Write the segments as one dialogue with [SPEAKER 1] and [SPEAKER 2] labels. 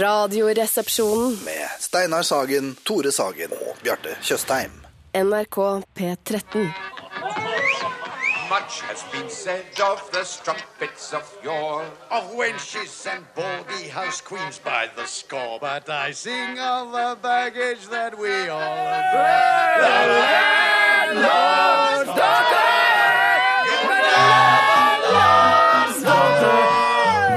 [SPEAKER 1] Radioresepsjonen.
[SPEAKER 2] med Steinar Sagen, Tore Sagen og Bjarte Tjøstheim.
[SPEAKER 1] NRK P13.
[SPEAKER 3] Much has been said of the strumpets of yore, of wenches and baldy house queens by the score. But I sing of the baggage that we all adore.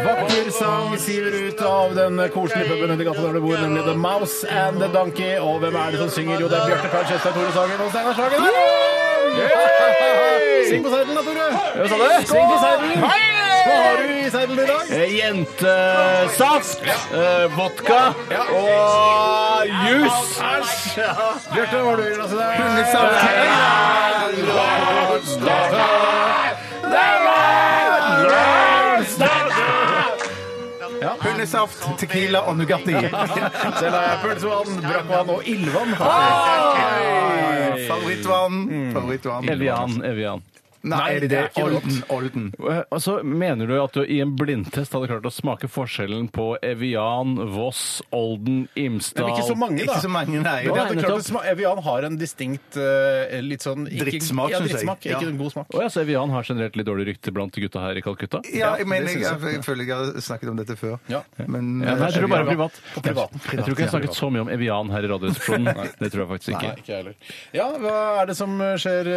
[SPEAKER 4] Vakker sang siver ut av den koselige puben under gata der du bor, nemlig The Mouse and The Donkey. Og hvem er det som synger? Jo, det er Bjarte Karl Kjøstheim, Tore Sagen og Steinar Sagen. Yay! Syng på seidelen da, Tore. Hva sa du? sånn Syng på seidelen. Hva har du i seidelen i dag?
[SPEAKER 5] Jentesaft,
[SPEAKER 4] eh,
[SPEAKER 5] vodka og jus.
[SPEAKER 4] Bjarte, hva har du i glasset der?
[SPEAKER 6] Hundesaft, tequila og Nugatti.
[SPEAKER 4] Selv har jeg pølsevann, brakkvann og ildvann.
[SPEAKER 6] Favorittvann. Favorittvann.
[SPEAKER 5] Evian, Evian.
[SPEAKER 6] Nei, er det det?
[SPEAKER 4] ikke noe
[SPEAKER 6] Olden. Olden.
[SPEAKER 5] Eh, Altså, Mener du at du i en blindtest hadde klart å smake forskjellen på Evian, Voss, Olden, Imsdal
[SPEAKER 4] Men ikke så mange, da.
[SPEAKER 6] Ikke så mange, nei.
[SPEAKER 4] Jo, det er
[SPEAKER 5] Nei,
[SPEAKER 4] klart
[SPEAKER 5] nettopp.
[SPEAKER 4] at sma- Evian har en distinkt eh, litt sånn ikke-
[SPEAKER 6] Drittsmak,
[SPEAKER 4] ja,
[SPEAKER 6] synes jeg.
[SPEAKER 4] drittsmak,
[SPEAKER 6] Ja.
[SPEAKER 4] Ikke en god smak.
[SPEAKER 5] Å ja, så Evian har generelt litt dårlig rykte blant gutta her i Calcutta?
[SPEAKER 6] Ja, jeg mener,
[SPEAKER 4] det
[SPEAKER 6] jeg,
[SPEAKER 4] synes jeg.
[SPEAKER 6] jeg føler jeg har snakket om dette før.
[SPEAKER 4] Ja.
[SPEAKER 6] Men eh,
[SPEAKER 5] Ja, nei, jeg tror bare privat.
[SPEAKER 4] På privaten.
[SPEAKER 5] Jeg tror ikke jeg snakket så mye om Evian her i Radioresepsjonen. Det tror jeg
[SPEAKER 4] Nei,
[SPEAKER 5] faktisk ikke.
[SPEAKER 4] ikke jeg heller. Ja, hva er det som skjer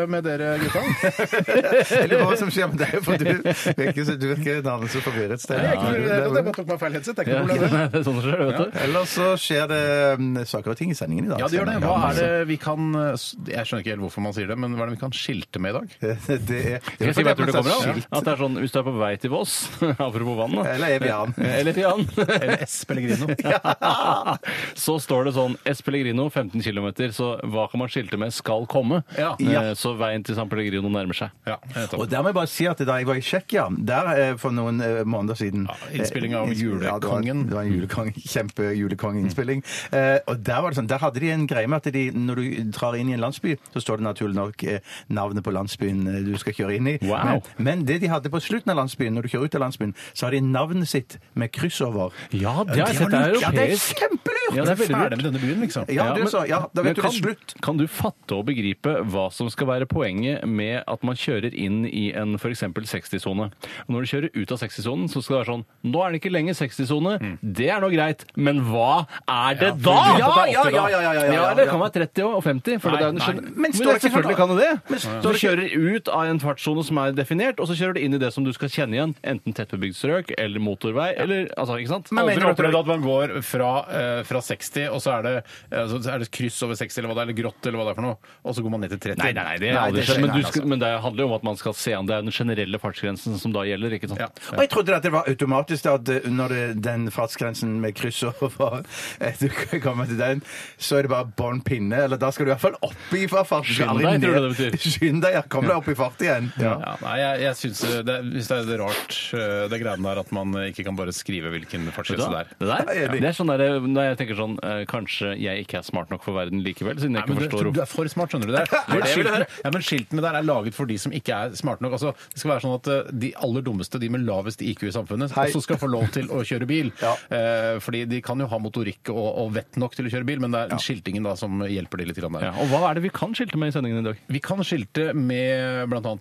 [SPEAKER 4] eh, med dere gutta?
[SPEAKER 6] Eller hva som skjer med deg, for du virker, så- du virker en anelse forvirret. Stein.
[SPEAKER 4] Jeg er ikke
[SPEAKER 6] Det
[SPEAKER 4] forvirret,
[SPEAKER 6] er
[SPEAKER 4] jeg
[SPEAKER 6] vel-
[SPEAKER 4] bare tok meg feil headset. Det er
[SPEAKER 5] Ja,
[SPEAKER 4] ikke noe problem.
[SPEAKER 5] nei, det er sånn det skjer, vet du.
[SPEAKER 6] Ellers så skjer det mm, saker og ting i sendingen i dag.
[SPEAKER 4] Ja, det gjør det.
[SPEAKER 6] Stein.
[SPEAKER 4] Hva er det vi kan eh, s- Jeg skjønner ikke helt hvorfor man sier det, men hva er det vi kan skilte med i dag?
[SPEAKER 6] Det er,
[SPEAKER 5] Skal jeg si hva jeg tror det kommer av?
[SPEAKER 6] Skilt.
[SPEAKER 5] At det er sånn, Hvis du er på vei til Voss, apropos vann, da.
[SPEAKER 6] Eller Evian.
[SPEAKER 5] Eller Evian.
[SPEAKER 4] Eller S. Pellegrino.
[SPEAKER 5] Så står det sånn S. Pellegrino 15 km, så hva kan man skilte med skal komme?
[SPEAKER 4] Ja.
[SPEAKER 5] Eh,
[SPEAKER 6] Ja.
[SPEAKER 5] Så veien til San Pellegrino nærmer seg.
[SPEAKER 4] Ja, nettopp.
[SPEAKER 6] Og der må jeg bare si at da jeg var i Tsjekkia, der eh, for noen eh, måneder siden
[SPEAKER 4] Ja, innspilling av
[SPEAKER 6] eh, innspill- ja, det var-
[SPEAKER 4] Julekongen.
[SPEAKER 6] Det var en julekong, kjempe julekonginnspilling.
[SPEAKER 5] Mm.
[SPEAKER 6] Eh, og der var det sånn, der hadde de en greie med at de, når du drar inn i en landsby, så står det naturlig nok eh, navnet på landsbyen eh, du skal kjøre inn i.
[SPEAKER 5] Wow.
[SPEAKER 6] Men, men det de hadde på slutten av landsbyen, når du kjører ut av landsbyen, så har de navnet sitt med kryss over.
[SPEAKER 5] Ja, det har jeg sett.
[SPEAKER 6] var lurt.
[SPEAKER 5] Det er
[SPEAKER 6] Ja, det er
[SPEAKER 5] europeisk.
[SPEAKER 6] kjempelurt!
[SPEAKER 5] Ja, det er veldig
[SPEAKER 4] Ferdig
[SPEAKER 5] lurt.
[SPEAKER 4] med denne byen, liksom.
[SPEAKER 6] Ja, det
[SPEAKER 5] men-
[SPEAKER 6] er så, ja, da
[SPEAKER 5] men
[SPEAKER 6] vet du det er slutt.
[SPEAKER 5] Kan du fatte og begripe hva som skal være poenget med at man kjører inn i en f.eks. 60-sone? Og Når du kjører ut av 60-sonen, så skal det være sånn Nå er det ikke lenger 60-sone, det er nå greit, men hva er det da?!
[SPEAKER 6] Mm. Ja, ja, ja, ja, ja, ja, ja, ja.
[SPEAKER 5] det kan være 30 og 50. For det er jo en skjønn-
[SPEAKER 6] nei. Men
[SPEAKER 5] Men
[SPEAKER 6] står
[SPEAKER 5] det,
[SPEAKER 6] det ikke
[SPEAKER 5] selvfølgelig
[SPEAKER 6] sånn
[SPEAKER 5] kan
[SPEAKER 6] da?
[SPEAKER 5] du det.
[SPEAKER 6] Men
[SPEAKER 5] Så du kjører ut av en fartssone som er definert, og så kjører du inn i det som du skal kjenne igjen, enten tettbebygd strøk eller motorvei, eller altså, ikke sant?
[SPEAKER 4] Men
[SPEAKER 5] Aldri
[SPEAKER 4] mener du opplevd
[SPEAKER 5] opplevd
[SPEAKER 4] at man går fra, eh, fra 60, og så er, det, eh, så er det kryss over 60, eller hva det er, eller grått, eller hva det er for noe, og så går man ned til 30?
[SPEAKER 5] Nei, nei, nei, det har aldri
[SPEAKER 4] det altså.
[SPEAKER 5] skjedd. Men,
[SPEAKER 4] skjer
[SPEAKER 5] du skal, men det handler jo om at man skal se an. Det er den generelle fartsgrensen som da gjelder. ikke sant?
[SPEAKER 4] Ja.
[SPEAKER 6] Og jeg trodde at det var automatisk da, at eh, når det, den fartsgrensen med kryss over etter du kommer til den, så er det bare bånn pinne. Eller da skal du i hvert fall opp i farten. Du skal
[SPEAKER 5] Skynd
[SPEAKER 6] aldri
[SPEAKER 5] deg, tror
[SPEAKER 6] ned.
[SPEAKER 5] jeg det betyr.
[SPEAKER 6] Skynd deg, ja. Kom deg opp i fart igjen. Ja.
[SPEAKER 4] Ja, nei, jeg, jeg synes det, er- Hvis det er rart, eh, det greiene der at man ikke kan bare skrive hvilken fartsgrense det
[SPEAKER 5] Det
[SPEAKER 4] er.
[SPEAKER 5] der,
[SPEAKER 6] Jeg er enig.
[SPEAKER 5] det er sånn der, når jeg tenker sånn eh, Kanskje jeg ikke er smart nok for verden likevel, siden jeg
[SPEAKER 4] Nei,
[SPEAKER 5] ikke
[SPEAKER 4] men
[SPEAKER 5] forstår
[SPEAKER 4] du, du er for smart, skjønner du det? er-
[SPEAKER 5] det jeg ville
[SPEAKER 4] Skiltene, ja, men skiltene der er laget for de som ikke er smarte nok. Altså, det skal være sånn at eh, De aller dummeste, de med lavest IQ i samfunnet,
[SPEAKER 6] Hei.
[SPEAKER 4] også skal få lov til å kjøre bil.
[SPEAKER 6] Ja.
[SPEAKER 4] Eh, fordi de kan jo ha motorikk og, og vett nok til å kjøre bil, men det er skiltingen da som hjelper de litt. Grann der.
[SPEAKER 5] Ja, og hva er det vi kan skilte med i sendingen i dag?
[SPEAKER 4] Vi kan skilte med bl.a.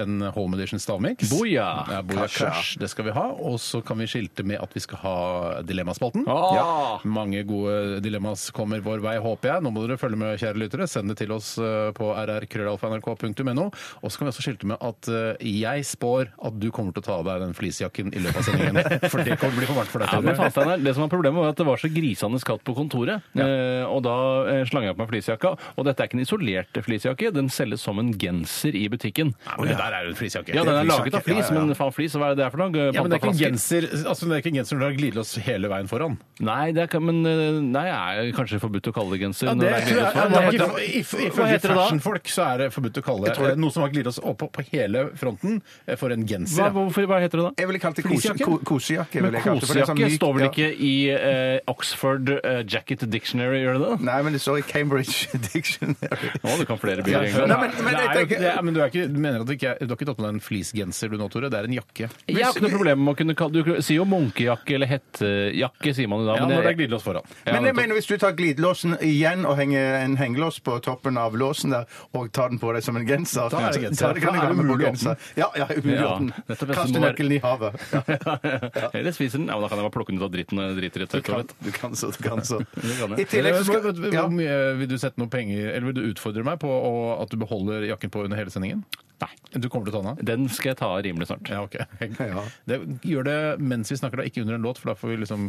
[SPEAKER 4] en Home Edition stavmiks.
[SPEAKER 5] Boja.
[SPEAKER 4] Ja, Boja Crush, det skal vi ha. Og så kan vi skilte med at vi skal ha Dilemmaspalten.
[SPEAKER 5] Ah!
[SPEAKER 4] Mange gode dilemmas kommer vår vei, håper jeg. Nå må dere følge med, kjære lyttere. Send det til oss eh, på rrkrøllalfa.nrk.no. Og så kan vi også skilte med at eh, jeg spår at du kommer til å ta av deg den fleecejakken i løpet av sendingen. For det kommer til å bli for varmt for deg.
[SPEAKER 5] Ja, men
[SPEAKER 4] Tore.
[SPEAKER 5] faen, Steinar, det som var Problemet var at det var så grisende kaldt på kontoret. Eh, og da eh, slang jeg på meg fleecejakka. Og dette er ikke en isolert fleecejakke, den selges som en genser i butikken.
[SPEAKER 4] Nei, men det der er jo en fleecejakke.
[SPEAKER 5] Ja, den er laget
[SPEAKER 6] fleecejakke,
[SPEAKER 5] av flis,
[SPEAKER 6] ja, ja, ja.
[SPEAKER 5] men faen flis, hva er det det er for noe?
[SPEAKER 4] Ja, men det er ikke en
[SPEAKER 5] Pantaflasker.
[SPEAKER 4] genser altså, det er ikke en genser når du har glidelås hele veien foran.
[SPEAKER 5] Nei, det er, ikke- men eh, eh, Nei, er det kanskje forbudt å kalle det genser?
[SPEAKER 4] Ja,
[SPEAKER 5] når
[SPEAKER 4] det
[SPEAKER 5] er
[SPEAKER 4] tror jeg, hva heter det? If-
[SPEAKER 5] glidelås på? Hva heter- Hva
[SPEAKER 4] Ifølge
[SPEAKER 5] heter det da?
[SPEAKER 4] fashionfolk så er det forbudt å kalle eh, noe som har glidelås oppå på hele fronten, eh, for en genser.
[SPEAKER 5] Hva,
[SPEAKER 4] ja.
[SPEAKER 5] hvorfor, hva heter det da?
[SPEAKER 6] Jeg ville kalt det kose-
[SPEAKER 4] Fleecejakke?
[SPEAKER 6] ko- kosejakke.
[SPEAKER 5] Men
[SPEAKER 6] ville jeg kalt det, for det er sånn
[SPEAKER 5] kosejakke
[SPEAKER 6] myk-
[SPEAKER 5] står vel
[SPEAKER 6] ja.
[SPEAKER 5] ikke i eh, Oxford eh, Jacket Dictionary, gjør det det?
[SPEAKER 6] Nei, men det står i Cambridge Dictionary.
[SPEAKER 5] Å, du kan flere
[SPEAKER 4] Ja,
[SPEAKER 5] byer.
[SPEAKER 4] ja.
[SPEAKER 5] Ingrid.
[SPEAKER 6] Nei, men- men
[SPEAKER 4] Det
[SPEAKER 6] jeg
[SPEAKER 4] er jo-
[SPEAKER 6] tenker-
[SPEAKER 4] det er- men du, er ikke, du mener at du ikke er- du har ikke tatt med deg en fleecegenser du nå, Tore? Det er en jakke.
[SPEAKER 5] Jeg har ikke noe problem med å kunne kalle Du sier jo munkejakke eller hettejakke, sier man jo da.
[SPEAKER 4] Ja,
[SPEAKER 5] men
[SPEAKER 4] når det er
[SPEAKER 5] jeg-
[SPEAKER 4] glidelås foran. eh,
[SPEAKER 5] Ja,
[SPEAKER 6] Men jeg
[SPEAKER 5] nettopp.
[SPEAKER 6] mener hvis du tar glidelåsen igjen og henger en hengelås på toppen av låsen der, og tar den på deg som en genser
[SPEAKER 4] Da er det genser.
[SPEAKER 6] Da kan
[SPEAKER 4] Da
[SPEAKER 6] det
[SPEAKER 4] er det
[SPEAKER 6] umulig
[SPEAKER 4] umulig
[SPEAKER 6] å åpne. Ja, ja, umulig å
[SPEAKER 5] Ja,
[SPEAKER 6] åpne.
[SPEAKER 5] nettopp, jeg
[SPEAKER 6] Kaste
[SPEAKER 5] må være-
[SPEAKER 6] nøkkelen i havet. Ja,
[SPEAKER 5] Eller spiser den. Ja, men da kan jeg bare plukke den ut av dritten når jeg driter i
[SPEAKER 6] du,
[SPEAKER 5] et
[SPEAKER 6] kan,
[SPEAKER 5] tørrtoalett.
[SPEAKER 6] du kan så, du kan så.
[SPEAKER 5] kan jeg.
[SPEAKER 6] I tillegg så
[SPEAKER 4] Hvor- hvor-
[SPEAKER 6] skal ja.
[SPEAKER 4] Hvor mye vil du sette noen penger Eller vil du utfordre meg på å, at du beholder jakken på under hele sendingen?
[SPEAKER 5] Nei.
[SPEAKER 4] Du kommer til å ta den av?
[SPEAKER 5] Den skal jeg ta av rimelig snart.
[SPEAKER 4] Ja, ok.
[SPEAKER 6] Ja.
[SPEAKER 4] Det, gjør det mens vi snakker, da, ikke under en låt, for da får vi liksom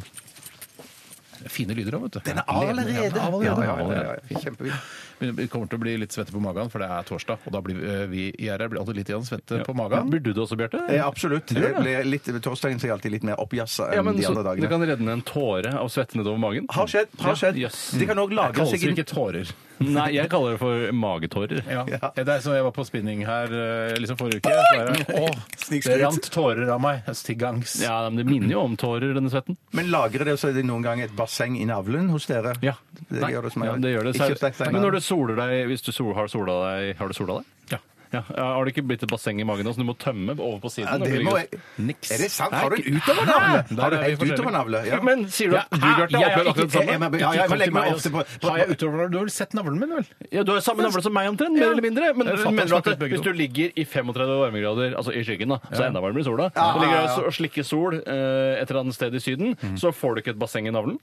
[SPEAKER 4] Fine lyder òg, vet du. Den er
[SPEAKER 6] Allerede!
[SPEAKER 4] Ja,
[SPEAKER 6] Ja,
[SPEAKER 4] allerede.
[SPEAKER 6] ja, ja, ja. Kjempefint.
[SPEAKER 4] Vi vi kommer til å bli litt svette på magen, for det er torsdag. Og da blir vi- vi i RR blir alltid litt igjen svette på magen.
[SPEAKER 5] Blir du det også, Bjarte?
[SPEAKER 6] Eh, Absolutt. Jeg ble litt, torsdagen så er jeg alltid litt mer oppjassa enn
[SPEAKER 5] Ja, men
[SPEAKER 6] de
[SPEAKER 5] så,
[SPEAKER 6] andre dagene.
[SPEAKER 5] Det kan redde ned en tåre av svette nedover magen.
[SPEAKER 6] Har skjedd. har skjedd.
[SPEAKER 5] Ja, jøss.
[SPEAKER 6] De kan òg
[SPEAKER 4] Det
[SPEAKER 6] lagre
[SPEAKER 4] kalles
[SPEAKER 6] seg
[SPEAKER 4] jo
[SPEAKER 6] inn
[SPEAKER 4] ikke tårer.
[SPEAKER 5] Nei, jeg kaller det for magetårer.
[SPEAKER 4] Ja.
[SPEAKER 6] Ja.
[SPEAKER 4] Det er som jeg var på spinning her eh, liksom forrige uke. Så var jeg, Åh, det
[SPEAKER 6] Snikskryt.
[SPEAKER 4] rant tårer av meg. Altså, til gangs.
[SPEAKER 5] Ja, men Det minner jo om tårer, denne svetten.
[SPEAKER 6] Men lagrer det, så er det noen gang et basseng i navlen hos dere?
[SPEAKER 5] Ja.
[SPEAKER 6] Det
[SPEAKER 5] Nei.
[SPEAKER 6] gjør det som
[SPEAKER 5] Ja,
[SPEAKER 6] jeg-
[SPEAKER 5] det gjør det.
[SPEAKER 6] Ikke hos deg,
[SPEAKER 5] Nei,
[SPEAKER 6] Steinar.
[SPEAKER 5] men når du soler deg, hvis du sol, har sola deg Har du sola deg?
[SPEAKER 4] Ja.
[SPEAKER 5] Ja, Har det ikke blitt et basseng i magen nå som du må tømme over på siden?
[SPEAKER 6] Ja,
[SPEAKER 5] Da blir
[SPEAKER 6] det må jeg...
[SPEAKER 4] Niks.
[SPEAKER 6] Er det sant? Har du en utovernavle?
[SPEAKER 4] Hæ?
[SPEAKER 6] Har du
[SPEAKER 4] Der er vi
[SPEAKER 6] helt
[SPEAKER 4] forskjellige.
[SPEAKER 6] utovernavle? Ja.
[SPEAKER 5] Men sier du at
[SPEAKER 4] Hæ?
[SPEAKER 5] du, Bjarte,
[SPEAKER 4] Jeg
[SPEAKER 5] har
[SPEAKER 4] er
[SPEAKER 5] opplevd akkurat
[SPEAKER 4] ikke-
[SPEAKER 5] det samme?
[SPEAKER 6] jeg- jeg-
[SPEAKER 4] Ikke
[SPEAKER 6] Ja, jeg må
[SPEAKER 4] kom
[SPEAKER 6] legge
[SPEAKER 4] til meg
[SPEAKER 6] meg
[SPEAKER 4] og-
[SPEAKER 6] ofte på- på-
[SPEAKER 4] Har jeg utover Du har vel sett navlen min, vel?
[SPEAKER 5] Ja, Du har samme navle som meg omtrent, mer
[SPEAKER 4] Ja.
[SPEAKER 5] eller mindre. Men
[SPEAKER 4] Det er
[SPEAKER 5] men
[SPEAKER 4] fattig
[SPEAKER 5] mener du at
[SPEAKER 4] snakket begge
[SPEAKER 5] hvis
[SPEAKER 4] to.
[SPEAKER 5] du ligger i 35 varmegrader, altså i skyggen, da, så er det enda varmere i sola,
[SPEAKER 6] Ja,
[SPEAKER 5] og ligger
[SPEAKER 6] ja,
[SPEAKER 5] og s- og slikker sol eh, et eller annet sted i Syden, så får du ikke et basseng i navlen.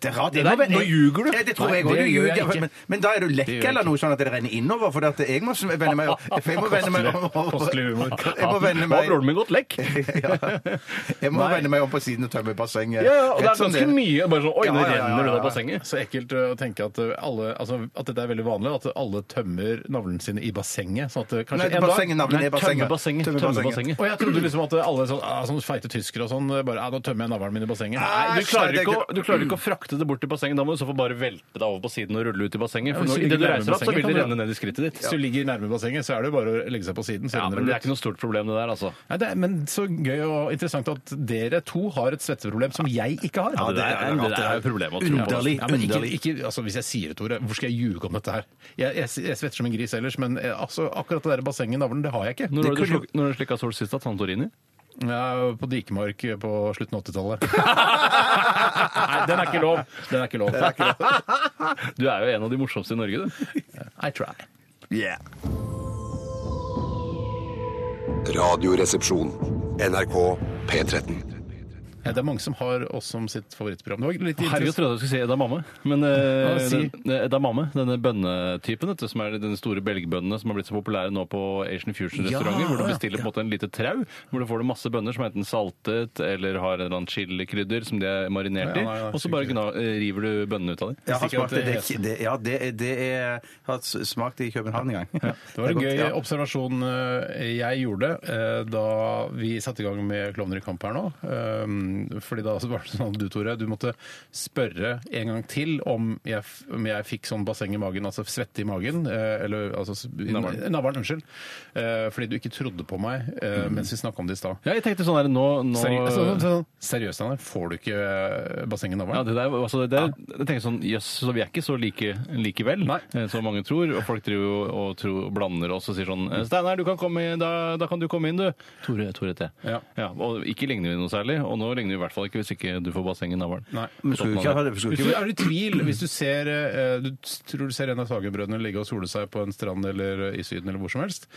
[SPEAKER 6] Det er rart. Det
[SPEAKER 5] Det
[SPEAKER 6] må
[SPEAKER 5] der-
[SPEAKER 6] være-
[SPEAKER 5] nå ljuger du.
[SPEAKER 6] Ja, det tror
[SPEAKER 4] Nei,
[SPEAKER 6] jeg òg.
[SPEAKER 4] det
[SPEAKER 6] Du
[SPEAKER 4] gjør jeg
[SPEAKER 6] ljuger.
[SPEAKER 4] ikke.
[SPEAKER 6] Men, men da er du lekk
[SPEAKER 4] Det gjør jeg
[SPEAKER 6] eller noe sånn at det renner innover? For at jeg må s- vende meg for jeg må vende meg om-
[SPEAKER 4] Kostelig humor.
[SPEAKER 6] Jeg må vende
[SPEAKER 5] Nå har
[SPEAKER 6] meg,
[SPEAKER 5] broren min gått lekk!
[SPEAKER 6] ja. jeg må vende meg om på siden og tømme bassenget.
[SPEAKER 5] Ja, ja, og det
[SPEAKER 6] Rett
[SPEAKER 5] er
[SPEAKER 6] som det
[SPEAKER 5] ganske
[SPEAKER 6] er.
[SPEAKER 5] mye. Bare sånn, oi,
[SPEAKER 6] Ja,
[SPEAKER 5] nå
[SPEAKER 6] ja, ja, ja,
[SPEAKER 5] renner
[SPEAKER 6] ja.
[SPEAKER 5] det av bassenget.
[SPEAKER 4] Så ekkelt å tenke at, uh, alle, altså, at dette er veldig vanlig, at alle tømmer navlen sine i bassenget. Sånn at uh,
[SPEAKER 6] Nei,
[SPEAKER 4] kanskje en dag
[SPEAKER 6] bassenget, navnet er
[SPEAKER 5] Nei,
[SPEAKER 6] bassenget.
[SPEAKER 5] tømme bassenget,
[SPEAKER 6] Tømme
[SPEAKER 5] tømme
[SPEAKER 6] bassenget.
[SPEAKER 5] bassenget.
[SPEAKER 4] og jeg trodde liksom at alle sånn, ah, sånn feite tyskere og sånn bare ah, 'Nå tømmer jeg navlen min i bassenget'.
[SPEAKER 5] Nei, du,
[SPEAKER 6] Æsj,
[SPEAKER 5] klarer
[SPEAKER 6] nei, det er
[SPEAKER 5] ikke å, du klarer ikke å frakte det bort til bassenget. Da må du i så fall bare velte deg over på siden og rulle ut i
[SPEAKER 4] Ja,
[SPEAKER 5] bassenget. For
[SPEAKER 4] hvis
[SPEAKER 5] når,
[SPEAKER 4] du
[SPEAKER 5] i det du
[SPEAKER 4] ligger
[SPEAKER 5] reiser
[SPEAKER 4] nærme
[SPEAKER 5] opp, så vil det
[SPEAKER 4] bassenget,
[SPEAKER 5] renne ned i skrittet ditt.
[SPEAKER 4] Hvis du ligger nærme bassenget, så er det jo bare å legge seg på siden. så
[SPEAKER 5] Ja,
[SPEAKER 4] renner
[SPEAKER 5] men Det er
[SPEAKER 4] det ut.
[SPEAKER 5] ikke noe stort problem, det der, altså.
[SPEAKER 4] Nei, det er, men så gøy og interessant at dere to har et svetteproblem som jeg ikke har.
[SPEAKER 5] det der er- det er jo problemet å tro på.
[SPEAKER 4] Underlig. Ja, men ikke,
[SPEAKER 5] Underlig.
[SPEAKER 4] ikke, altså, hvis jeg sier det, Tore, hvor skal jeg ljuge om dette her? Jeg, jeg, jeg svetter som en gris ellers, men eh, altså, akkurat det der bassenget i navlen, det har jeg ikke.
[SPEAKER 5] Når
[SPEAKER 4] Det
[SPEAKER 5] har du
[SPEAKER 4] kunne-
[SPEAKER 5] sluk- når har du slikka sol sist, da? Santorini?
[SPEAKER 4] Ja, på Dikemark eh, på slutten av 80-tallet. Nei, den er ikke lov. Den er ikke lov.
[SPEAKER 5] Du er jo en av de morsomste i Norge, du.
[SPEAKER 4] I try.
[SPEAKER 6] Yeah.
[SPEAKER 7] Radioresepsjon. NRK P13.
[SPEAKER 4] Ja, det er mange som har oss som sitt favorittprogram. Det var litt
[SPEAKER 5] Herregud, jeg
[SPEAKER 4] interessant.
[SPEAKER 5] trodde jeg skulle si Edda Mamme. Men
[SPEAKER 4] Ja,
[SPEAKER 5] eh,
[SPEAKER 4] si.
[SPEAKER 5] den- Edda Mamme, denne bønnetypen, vet du, som er den store belgbønnene som har blitt så populære nå på Asian Fusion-restauranter,
[SPEAKER 4] Ja,
[SPEAKER 5] hvor du bestiller på en måte en lite trau, hvor du får det masse bønner som er enten saltet eller har en eller annen chilikrydder som de er marinert
[SPEAKER 4] Ja,
[SPEAKER 5] i,
[SPEAKER 4] nei, nei,
[SPEAKER 5] og så bare gna, eh, river du bønnene ut av dem.
[SPEAKER 6] Jeg har
[SPEAKER 4] Hvis ikke
[SPEAKER 6] smakt
[SPEAKER 4] at
[SPEAKER 6] det.
[SPEAKER 4] det
[SPEAKER 6] Det, er- det, ja, det, er- det er, har smakt i København en gang.
[SPEAKER 4] Det var en
[SPEAKER 6] godt,
[SPEAKER 4] gøy
[SPEAKER 6] ja.
[SPEAKER 4] observasjon eh, jeg gjorde eh, da vi satte i gang med Klovner i kamp her nå. Eh, Fordi da var det sånn at du, Tore, du måtte spørre en gang til om jeg, f- om jeg fikk sånn basseng i magen, altså svette i magen, eh, eller altså s- i-
[SPEAKER 5] Navlen.
[SPEAKER 4] Navlen, unnskyld. Eh, Fordi du ikke trodde på meg eh, mens vi snakka om det i stad.
[SPEAKER 5] Ja, jeg tenkte sånn her nå, nå
[SPEAKER 4] Seriøst, sånn, sånn, seriøst Steinar, får du ikke eh, basseng i
[SPEAKER 5] Ja,
[SPEAKER 4] navlen?
[SPEAKER 5] det der, altså det der, jeg tenker sånn, jøss, så vi er ikke så like likevel eh, som mange tror. Og folk driver jo og tror, blander oss og sier sånn eh, Steinar, du kan komme inn, da, da kan du komme inn, du. Tore, Tore heter jeg.
[SPEAKER 4] Ja.
[SPEAKER 5] og ikke ligner vi noe særlig. Og nå ligner vi i hvert fall ikke hvis ikke du får basseng i navlen.
[SPEAKER 4] Nei.
[SPEAKER 6] Men skulle du ikke ha det? Skulle
[SPEAKER 4] Hvis
[SPEAKER 6] du
[SPEAKER 4] du
[SPEAKER 6] ikke...
[SPEAKER 4] er i tvil, hvis du ser eh, Du tror du ser en av Sagerbrødrene ligge og sole seg på en strand eller i Syden eller hvor som helst,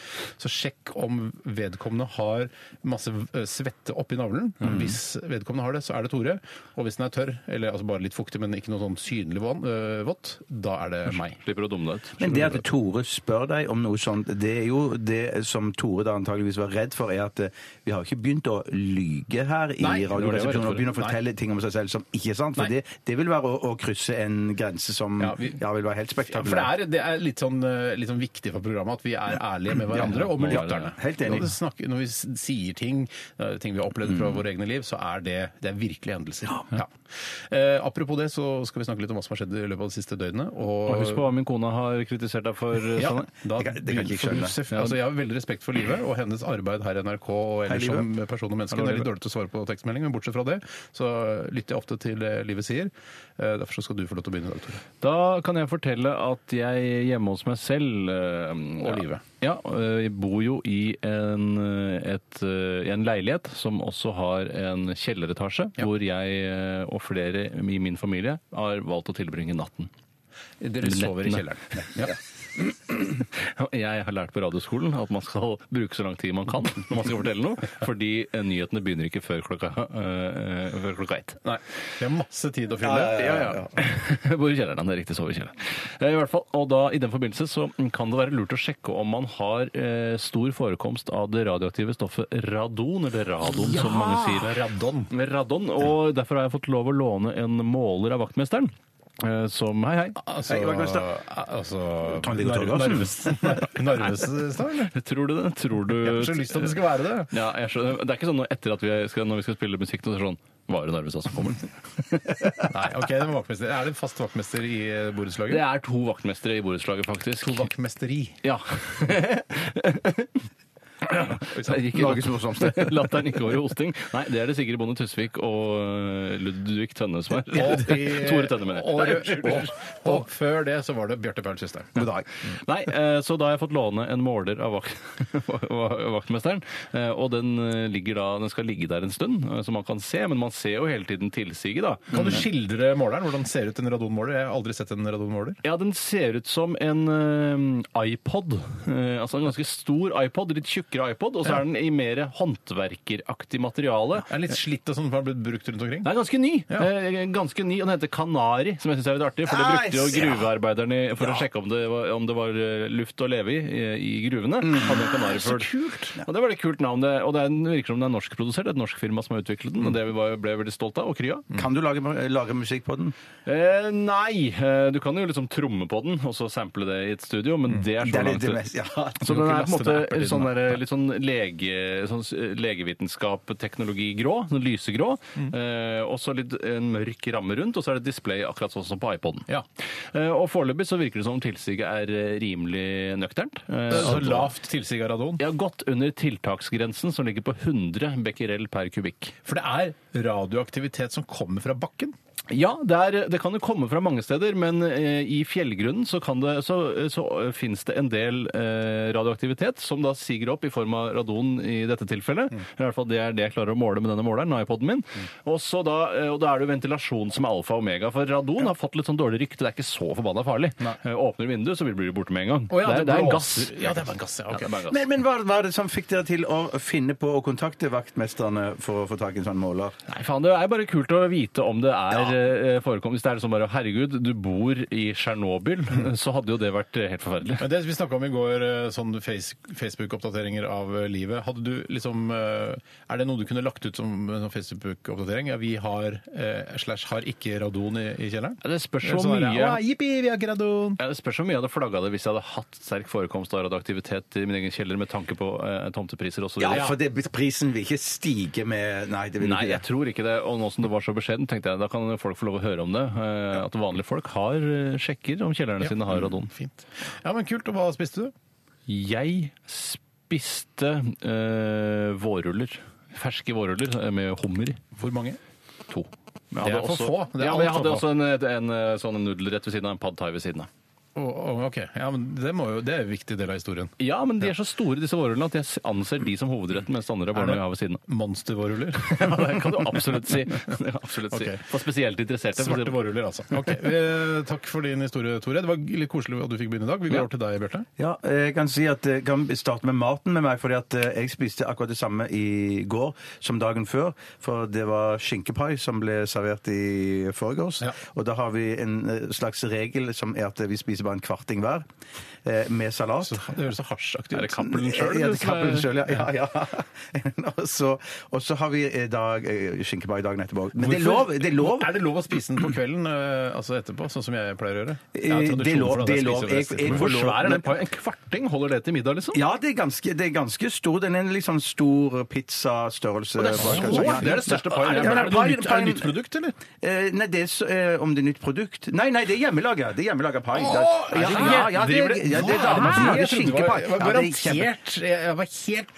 [SPEAKER 4] så sjekk om vedkommende har masse eh, svette oppi navlen. Hvis vedkommende har det, så er det Tore. Og hvis den er tørr, eller altså bare litt fuktig, men ikke noe sånn synlig vann, eh, vått, da er det meg.
[SPEAKER 5] Slipper å dumme deg ut.
[SPEAKER 6] Men det at Tore spør deg om noe sånt, det er jo det som Tore da antageligvis var redd for, er at eh, vi har ikke begynt å lyge her i
[SPEAKER 4] Nei, det var
[SPEAKER 5] var det jeg var
[SPEAKER 6] resepsjonen
[SPEAKER 5] redd
[SPEAKER 6] og begynner å
[SPEAKER 5] for.
[SPEAKER 6] fortelle ting om seg selv som ikke er sant. For det, det vil være å, å krysse en grense som ja,
[SPEAKER 4] Ja, vi-
[SPEAKER 6] vil være helt
[SPEAKER 4] Ja, for
[SPEAKER 6] spektakulær.
[SPEAKER 4] det er, det er litt, sånn, eh, litt sånn viktig for programmet at vi er ærlige med hverandre og med
[SPEAKER 5] må være
[SPEAKER 4] lytterne.
[SPEAKER 5] det.
[SPEAKER 6] Helt enig. Mm.
[SPEAKER 4] Når vi, snakker, når vi s- sier ting, eh, ting vi har opplevd fra våre egne liv, så er det, det er virkelige hendelser. Ja. Eh, apropos det, så skal vi snakke litt om hva som har skjedd i løpet av de siste døgnene. Og,
[SPEAKER 5] Og husk på hva min kone har kritisert deg for. eh,
[SPEAKER 4] ja,
[SPEAKER 5] Sanne.
[SPEAKER 4] da,
[SPEAKER 6] Det kan- det kan ikke jeg
[SPEAKER 4] får du
[SPEAKER 6] skjønne.
[SPEAKER 4] se- altså, jeg har veldig respekt for livet og hennes arbeid her i NRK og ellers
[SPEAKER 6] Hei,
[SPEAKER 4] som
[SPEAKER 6] Live.
[SPEAKER 4] person og menneske. Det er litt dårlig til å svare på tekstmelding, men bortsett fra det så lytter jeg ofte til det livet sier. Eh, Derfor så skal du få lov til å begynne i dag, Tore.
[SPEAKER 5] Da kan jeg fortelle at jeg hjemme hos meg selv eh,
[SPEAKER 4] Og
[SPEAKER 5] ja,
[SPEAKER 4] livet.
[SPEAKER 5] Ja, eh, jeg bor jo i en, eh, et, eh, en leilighet som også har en kjelleretasje,
[SPEAKER 4] Ja.
[SPEAKER 5] hvor jeg eh, og flere i min familie har valgt å tilbringe natten.
[SPEAKER 4] Dere sover i
[SPEAKER 5] Nettene.
[SPEAKER 4] kjelleren. Ja.
[SPEAKER 5] Jeg har lært på radioskolen at man skal bruke så lang tid man kan når man skal fortelle noe, fordi eh, nyhetene begynner ikke før klokka, eh, eh, før klokka ett.
[SPEAKER 4] Nei, vi har masse tid å fylle.
[SPEAKER 5] Bor i kjelleren, det er riktig. Sover i kjelleren. Eh, I hvert fall, og da, I den forbindelse så kan det være lurt å sjekke om man har eh, stor forekomst av det radioaktive stoffet radon, eller radon som mange sier.
[SPEAKER 4] Radon.
[SPEAKER 5] Radon, og Derfor har jeg fått lov å låne en måler av vaktmesteren. eh, Som Hei, hei.
[SPEAKER 4] Altså,
[SPEAKER 6] Hei, vaktmester.
[SPEAKER 4] altså
[SPEAKER 6] Trond-Viggo Torgersen.
[SPEAKER 4] Narvestad, eller?
[SPEAKER 5] Tror du det? Tror du
[SPEAKER 4] Jeg har så lyst til at det skal være det.
[SPEAKER 5] Ja, jeg skjønner. Det er ikke sånn nå etter at vi skal, når vi skal spille musikk, så er det sånn Var det Narvestad som kommer?
[SPEAKER 4] Nei, ok, det var vaktmester. Er det fast vaktmester i eh,
[SPEAKER 5] Det
[SPEAKER 4] borettslaget?
[SPEAKER 5] er to vaktmestere i borettslaget, faktisk.
[SPEAKER 4] To vaktmesteri.
[SPEAKER 5] Ja.
[SPEAKER 6] Norges morsomste.
[SPEAKER 5] Latteren gikk over i hosting. Nei, det er det Sigrid Bonde Tusvik og øh, Ludvig Tønne som er.
[SPEAKER 4] i-
[SPEAKER 5] Tore Tønne, mener
[SPEAKER 4] Og,
[SPEAKER 5] jeg.
[SPEAKER 4] og, og før det så var det Bjarte Paul Mm. Systeren.
[SPEAKER 6] God dag.
[SPEAKER 5] Nei, eh, så da har jeg fått låne en måler av vakt, vaktmesteren. eh, Og den, eh, ligger da, den skal ligge der en stund, eh, så man kan se. Men man ser jo hele tiden tilsiget, da.
[SPEAKER 4] Kan du skildre måleren? Hvordan ser ut en radonmåler? Jeg har aldri sett en radonmåler.
[SPEAKER 5] Ja, den ser ut som en eh, iPod. Eh, altså en ganske stor iPod, litt tjukkere iPod, og så
[SPEAKER 4] Ja.
[SPEAKER 5] er den i mer håndverkeraktig materiale.
[SPEAKER 4] Er den litt slitt og sånn for den har blitt brukt rundt omkring?
[SPEAKER 5] Den er ganske ny.
[SPEAKER 4] Ja.
[SPEAKER 5] Eh, ganske ny, og Den heter Kanari, som jeg syns er litt artig. For det brukte jo
[SPEAKER 6] Nice, ja.
[SPEAKER 5] gruvearbeiderne for å sjekke om det, var, om det var eh, luft å leve i eh, i gruvene.
[SPEAKER 6] Mm.
[SPEAKER 5] Hadde en
[SPEAKER 6] Ah,
[SPEAKER 5] kanarifugl. Og det var et kult navn. Det, og det er, en- virker som den er norskprodusert. Det er et norsk firma som har utviklet den, og det vi var, ble veldig stolt av. Og Krya.
[SPEAKER 6] Kan du lage, lage musikk på den?
[SPEAKER 5] Eh, nei! Eh, du kan jo liksom tromme på den, og så sample det i et studio, men det er
[SPEAKER 6] Mm. Det
[SPEAKER 5] så
[SPEAKER 6] er
[SPEAKER 5] langt
[SPEAKER 6] litt det
[SPEAKER 5] ut.
[SPEAKER 6] mest, ja.
[SPEAKER 5] Så
[SPEAKER 4] Du kan
[SPEAKER 5] den er på en
[SPEAKER 4] ikke laste ned
[SPEAKER 5] måte
[SPEAKER 4] appen
[SPEAKER 5] sånn
[SPEAKER 4] din,
[SPEAKER 5] der, litt sånn, lege, sånn s- legevitenskap, teknologigrå, sånn lysegrå.
[SPEAKER 4] Mm.
[SPEAKER 5] Eh, og så litt en mørk ramme rundt, og så er det et display akkurat sånn som på iPoden.
[SPEAKER 4] Ja.
[SPEAKER 5] Eh, og foreløpig så virker det som om tilsiget er eh, rimelig nøkternt. Eh,
[SPEAKER 4] Så
[SPEAKER 5] at-
[SPEAKER 4] lavt tilsig av radon?
[SPEAKER 5] Ja, godt under tiltaksgrensen som ligger på 100 becquerel per kubikk.
[SPEAKER 4] For det er radioaktivitet som kommer fra bakken.
[SPEAKER 5] Ja, det, er, det kan jo komme fra mange steder, men eh, i fjellgrunnen så, kan det, så, så eh, finnes det en del eh, radioaktivitet som da siger opp i form av radon i dette tilfellet.
[SPEAKER 4] Mm.
[SPEAKER 5] I hvert fall det er det jeg klarer å måle med denne måleren, iPoden min. Og, så da, eh, og da er det jo ventilasjon som er alfa og omega, for radon har fått litt sånn dårlig rykte, det er ikke så forbanna farlig. Eh, Åpner vinduet, så blir det borte med en gang.
[SPEAKER 4] Å ja,
[SPEAKER 5] det, er, det er en gass.
[SPEAKER 4] blåser. Ja, det er bare en gass. Ja,
[SPEAKER 5] Ja,
[SPEAKER 4] ok.
[SPEAKER 5] det er bare en gass.
[SPEAKER 6] Men, men hva var det som fikk dere til å finne på å kontakte vaktmesterne for å få tak i en sånn måler?
[SPEAKER 5] Nei, faen, Det er bare kult å vite om det er eh, forekomst. Hvis det er sånn bare herregud, du bor i Tsjernobyl,
[SPEAKER 4] Mm.
[SPEAKER 5] så hadde jo det vært eh, helt forferdelig.
[SPEAKER 4] Men det vi snakka om i går, eh, sånn face, Facebook-oppdateringer av eh, livet. Hadde du liksom eh, Er det noe du kunne lagt ut som eh, sånn Facebook-oppdatering? Ja, vi har eh, slash har ikke radon i, i kjelleren?
[SPEAKER 5] Ja, det spørs
[SPEAKER 4] Eller
[SPEAKER 5] hvor
[SPEAKER 4] sånn der,
[SPEAKER 5] mye-
[SPEAKER 4] «Å, Jippi, vi har ikke radon!
[SPEAKER 5] Ja, det spørs hvor mye jeg hadde flagga det hvis jeg hadde hatt sterk forekomst av radioaktivitet i min egen kjeller med tanke på eh, tomtepriser osv.
[SPEAKER 6] Ja, for det, prisen vil ikke stige med Nei, det vil
[SPEAKER 5] Nei,
[SPEAKER 6] ikke
[SPEAKER 5] jeg tror ikke det. Og nå som det var så beskjeden, tenkte jeg da kan folk få lov å høre om det. eh, At vanlige folk har eh, sjekker om kjellerne sine har radon.
[SPEAKER 4] Fint. Ja, men kult. Og hva spiste du?
[SPEAKER 5] Jeg spiste eh, vårruller. Ferske vårruller eh, med hummer i.
[SPEAKER 4] Hvor mange?
[SPEAKER 5] To. Men
[SPEAKER 4] Det er
[SPEAKER 5] jeg hadde
[SPEAKER 4] for
[SPEAKER 5] også-
[SPEAKER 4] få. Det er
[SPEAKER 5] ja, men jeg
[SPEAKER 4] alt for
[SPEAKER 5] hadde
[SPEAKER 4] få.
[SPEAKER 5] også en, en, eh, sånn nudelrett ved siden av, en pad thai ved siden av.
[SPEAKER 4] Å, å, ok, ja, men det, må jo, det er en viktig del av historien.
[SPEAKER 5] Ja, men de er så store, disse vårrullene, at jeg anser de som hovedretten, mens det andre
[SPEAKER 4] Er
[SPEAKER 5] er
[SPEAKER 4] det-
[SPEAKER 5] barna jeg har ved siden av.
[SPEAKER 4] Monstervårruller.
[SPEAKER 5] Ja, det kan du absolutt si. Det kan du absolutt si.
[SPEAKER 4] Ok.
[SPEAKER 5] For spesielt interesserte. for å si
[SPEAKER 4] Svarte
[SPEAKER 5] det.
[SPEAKER 4] vårruller, altså. Ok, eh, Takk for din historie, Tore. Det var litt koselig at du fikk begynne i dag. Vi går over til deg, Bjarte.
[SPEAKER 6] Ja, jeg kan si at jeg kan starte med maten med meg, fordi at eh, jeg spiste akkurat det samme i går som dagen før, for det var skinkepai som ble servert i forgårs,
[SPEAKER 4] Ja.
[SPEAKER 6] og da har vi en eh, slags regel som er at vi spiser spiser bare en kvarting hver eh, med salat.
[SPEAKER 4] Det høres så hasjaktig ut.
[SPEAKER 5] Er det Cappelen sjøl?
[SPEAKER 6] Ja, det er Cappelen selv, ja. ja, ja. og, så, og så har vi eh, dag, eh, skinkebar i dagen etterpå. Men det er
[SPEAKER 4] Hvorfor-
[SPEAKER 6] lov! Det er lov.
[SPEAKER 4] Er det lov å spise den på kvelden, eh, altså etterpå, sånn som jeg pleier å gjøre?
[SPEAKER 6] Eh, det er lov, det er lov. Jeg- jeg får
[SPEAKER 5] Hvor
[SPEAKER 6] lov,
[SPEAKER 5] svær er
[SPEAKER 6] men-
[SPEAKER 5] den? paien? En kvarting? Holder det til middag, liksom?
[SPEAKER 6] Ja, det er ganske, det er ganske stor. Den er en litt sånn stor pizzastørrelse.
[SPEAKER 4] Det er,
[SPEAKER 6] bak,
[SPEAKER 4] så,
[SPEAKER 6] altså. Ja.
[SPEAKER 4] det er det største
[SPEAKER 6] Ja, ja,
[SPEAKER 4] paien. jeg
[SPEAKER 6] men
[SPEAKER 4] har. Er det noe
[SPEAKER 6] paien-
[SPEAKER 4] nytt- er det
[SPEAKER 6] paien-
[SPEAKER 4] nytt produkt, eller?
[SPEAKER 6] Eh, nei, det er så, eh, om det er nytt produkt Nei, nei, det er hjemmelaga. Det er hjemmelaga pai. Det er-
[SPEAKER 4] Åh,
[SPEAKER 6] ja, ja, ja, det er, ja, det er damer som lager skinkepai.
[SPEAKER 4] Jeg
[SPEAKER 6] Ja,
[SPEAKER 4] var
[SPEAKER 6] det er kjempe-
[SPEAKER 4] garantert Jeg var helt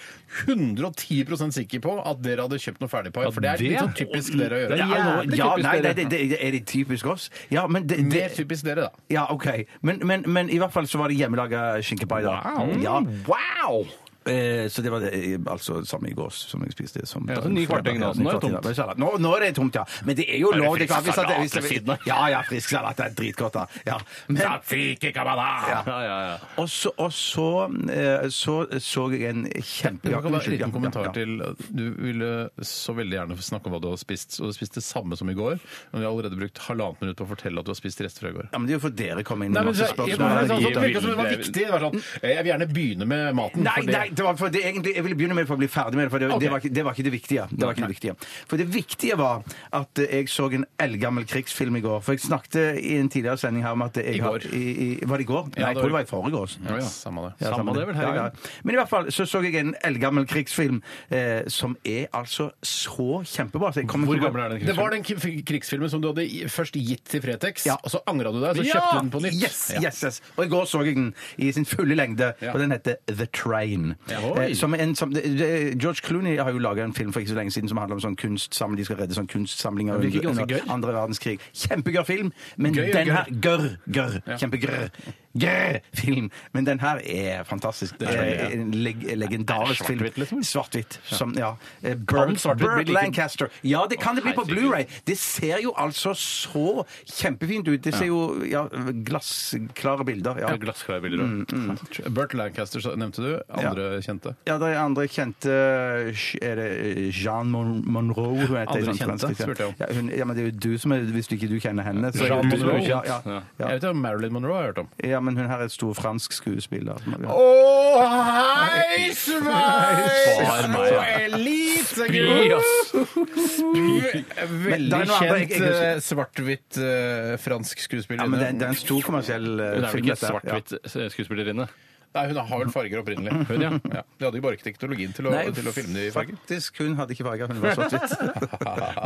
[SPEAKER 4] 110 sikker på at dere hadde kjøpt noe ferdigpai. For det er
[SPEAKER 5] det-
[SPEAKER 4] litt sånn typisk dere å gjøre.
[SPEAKER 5] Det er
[SPEAKER 6] Ja,
[SPEAKER 5] noe- det er
[SPEAKER 6] ja,
[SPEAKER 5] typisk
[SPEAKER 6] nei, nei
[SPEAKER 5] dere.
[SPEAKER 6] det, det, er det typisk oss? Ja, men det,
[SPEAKER 4] Mer
[SPEAKER 6] det
[SPEAKER 4] typisk dere, da.
[SPEAKER 6] ja, OK. Men, men, men i hvert fall så var det hjemmelaga skinkepai da. Ja.
[SPEAKER 5] Wow!
[SPEAKER 6] Eh, så det var det, eh, altså samme i går som jeg spiste. Som
[SPEAKER 5] Ja, så ny kvarting da, så nå er det tomt.
[SPEAKER 6] Ja, med salat. Nå, nå er det tomt, ja. Men det er jo
[SPEAKER 5] det
[SPEAKER 6] lov.
[SPEAKER 5] frisk
[SPEAKER 6] klart, hvis at-
[SPEAKER 5] salat
[SPEAKER 6] hvis det-
[SPEAKER 5] ved siden av?
[SPEAKER 6] Ja, ja, frisk salat. Det er dritgodt, da. Ja. Men,
[SPEAKER 5] Ja, ja, ja.
[SPEAKER 6] Og så, og så eh, så så jeg en kjempe...
[SPEAKER 4] Jeg kan
[SPEAKER 6] ja,
[SPEAKER 4] bare en
[SPEAKER 6] unnskyld, ja,
[SPEAKER 4] liten kommentar
[SPEAKER 6] ja, ja.
[SPEAKER 4] til Du ville så veldig gjerne snakke om hva du har spist, og du spiste det samme som i går. Men vi har allerede brukt halvannet minutt på å fortelle at du har spist rester fra i går.
[SPEAKER 6] Ja, men Det er jo for dere kom inn
[SPEAKER 4] Nei,
[SPEAKER 6] med
[SPEAKER 4] men
[SPEAKER 6] masse
[SPEAKER 4] så, jeg,
[SPEAKER 6] spørsmål.
[SPEAKER 4] det,
[SPEAKER 5] sånn-
[SPEAKER 6] Herregud.
[SPEAKER 4] virket som det var viktig. Det var sånn, jeg vil gjerne begynne med maten.
[SPEAKER 6] Nei,
[SPEAKER 4] for det-
[SPEAKER 6] nei, det var for det, egentlig, jeg ville begynne med det for å bli ferdig med det, for det,
[SPEAKER 4] Ok.
[SPEAKER 6] det, var, ikke- det var ikke det viktige. Det var ikke det viktige. For det viktige var at eh, jeg så en eldgammel krigsfilm i går. For jeg snakket i en tidligere sending her om at jeg
[SPEAKER 4] I
[SPEAKER 6] har-
[SPEAKER 4] går.
[SPEAKER 6] I, i, var det i går?
[SPEAKER 4] Ja,
[SPEAKER 6] Nei, jeg
[SPEAKER 4] det
[SPEAKER 6] tror det
[SPEAKER 4] var-
[SPEAKER 6] var i forgårs.
[SPEAKER 4] Ja, ja, samme det.
[SPEAKER 6] Ja,
[SPEAKER 5] Samme det vel, herregud.
[SPEAKER 6] Men i hvert fall så så jeg en eldgammel krigsfilm eh, som er altså så kjempebra. Så jeg kommer
[SPEAKER 5] Hvor
[SPEAKER 6] til å-
[SPEAKER 5] gammel er den
[SPEAKER 4] Det var
[SPEAKER 5] krigsfilmen?
[SPEAKER 4] den k- krigsfilmen som du hadde i- først gitt til Fretex,
[SPEAKER 6] Ja.
[SPEAKER 4] og så angra du deg, så
[SPEAKER 5] Ja!
[SPEAKER 4] kjøpte du den på nytt.
[SPEAKER 6] Yes,
[SPEAKER 4] Ja.
[SPEAKER 6] yes, yes. Og i går så jeg den i sin fulle lengde,
[SPEAKER 4] Ja.
[SPEAKER 6] og den heter The Train.
[SPEAKER 4] Ja, oi.
[SPEAKER 6] Eh, Som en, som, det- det- George Clooney har jo laga en film for ikke så lenge siden som handler om sånn kunstsamling, de skal redde sånn kunstsamlinger
[SPEAKER 4] virker
[SPEAKER 6] under,
[SPEAKER 4] ganske
[SPEAKER 6] under
[SPEAKER 4] gøy.
[SPEAKER 6] andre verdenskrig. Kjempegøy film, men
[SPEAKER 4] Gøy og
[SPEAKER 6] den
[SPEAKER 4] gørr.
[SPEAKER 6] her Gørr, gørr. Kjempegrørr. Grørr film. Men den her er fantastisk. Det er en leg legendarisk film.
[SPEAKER 5] svart-hvitt, liksom?
[SPEAKER 6] Svart-hvitt. Som, ja. Eh,
[SPEAKER 4] den
[SPEAKER 6] Burt
[SPEAKER 4] svart-hvitt bli
[SPEAKER 6] Burt
[SPEAKER 4] like-
[SPEAKER 6] Lancaster. Ja, det kan det bli på Blu-ray. Det ser jo altså så kjempefint ut. Det ser jo ja, glassklare bilder. Ja.
[SPEAKER 5] Ja, Glassklar bilder.
[SPEAKER 4] Burt Lancaster så- nevnte du. Andre kjente.
[SPEAKER 6] Ja, det er andre kjente eh, Er det Jean Mon Monroe hun heter?
[SPEAKER 4] Andre
[SPEAKER 6] i sånn
[SPEAKER 4] kjente,
[SPEAKER 6] fransk,
[SPEAKER 4] spurte jeg om.
[SPEAKER 6] Ja, hun, ja, men det er jo du som er Hvis du ikke du kjenner henne så er
[SPEAKER 5] Jean
[SPEAKER 6] det jo du som-
[SPEAKER 5] Monroe.
[SPEAKER 6] Ja, ja, ja.
[SPEAKER 4] Jeg vet ikke om Marilyn Monroe har jeg hørt om.
[SPEAKER 6] ja, men hun her er en stor fransk skuespiller.
[SPEAKER 4] Å, hei, sveis
[SPEAKER 5] på
[SPEAKER 4] elitegutt!
[SPEAKER 5] Yes.
[SPEAKER 4] Veldig
[SPEAKER 6] det er noe annet jeg
[SPEAKER 4] kjent
[SPEAKER 6] ikke husker.
[SPEAKER 4] eh, svart-hvitt eh, fransk skuespiller.
[SPEAKER 6] Ja, men det, er- det er en stor kommersiell eh,
[SPEAKER 5] Hun er vel
[SPEAKER 6] film.
[SPEAKER 5] ikke
[SPEAKER 6] dette her. Ja.
[SPEAKER 5] svart-hvitt eh, skuespillerinne?
[SPEAKER 4] Nei, hun har vel farger opprinnelig. Hun, ja. Ja. De hadde jo bare ikke teknologien til å,
[SPEAKER 6] Mm. Nei,
[SPEAKER 4] til å filme det i farger.
[SPEAKER 6] Faktisk, hun hadde ikke farger. Hun var svart-hvitt.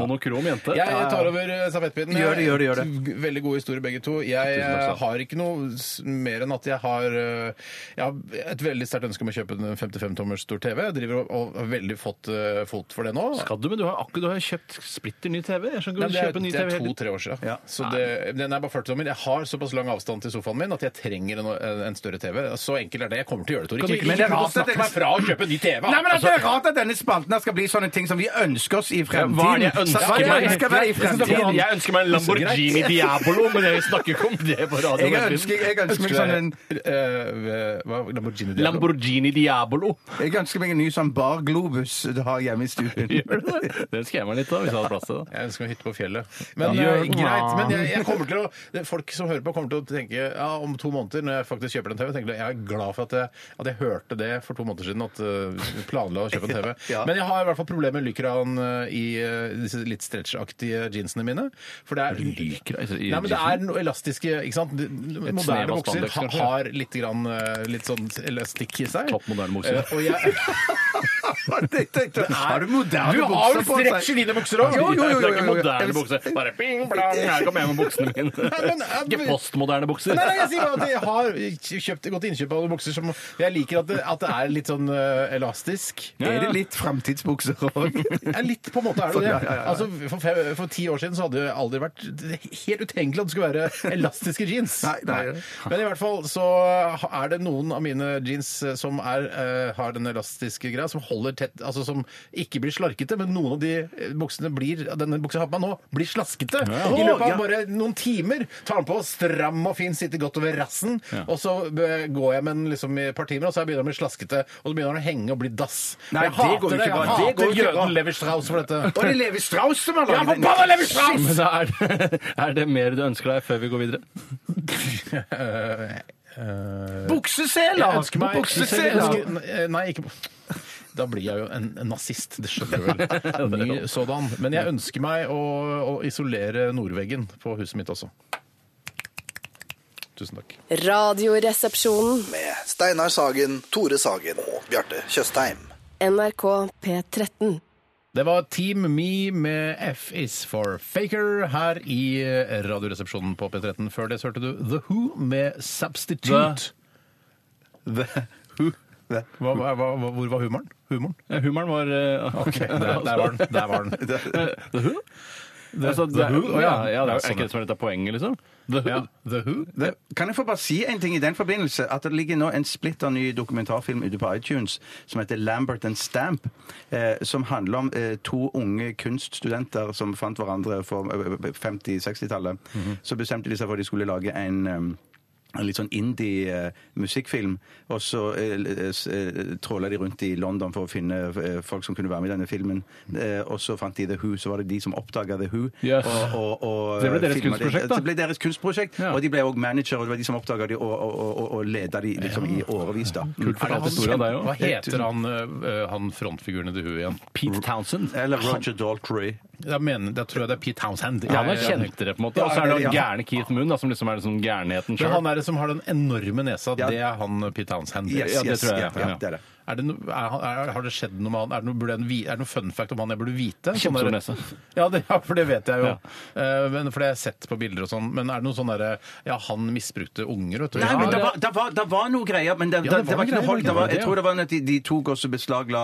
[SPEAKER 5] Monokrom jente?
[SPEAKER 4] Jeg tar over eh, stafettpinnen.
[SPEAKER 6] Gjør det, gjør det, gjør
[SPEAKER 4] Veldig gode historier begge to. Jeg
[SPEAKER 5] takk skal du ha.
[SPEAKER 4] eh, har ikke noe s- mer enn at jeg har, eh, jeg har et veldig sterkt ønske om å kjøpe en 55-tommers stor TV. Jeg driver og, og har veldig fått eh, fot for det nå.
[SPEAKER 5] Skal du, men du har akkurat du har kjøpt splitter ny TV. Jeg skjønner
[SPEAKER 4] Nei,
[SPEAKER 5] ikke
[SPEAKER 4] men det er,
[SPEAKER 5] du kjøper ny
[SPEAKER 4] det
[SPEAKER 5] TV.
[SPEAKER 4] er
[SPEAKER 5] hele
[SPEAKER 4] to-tre år siden.
[SPEAKER 6] Ja.
[SPEAKER 4] Så det, den er bare 40 tommer. Jeg har såpass lang avstand til sofaen min at jeg trenger en, en større TV. Så enkelt er det. Jeg kommer til å gjøre det, Tore.
[SPEAKER 5] Kan du
[SPEAKER 4] Ikke, ikke,
[SPEAKER 5] ikke-
[SPEAKER 6] Men det er
[SPEAKER 4] prøv å
[SPEAKER 6] rart at
[SPEAKER 4] snakke
[SPEAKER 6] jeg-
[SPEAKER 4] meg fra å kjøpe ny TV.
[SPEAKER 6] Nei, men
[SPEAKER 4] altså.
[SPEAKER 6] Det er rart at denne spalten her skal bli sånne ting som vi ønsker oss i fremtiden.
[SPEAKER 5] Hva er det jeg ønsker
[SPEAKER 6] Hva er det
[SPEAKER 5] meg?
[SPEAKER 6] jeg ønsker meg i
[SPEAKER 5] Jeg synes det var-
[SPEAKER 6] fremtiden?
[SPEAKER 5] Jeg ønsker meg en Lamborghini Diabolo, men jeg snakker ikke om det på radio.
[SPEAKER 6] Jeg ønsker, jeg ønsker meg sånn en
[SPEAKER 4] Eh, hva, Lamborghini Diablo?
[SPEAKER 5] Lamborghini Diabolo.
[SPEAKER 6] Jeg ønsker meg en ny sånn bar globus du har hjemme i stuen.
[SPEAKER 5] Gjør du det? Den skal jeg meg litt av, hvis jeg hadde plass til det.
[SPEAKER 4] Jeg ønsker meg hytte på fjellet. sånn. Men
[SPEAKER 5] Ja.
[SPEAKER 4] eh, greit, men jeg, jeg kommer til å, det- folk som hører på, kommer til å tenke ja, om to måneder, når jeg faktisk kjøper en TV, tenker jeg jeg er glad for at jeg, at jeg hørte det for to måneder siden, at eh, vi planla å kjøpe en TV.
[SPEAKER 6] Ja.
[SPEAKER 4] Men jeg har i hvert fall problemer med lykraen eh, i eh, disse litt stretchaktige jeansene mine. For det er
[SPEAKER 5] Lycra i- i
[SPEAKER 4] Nei, men det er noe elastiske ikke sant? Det-
[SPEAKER 5] snev
[SPEAKER 4] Moderne
[SPEAKER 5] av
[SPEAKER 4] bukser
[SPEAKER 5] spandex,
[SPEAKER 4] ha,
[SPEAKER 5] kanskje?
[SPEAKER 4] har litt, grann, eh, litt sånn elastikk i seg.
[SPEAKER 5] Topp moderne bukser.
[SPEAKER 4] Eh, Og jeg,
[SPEAKER 6] Har du moderne
[SPEAKER 4] du har jo
[SPEAKER 6] bukser på
[SPEAKER 4] stretch i
[SPEAKER 6] deg?
[SPEAKER 4] dine bukser òg!
[SPEAKER 6] Jo, jo, jo, jo,
[SPEAKER 5] Det er ikke
[SPEAKER 6] jo, jo.
[SPEAKER 5] moderne bukser. Bare bing, blang, her kommer jeg med buksene mine.
[SPEAKER 4] men, eh,
[SPEAKER 5] Ikke postmoderne bukser.
[SPEAKER 4] Nei, nei, jeg sier bare at jeg har kjøpt, gått til innkjøp av bukser som Jeg liker at det, at det er litt sånn eh, elastisk.
[SPEAKER 5] Ja, ja.
[SPEAKER 6] Er det litt framtidsbukser òg?
[SPEAKER 4] Ja, litt på en måte er det det.
[SPEAKER 6] Ja, ja, ja.
[SPEAKER 4] Altså, for, fem, for ti år siden så hadde det aldri vært helt utenkelig at det skulle være elastiske jeans.
[SPEAKER 6] Nei, nei.
[SPEAKER 4] Men i hvert fall så er det noen av mine jeans som er, eh, har den elastiske greia, som holder tett, altså som ikke blir slarkete, men noen av de eh, buksene blir, denne buksa jeg har på meg nå, blir slaskete. I løpet av
[SPEAKER 6] Ja.
[SPEAKER 4] bare noen timer tar den på, stram og fin, sitter godt over rassen, og så eh, går jeg med en den liksom i et par timer, og så begynner den å bli slaskete, og så begynner den å henge og bli dass.
[SPEAKER 6] Nei,
[SPEAKER 4] jeg
[SPEAKER 6] det
[SPEAKER 4] hater
[SPEAKER 6] går jo ikke
[SPEAKER 4] Jeg
[SPEAKER 6] bra. Det
[SPEAKER 4] hater
[SPEAKER 6] går jo ikke bra.
[SPEAKER 4] jøden Levi Strauss for
[SPEAKER 6] Og
[SPEAKER 4] dette.
[SPEAKER 6] det er Levi Strauss som har
[SPEAKER 4] Ja,
[SPEAKER 6] laget
[SPEAKER 4] forbanna Levi Strauss!
[SPEAKER 5] Men da er det, er det mer du ønsker deg før vi går videre?
[SPEAKER 6] Bukseseler!
[SPEAKER 4] Jeg ønsker meg
[SPEAKER 6] Bukseseler!
[SPEAKER 4] jeg ønsker- Nei, ikke da blir jeg jo en, en nazist, det skjønner du vel. Ny sådan. Men jeg ønsker meg å, å isolere nordveggen på huset mitt også. Tusen takk.
[SPEAKER 1] Radioresepsjonen.
[SPEAKER 2] Med Steinar Sagen, Tore Sagen og Bjarte Tjøstheim.
[SPEAKER 1] NRK P13.
[SPEAKER 4] Det var Team Me med F is for Faker her i Radioresepsjonen på P13. Før det så hørte du The Who med Substitute. Hva, hva, hva, hvor var humoren? Humoren?
[SPEAKER 5] Ja, humoren var eh,
[SPEAKER 4] Der, der var den. Der var den.
[SPEAKER 5] The Who? Altså, det,
[SPEAKER 4] Who? Å,
[SPEAKER 5] ja,
[SPEAKER 4] ja.
[SPEAKER 5] ja, det er jo
[SPEAKER 4] Ja, sånn,
[SPEAKER 5] ikke det som er dette poenget, liksom.
[SPEAKER 4] The Who. The Who?
[SPEAKER 6] Det- Kan jeg få bare si en ting i den forbindelse? At det ligger nå en splitter ny dokumentarfilm ute på iTunes som heter Lambert and Stamp, eh, som handler om eh, to unge kunststudenter som fant hverandre for eh, 50-60-tallet. Så bestemte de seg for at de skulle lage en em, en litt sånn indie-musikkfilm. Og så eh, s- eh, tråla de rundt i London for å finne eh, folk som kunne være med i denne filmen. Eh, og så fant de The Who, så var det de som oppdaga The Who.
[SPEAKER 5] Yes.
[SPEAKER 6] Og, og, og,
[SPEAKER 5] Det ble deres
[SPEAKER 6] filmet det.
[SPEAKER 5] kunstprosjekt, da.
[SPEAKER 6] Det ble deres kunstprosjekt,
[SPEAKER 5] Ja.
[SPEAKER 6] og de ble òg manager, og det var de som oppdaga de og, og, og, og leda de liksom i årevis, da.
[SPEAKER 5] Kult
[SPEAKER 4] Er det
[SPEAKER 5] fortalt
[SPEAKER 4] han
[SPEAKER 5] historie av deg
[SPEAKER 4] kjempe- Hva
[SPEAKER 5] òg.
[SPEAKER 4] heter han, eh, han frontfiguren i The Who igjen?
[SPEAKER 5] Pete Townsend.
[SPEAKER 6] Eller Roger Daltrey.
[SPEAKER 4] Da, mener, da tror jeg det er Pete Townsend.
[SPEAKER 5] Han er
[SPEAKER 4] Jeg-
[SPEAKER 5] kjentere, på en måte. Og så er det han gærne Keith Moon, da, som liksom er liksom gærenheten
[SPEAKER 4] Men
[SPEAKER 5] sjøl.
[SPEAKER 4] han er det som har den enorme nesa,
[SPEAKER 6] Ja.
[SPEAKER 4] det er han eh, Pete Townsend.
[SPEAKER 6] Yes,
[SPEAKER 5] Ja, det
[SPEAKER 6] yes,
[SPEAKER 5] tror
[SPEAKER 6] ja,
[SPEAKER 5] jeg, ja.
[SPEAKER 6] ja, det er det.
[SPEAKER 4] Er det no, er, han- er, har det skjedd noe med han? Er det noe, burde jeg, vi- er det noe fun fact om han jeg burde vite? Sånn
[SPEAKER 5] Kjempestor
[SPEAKER 4] der-
[SPEAKER 5] nese.
[SPEAKER 4] Ja, det, ja, for det vet jeg jo.
[SPEAKER 5] Ja.
[SPEAKER 4] Eh, men, for det har jeg sett på bilder og sånn. Men er det noe sånn derre Ja, han misbrukte unger, vet du.
[SPEAKER 6] Nei, men
[SPEAKER 4] ja,
[SPEAKER 6] det var, det var, det var noe greier, men det, det,
[SPEAKER 4] Ja, det var
[SPEAKER 6] det var
[SPEAKER 4] noe
[SPEAKER 6] ikke noe
[SPEAKER 4] greier,
[SPEAKER 6] hold.
[SPEAKER 4] det
[SPEAKER 6] Det
[SPEAKER 4] var
[SPEAKER 6] var, jeg
[SPEAKER 4] det,
[SPEAKER 6] tror det var at de, de tok også beslagla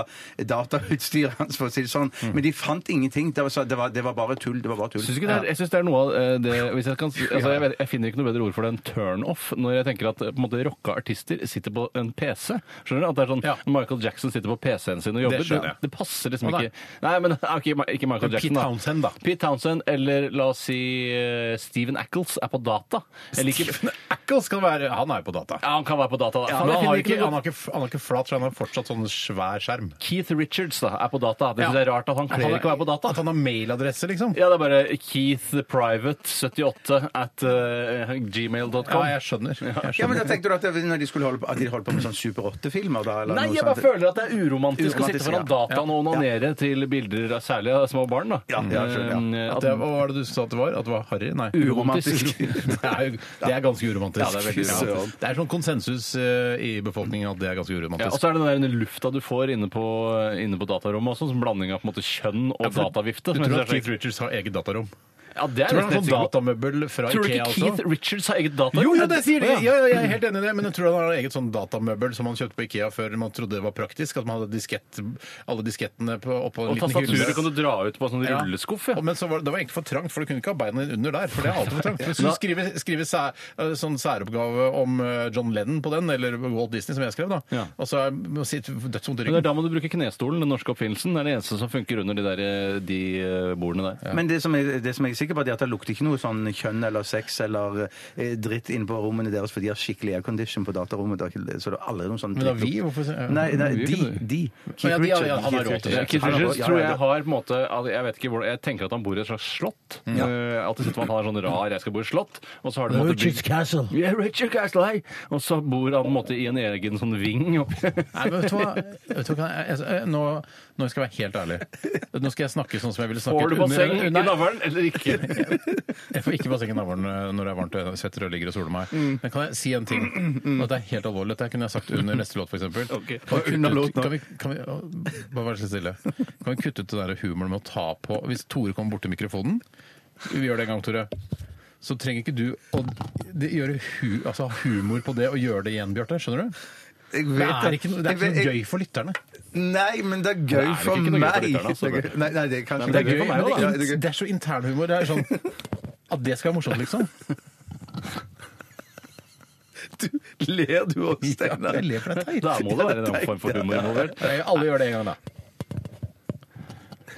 [SPEAKER 6] datautstyret hans, for å si det sånn. Men de fant ingenting. Det var, så- det var, det var bare tull. Det var bare tull.
[SPEAKER 5] Syns Mm. ikke det er, jeg syns det er noe av eh, det hvis jeg, kan, altså jeg, vet, jeg finner ikke noe bedre ord for det enn turnoff, når jeg tenker at eh, på en måte, rocka artister sitter på en PC. Skjønner du? At det er sånn
[SPEAKER 4] Ja.
[SPEAKER 5] Michael Jackson sitter på PC-en sin og jobber.
[SPEAKER 4] Det skjønner jeg.
[SPEAKER 5] det passer liksom
[SPEAKER 4] Å, nei.
[SPEAKER 5] ikke Nei, men ok, ma- ikke Michael
[SPEAKER 4] Pete
[SPEAKER 5] Jackson, da.
[SPEAKER 4] Townsend, da.
[SPEAKER 5] Pete Townsend, eller la oss si eh, Steven Ackles er på data. Jeg liker
[SPEAKER 4] Stephen Ackles kan være Han er jo på data.
[SPEAKER 5] Ja, han kan være på data, da.
[SPEAKER 4] Ja,
[SPEAKER 5] Faen,
[SPEAKER 4] men
[SPEAKER 5] jeg
[SPEAKER 4] han har,
[SPEAKER 5] finner
[SPEAKER 4] ikke,
[SPEAKER 5] noe-
[SPEAKER 4] han, har ikke, han har ikke flat, så han har fortsatt sånn svær skjerm.
[SPEAKER 5] Keith Richards da, er på data. Det synes
[SPEAKER 4] Ja.
[SPEAKER 5] jeg er rart at han
[SPEAKER 4] At
[SPEAKER 5] kler
[SPEAKER 4] er-
[SPEAKER 5] ikke å være på data.
[SPEAKER 4] At han har mailadresse, liksom.
[SPEAKER 5] Ja, det er bare Keith Private 78 at eh, gmail.com.
[SPEAKER 4] Ja, jeg skjønner. Jeg
[SPEAKER 6] Ja, men
[SPEAKER 4] skjønner.
[SPEAKER 6] da tenkte du at det, når de skulle holde på, at de holdt på med sånn Super 8-filmer, da? Eller
[SPEAKER 5] Nei,
[SPEAKER 6] noe
[SPEAKER 5] jeg bare
[SPEAKER 6] sånt.
[SPEAKER 5] føler at det er uromantisk å
[SPEAKER 6] Uromantisk,
[SPEAKER 5] sitte foran
[SPEAKER 6] ja.
[SPEAKER 5] dataen og onanere til bilder av særlig av små barn. da.
[SPEAKER 6] Ja, ja, jeg skjønner,
[SPEAKER 5] Eh,
[SPEAKER 4] At
[SPEAKER 5] at-
[SPEAKER 4] det, hva var det du sa at det var? At det var harry? Nei.
[SPEAKER 5] Uromantisk.
[SPEAKER 4] det, er, jo- det er ganske uromantisk.
[SPEAKER 5] Ja, det er veldig
[SPEAKER 4] Fy
[SPEAKER 5] uromantisk.
[SPEAKER 4] søren. Det er sånn konsensus eh, i befolkningen at det er ganske
[SPEAKER 5] Ja, og
[SPEAKER 4] uromantisk.
[SPEAKER 5] så er det den der lufta du får inne på, inne på datarommet også, som blanding av på en måte kjønn og
[SPEAKER 4] for-
[SPEAKER 5] datavifte.
[SPEAKER 4] du
[SPEAKER 5] som jeg
[SPEAKER 4] tror at
[SPEAKER 5] synes er
[SPEAKER 4] Keith
[SPEAKER 5] så-
[SPEAKER 4] Richards har eget datarom?
[SPEAKER 5] ja, det er
[SPEAKER 4] Tror du han har sånn
[SPEAKER 5] nesten helt sikkert.
[SPEAKER 4] datamøbel fra
[SPEAKER 5] Tror du
[SPEAKER 4] Ikea
[SPEAKER 5] ikke Keith
[SPEAKER 4] også?
[SPEAKER 5] Richards har eget datarom?
[SPEAKER 4] Jo, jo, det sier de! Ja, ja, jeg er helt enig i det, men jeg tror han har eget sånn datamøbel som han kjøpte på Ikea før man trodde det var praktisk, at man hadde diskett, alle diskettene på, oppå en
[SPEAKER 5] Og
[SPEAKER 4] liten hylle.
[SPEAKER 5] tastaturet kan du dra ut på en sånn
[SPEAKER 4] Ja.
[SPEAKER 5] rulleskuff. ja.
[SPEAKER 4] Og- Men så var, det var egentlig for trangt, for du kunne ikke ha beina dine under der. For det er alltid for trangt. Hvis du
[SPEAKER 5] Da-
[SPEAKER 4] skrive, skrive sæ, eh, sånn særoppgave om eh, John Lennon på den, eller Walt Disney, som jeg skrev, da,
[SPEAKER 5] Ja.
[SPEAKER 4] og så er- må sitte dødsvondt i
[SPEAKER 5] Men det er
[SPEAKER 4] ryggen
[SPEAKER 5] da må du bruke knestolen, den norske oppfinnelsen. Det er det eneste som funker under de, der, de eh, bordene der.
[SPEAKER 6] Men det som, er, det som jeg er sikker på, det er at det lukter ikke noe sånn kjønn eller sex eller eh, dritt inne på rommene deres, for de har skikkelig aircondition på datarommet. det er ikke- Så det er aldri noen sånn
[SPEAKER 4] Men da
[SPEAKER 6] drittlukt.
[SPEAKER 4] vi, hvorfor så- ja.
[SPEAKER 6] Nei, nei
[SPEAKER 5] Vi gjør
[SPEAKER 6] de.
[SPEAKER 5] ikke det.
[SPEAKER 6] de.
[SPEAKER 4] Å, ja, de har- ja, han har råd til det.
[SPEAKER 5] Ja, Keith
[SPEAKER 6] Han har råd-
[SPEAKER 5] Richards
[SPEAKER 6] ja,
[SPEAKER 5] tror
[SPEAKER 6] ja,
[SPEAKER 5] jeg
[SPEAKER 6] ja.
[SPEAKER 5] har på en måte al- Jeg vet ikke hvor, jeg tenker at han bor i et slags slott. Ja. At det sitter med at han er sånn rar 'jeg skal bo i slott', og så har du på en måte bygd-
[SPEAKER 4] Castle.
[SPEAKER 5] Ja, Richard Castle, hei! Og så bor han på en måte i en egen sånn ving oppi
[SPEAKER 4] Nei, men vet du hva? Vet du hva? Jeg- jeg- jeg- Nå, nå skal jeg være helt ærlig. Nå skal jeg snakke sånn som jeg ville snakket
[SPEAKER 5] Får du basseng i
[SPEAKER 4] under- Nei,
[SPEAKER 5] navlen eller ikke?
[SPEAKER 4] Jeg får ikke basseng i navlen når det er varmt og jeg svetter og ligger og soler meg.
[SPEAKER 6] Mm.
[SPEAKER 4] Men kan jeg si en ting? Og det er helt alvorlig. Dette kunne jeg sagt under neste låt, f.eks.
[SPEAKER 5] Ok.
[SPEAKER 4] Kan, vi kutte ut- kan, vi- kan vi å, Bare vær så stille. Kan vi kutte ut den der humoren med å ta på Hvis Tore kommer bort til mikrofonen Vi gjør det en gang, Tore. Så trenger ikke du å det, gjøre hu, altså, ha humor på det og gjøre det igjen, Bjarte. Skjønner du?
[SPEAKER 6] Jeg
[SPEAKER 4] Det
[SPEAKER 6] vet
[SPEAKER 4] er ikke, noe- det er ikke noe
[SPEAKER 6] jeg-
[SPEAKER 4] gøy for lytterne.
[SPEAKER 6] Nei, men det er
[SPEAKER 5] Nei, det
[SPEAKER 6] gøy
[SPEAKER 5] er
[SPEAKER 6] for
[SPEAKER 5] ikke noe gøy for
[SPEAKER 6] meg.
[SPEAKER 5] lytterne, altså.
[SPEAKER 6] Det er gøy- Nei, nei, det er kanskje
[SPEAKER 4] Det er gøy,
[SPEAKER 5] for meg
[SPEAKER 4] men det
[SPEAKER 5] også,
[SPEAKER 4] er,
[SPEAKER 6] da.
[SPEAKER 4] in- det er så internhumor. Det er sånn at det skal være morsomt, liksom.
[SPEAKER 6] Du ler du òg, Steinar.
[SPEAKER 4] Jeg ler for det er teit.
[SPEAKER 5] Da må det være en form for humor involvert.
[SPEAKER 4] Alle gjør det en gang, da.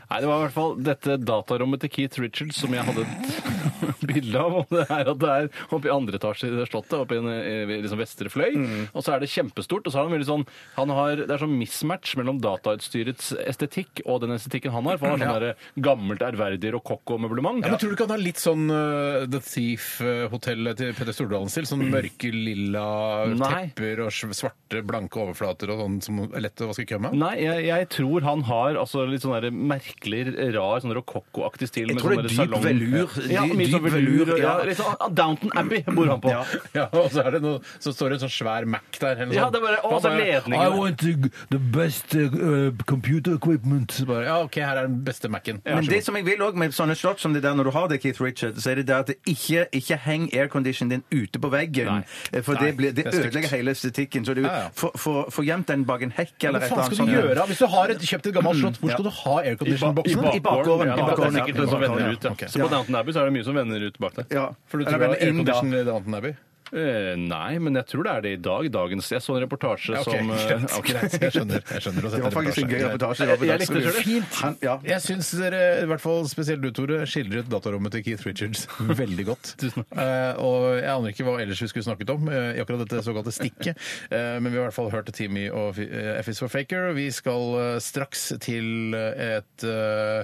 [SPEAKER 5] Nei, Nei, det var i hvert fall dette datarommet til Keith Richards som jeg hadde et bilde av. Og det er at det er oppe i andre etasje i det slottet, oppe i en eh, liksom vestre fløy.
[SPEAKER 8] Mm.
[SPEAKER 5] Og så er det kjempestort. Og så har han veldig sånn han har, Det er sånn mismatch mellom datautstyrets estetikk og den estetikken han har. For han har sånn der gammelt, ærverdig rokokko-møblement.
[SPEAKER 4] Ja, men Tror du ikke han har litt sånn eh, The Thief-hotellet til Peder Stordalen-stil? Sånn mørke, lilla
[SPEAKER 5] Nei.
[SPEAKER 4] tepper og sv- svarte, blanke overflater og sånn som er lett å vaske kømma?
[SPEAKER 5] Nei, jeg, jeg tror han har altså, litt sånn der merkelig, rar, sånn rokokkoaktig stil.
[SPEAKER 8] Jeg
[SPEAKER 5] med
[SPEAKER 8] tror det er
[SPEAKER 5] sånn der
[SPEAKER 8] dyp
[SPEAKER 5] salong-
[SPEAKER 8] velur.
[SPEAKER 5] Ja,
[SPEAKER 8] Dy-
[SPEAKER 5] mye sånn
[SPEAKER 8] dyp
[SPEAKER 5] velur.
[SPEAKER 8] velur,
[SPEAKER 5] Ja,
[SPEAKER 8] ja.
[SPEAKER 5] litt sånn, ah, Downton Abbey bor han på.
[SPEAKER 8] Ja.
[SPEAKER 4] Ja, og så, er det noe, så står det en sånn svær Mac der. eller noe
[SPEAKER 5] Ja,
[SPEAKER 4] sånt.
[SPEAKER 5] det er bare- og
[SPEAKER 4] Han
[SPEAKER 5] så ledningen.
[SPEAKER 4] I want the, the best uh, computer equipment. Så bare, ja, OK, her er den beste Mac-en. Vær
[SPEAKER 8] Men
[SPEAKER 4] så
[SPEAKER 8] det
[SPEAKER 4] god.
[SPEAKER 8] som jeg vil også med sånne slott som det der når du har det, Keith Richard, så er det der at det ikke, ikke heng airconditionen din ute på veggen.
[SPEAKER 5] Nei.
[SPEAKER 8] Eh, For det,
[SPEAKER 4] Nei,
[SPEAKER 8] blir, det,
[SPEAKER 4] det er stygt.
[SPEAKER 8] ødelegger hele estetikken. Så du
[SPEAKER 4] Ja, ja.
[SPEAKER 8] får- får får gjemt den bak en hekk eller et
[SPEAKER 4] Hva faen
[SPEAKER 8] eller annet
[SPEAKER 4] skal du gjøre?
[SPEAKER 8] sånt.
[SPEAKER 4] Hvis du har et, kjøpt et gammelt slott, hvor skal du ha
[SPEAKER 5] I
[SPEAKER 4] aircondition-boksen?
[SPEAKER 8] I
[SPEAKER 5] bakgården.
[SPEAKER 8] bakgården,
[SPEAKER 5] Ja,
[SPEAKER 8] i bakgården,
[SPEAKER 5] det er sikkert
[SPEAKER 8] ja.
[SPEAKER 5] noen som vender
[SPEAKER 8] Ja,
[SPEAKER 5] ut, ja.
[SPEAKER 4] ok.
[SPEAKER 5] Så på Downton Abbey så er det mye som vender ut bak der.
[SPEAKER 8] Ja.
[SPEAKER 4] For du
[SPEAKER 8] Eller
[SPEAKER 4] tror
[SPEAKER 8] vender
[SPEAKER 4] det var
[SPEAKER 8] inn, da.
[SPEAKER 4] aircondition i Downton Abbey?
[SPEAKER 5] Eh, nei, men jeg tror det er det i dag. Dagens Jeg så en reportasje
[SPEAKER 4] Ja, ok,
[SPEAKER 5] som eh,
[SPEAKER 4] greit,
[SPEAKER 5] ok.
[SPEAKER 4] greit. Jeg skjønner. Jeg skjønner å
[SPEAKER 8] Det
[SPEAKER 4] sette
[SPEAKER 8] var faktisk en gøy
[SPEAKER 4] reportasje.
[SPEAKER 8] reportasje. det var på
[SPEAKER 5] Jeg likte det
[SPEAKER 8] Dagsrevyen.
[SPEAKER 5] selv, jeg.
[SPEAKER 8] Han- Ja.
[SPEAKER 4] Jeg syns dere, i hvert fall spesielt du, Tore, skildret datarommet til Keith Richards veldig godt. Eh, og jeg aner ikke hva ellers vi skulle snakket om eh, i akkurat dette såkalte stikket, eh, men vi har i hvert fall hørt Timmy og eh, FS for Faker. Vi skal eh, straks til et eh,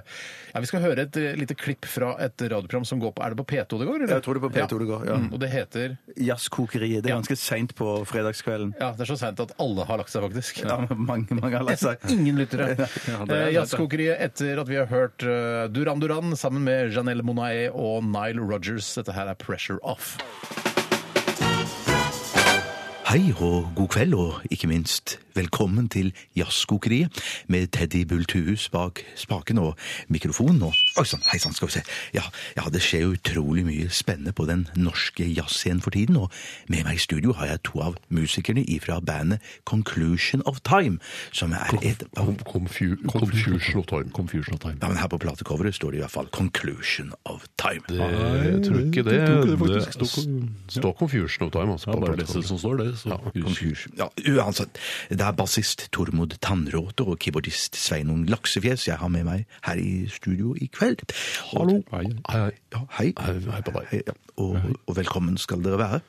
[SPEAKER 4] Ja, vi skal høre et eh, lite klipp fra et radioprogram som går på Er det på P2 det går, eller?
[SPEAKER 8] Jeg tror det er på P2 det går, ja.
[SPEAKER 4] Mm, og det heter
[SPEAKER 8] Jazzkokeriet. Det er ganske seint på fredagskvelden.
[SPEAKER 4] Ja, det er så seint at alle har lagt seg, faktisk.
[SPEAKER 8] Ja, mange, mange har lagt seg.
[SPEAKER 4] Ingen lyttere.
[SPEAKER 5] Ja, det er
[SPEAKER 4] Eh,
[SPEAKER 5] sant,
[SPEAKER 4] Jazzkokeriet etter at vi har hørt eh, Duran Duran sammen med Janelle Monae og Nile Rogers. Dette her er Pressure Off.
[SPEAKER 6] Hei og god kveld, og ikke minst velkommen til Jazzkokeriet med Teddy Bultuhus bak spaken og mikrofonen og Oi sann, hei sann, skal vi se. Ja, ja, det skjer jo utrolig mye spennende på den norske jazzscenen for tiden, og med meg i studio har jeg to av musikerne ifra bandet Conclusion of Time, som er et
[SPEAKER 9] Confusion of time. Confusion of time.
[SPEAKER 6] Ja, men her på platecoveret står det i hvert fall Conclusion of Time.
[SPEAKER 9] Jeg tror ikke det.
[SPEAKER 10] tror ikke det
[SPEAKER 9] det
[SPEAKER 10] faktisk står-
[SPEAKER 9] s- står Confusion of time. Altså,
[SPEAKER 10] Ja,
[SPEAKER 9] på
[SPEAKER 10] bare
[SPEAKER 9] plakaten.
[SPEAKER 10] lese det som står, det. Så.
[SPEAKER 6] Confusion. Ja, uansett. Det er bassist Tormod Tannråte og keyboardist Sveinung Laksefjes jeg har med meg her i studio i kveld. Og-
[SPEAKER 9] Hallo. Hei. hei.
[SPEAKER 6] Ja, hei.
[SPEAKER 9] Hei, hei på deg.
[SPEAKER 6] Hei, ja. og, og velkommen skal dere være.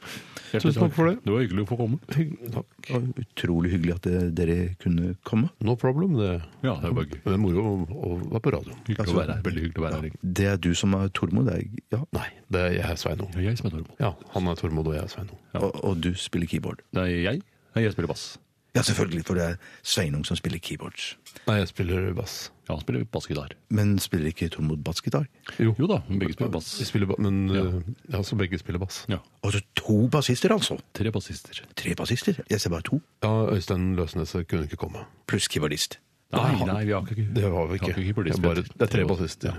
[SPEAKER 9] Tusen takk for det.
[SPEAKER 10] Det var hyggelig å få komme.
[SPEAKER 6] Det var Utrolig hyggelig at eh, dere kunne komme.
[SPEAKER 9] No problem. Det,
[SPEAKER 10] Ja, det var gøy.
[SPEAKER 9] Men det er moro å- å være på radio.
[SPEAKER 10] Hyggelig å være her. Veldig hyggelig å være her. egentlig.
[SPEAKER 6] Det er du som er Tormod, det er ja.
[SPEAKER 9] Nei, det er jeg er Sveinung.
[SPEAKER 10] Det er jeg som er Tormod.
[SPEAKER 9] Ja, han er Tormod, og jeg er Sveinung.
[SPEAKER 6] Og, og du spiller keyboard.
[SPEAKER 10] Det er jeg. Nei, jeg spiller bass.
[SPEAKER 6] Ja, selvfølgelig, for det er Sveinung som spiller keyboards.
[SPEAKER 9] Nei, jeg spiller bass.
[SPEAKER 10] Ja, han spiller bassgitar.
[SPEAKER 6] Men spiller ikke Tormod bassgitar?
[SPEAKER 10] Jo. jo da, begge spiller bass.
[SPEAKER 9] Vi spiller ba men eh, ja, så begge spiller bass.
[SPEAKER 10] Ja.
[SPEAKER 6] Og så to bassister, altså.
[SPEAKER 10] Tre bassister.
[SPEAKER 6] Tre bassister. Jeg ser bare to.
[SPEAKER 9] Ja, Øystein Løsneset kunne ikke komme.
[SPEAKER 6] Pluss keyboardist.
[SPEAKER 10] Nei,
[SPEAKER 9] han-
[SPEAKER 10] nei, vi har ikke
[SPEAKER 9] Det var vi
[SPEAKER 10] har
[SPEAKER 9] ikke. Det
[SPEAKER 10] keyboardist,
[SPEAKER 9] er, bare,
[SPEAKER 10] vi har
[SPEAKER 9] det er tre
[SPEAKER 10] bass-
[SPEAKER 9] bassister.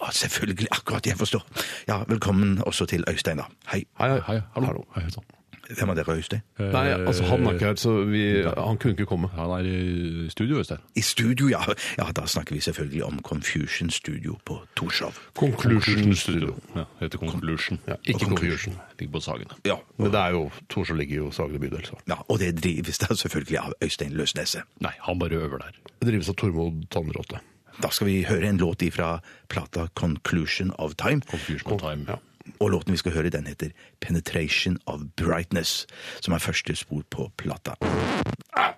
[SPEAKER 6] Ah, selvfølgelig. Akkurat, jeg forstår. Ja, Velkommen også til Øystein, da. Hei.
[SPEAKER 9] Hei, hei.
[SPEAKER 10] Hei, hallo. Hei, sånn. Eh,
[SPEAKER 6] Hvem er dere, Øystein?
[SPEAKER 9] Nei, altså han er ikke her, så vi, han kunne ikke komme.
[SPEAKER 10] Han er i studio, Øystein.
[SPEAKER 6] I studio, ja. Ja, Da snakker vi selvfølgelig om Confusion Studio på Torshov.
[SPEAKER 9] Conclusion Studio.
[SPEAKER 10] Ja, heter Conclusion.
[SPEAKER 9] Ja, ikke Conclusion.
[SPEAKER 10] Ligger på Sagene.
[SPEAKER 6] Ja.
[SPEAKER 9] Men det er jo Torshov ligger jo i Sagene bydel. Så.
[SPEAKER 6] ja. Og det drives da selvfølgelig av Øystein Løsneset.
[SPEAKER 10] Nei, han bare øver der.
[SPEAKER 9] Det drives av Tormod Tannråte.
[SPEAKER 6] Da skal vi høre en låt ifra plata Conclusion of Time.
[SPEAKER 10] Confusion of Time.
[SPEAKER 9] Ja.
[SPEAKER 6] Og låten vi skal høre, den heter Penetration of Brightness, som er første spor på plata. Ah,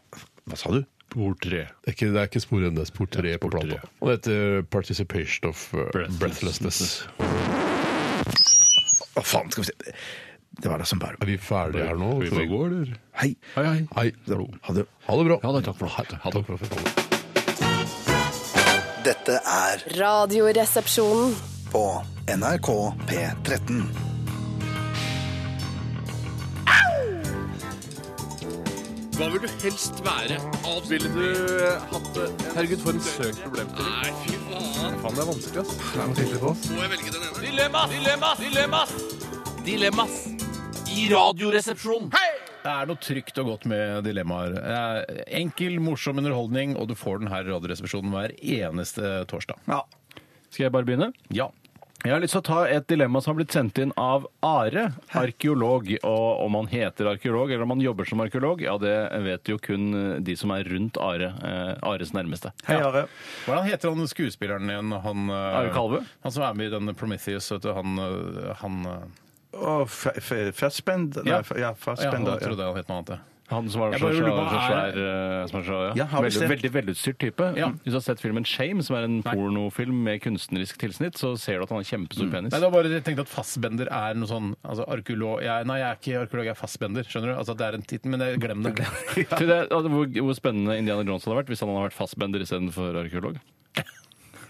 [SPEAKER 6] Hva sa du?
[SPEAKER 10] Bord tre.
[SPEAKER 9] Det er ikke, det er ikke spor enn det er spor tre på plata.
[SPEAKER 10] tre.
[SPEAKER 9] Og det heter Participation of uh,
[SPEAKER 10] Breathlessness.
[SPEAKER 9] Breathlessness.
[SPEAKER 6] Hva faen, skal vi se Det var da som bare
[SPEAKER 9] Er vi ferdige her nå?
[SPEAKER 10] Skal vi få gå, eller?
[SPEAKER 6] Hei.
[SPEAKER 10] Hei, hei.
[SPEAKER 9] Hei.
[SPEAKER 6] Hallo. Ha det.
[SPEAKER 9] Ha det bra.
[SPEAKER 10] Ja, da, takk for det. Ha det.
[SPEAKER 9] Takk for at vi kom.
[SPEAKER 2] Dette er
[SPEAKER 1] Radioresepsjonen.
[SPEAKER 2] på NRK P13.
[SPEAKER 4] Det er noe trygt og godt med dilemmaer. Eh, Enkel, morsom underholdning, og du får den her i Radioresepsjonen hver eneste torsdag.
[SPEAKER 5] Skal jeg bare begynne?
[SPEAKER 4] Ja.
[SPEAKER 5] Jeg har lyst til å ta et dilemma som har blitt sendt inn av Are, arkeolog. Og om han heter arkeolog eller om han jobber som arkeolog, ja, det vet jo kun eh, de som er rundt Are. eh, Ares nærmeste.
[SPEAKER 6] Hei, Are.
[SPEAKER 4] Hvordan heter han skuespilleren igjen? Han, eh,
[SPEAKER 5] Are Kalve?
[SPEAKER 4] han som er med i den Prometheus, vet du. Han, eh, han eh,
[SPEAKER 6] Og Ferspend? Nei,
[SPEAKER 4] Ja.
[SPEAKER 6] f- ja,
[SPEAKER 4] ja,
[SPEAKER 6] Fassbender.
[SPEAKER 4] da trodde jeg han het noe annet. ja.
[SPEAKER 5] Han som var
[SPEAKER 4] Jeg
[SPEAKER 5] så,
[SPEAKER 4] bare
[SPEAKER 5] så,
[SPEAKER 4] lurer på
[SPEAKER 5] så
[SPEAKER 4] hva er-
[SPEAKER 5] svær eh, som er så, ja.
[SPEAKER 6] Ja, har vi
[SPEAKER 5] veldig,
[SPEAKER 6] sett-
[SPEAKER 5] veldig velutstyrt type. Mm.
[SPEAKER 4] Ja.
[SPEAKER 5] Hvis du har sett filmen Shame, som er en pornofilm med kunstnerisk tilsnitt, så ser du at han har kjempestor penis.
[SPEAKER 4] Mm. Nei, det var bare jeg tenkte at Fassbender er noe sånn altså, arkeolog jeg, Nei, jeg er ikke arkeolog, jeg er Fassbender. Skjønner du? Altså, det er en tittel, men jeg- glem det.
[SPEAKER 5] Tror du det, altså, hvor, hvor spennende Indiana Jones hadde vært hvis han hadde vært fastbender istedenfor arkeolog.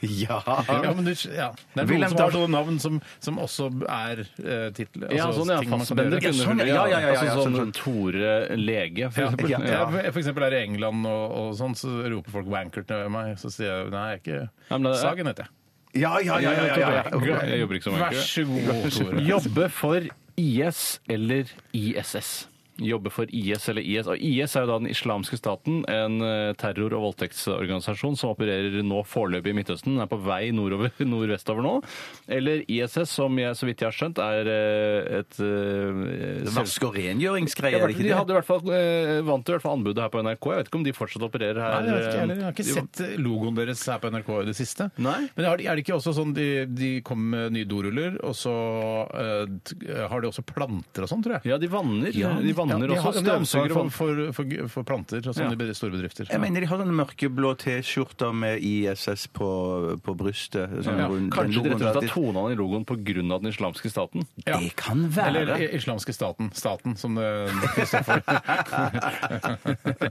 [SPEAKER 6] Ja.
[SPEAKER 4] Ja, men du, ja. Det er noen
[SPEAKER 5] Wilhelm
[SPEAKER 4] som har
[SPEAKER 5] Dahl.
[SPEAKER 4] sånne navn som, som også er uh, tittel.
[SPEAKER 5] Ja,
[SPEAKER 4] altså
[SPEAKER 5] sånn, ja.
[SPEAKER 4] ting man kan
[SPEAKER 5] Fastbender
[SPEAKER 4] gjøre.
[SPEAKER 5] kunne
[SPEAKER 6] sånn, ja, ja, ja, ja, ja,
[SPEAKER 5] altså, sånn,
[SPEAKER 6] sånn,
[SPEAKER 5] Tore lege, for
[SPEAKER 4] Ja,
[SPEAKER 5] eksempel.
[SPEAKER 4] ja. Jeg, for eksempel her i England og, og sånn, så roper folk 'wanker' til meg. Så sier jeg nei, jeg er
[SPEAKER 5] Ja,
[SPEAKER 4] ikke
[SPEAKER 5] men det er-
[SPEAKER 4] Sagen heter jeg.
[SPEAKER 6] Ja, ja, ja, ja, ja, ja.
[SPEAKER 5] Jeg, jobber ikke som
[SPEAKER 4] Vær
[SPEAKER 5] wanker.
[SPEAKER 4] så god, Tore.
[SPEAKER 5] Jobbe for IS eller ISS. Jobbe for IS eller IS. Og IS er jo da den islamske staten, en eh, terror- og voldtektsorganisasjon som opererer nå foreløpig i Midtøsten. Den er på vei nordover, nordvestover nå. Eller ISS, som jeg, så vidt jeg har skjønt, er eh, et eh, selskap-
[SPEAKER 6] Vask- og rengjøringsgreier,
[SPEAKER 5] Ja,
[SPEAKER 6] er det
[SPEAKER 5] de
[SPEAKER 6] ikke det?
[SPEAKER 5] hadde i hvert fall, eh, vant i hvert fall anbudet her på NRK. Jeg vet ikke om de fortsatt opererer
[SPEAKER 4] Nei,
[SPEAKER 5] her.
[SPEAKER 4] jeg, vet ikke,
[SPEAKER 5] eh,
[SPEAKER 4] heller. jeg har ikke
[SPEAKER 5] de-
[SPEAKER 4] sett logoen deres her på NRK i det siste.
[SPEAKER 5] Nei.
[SPEAKER 4] Men er det, er det ikke også sånn de, de kom med nye doruller, og så eh, t- har de også planter og sånn, tror jeg?
[SPEAKER 5] Ja, de vanner. de vanner
[SPEAKER 4] de har-
[SPEAKER 5] også.
[SPEAKER 4] de har ansvar
[SPEAKER 5] Støvsuger og
[SPEAKER 4] for, for, for, for planter og sånn
[SPEAKER 5] Ja.
[SPEAKER 4] i be- store bedrifter.
[SPEAKER 6] Jeg mener de har sånne mørkeblå T-skjorter med ISS på, på brystet. Sånn
[SPEAKER 5] Ja,
[SPEAKER 6] rund-
[SPEAKER 5] kanskje de
[SPEAKER 6] den logoen
[SPEAKER 5] rett og slett har
[SPEAKER 6] der.
[SPEAKER 5] tona den i logoen pga. den islamske staten?
[SPEAKER 4] Ja.
[SPEAKER 6] Det kan
[SPEAKER 4] Eller
[SPEAKER 6] være.
[SPEAKER 4] i- islamske staten. Staten, som det det står for.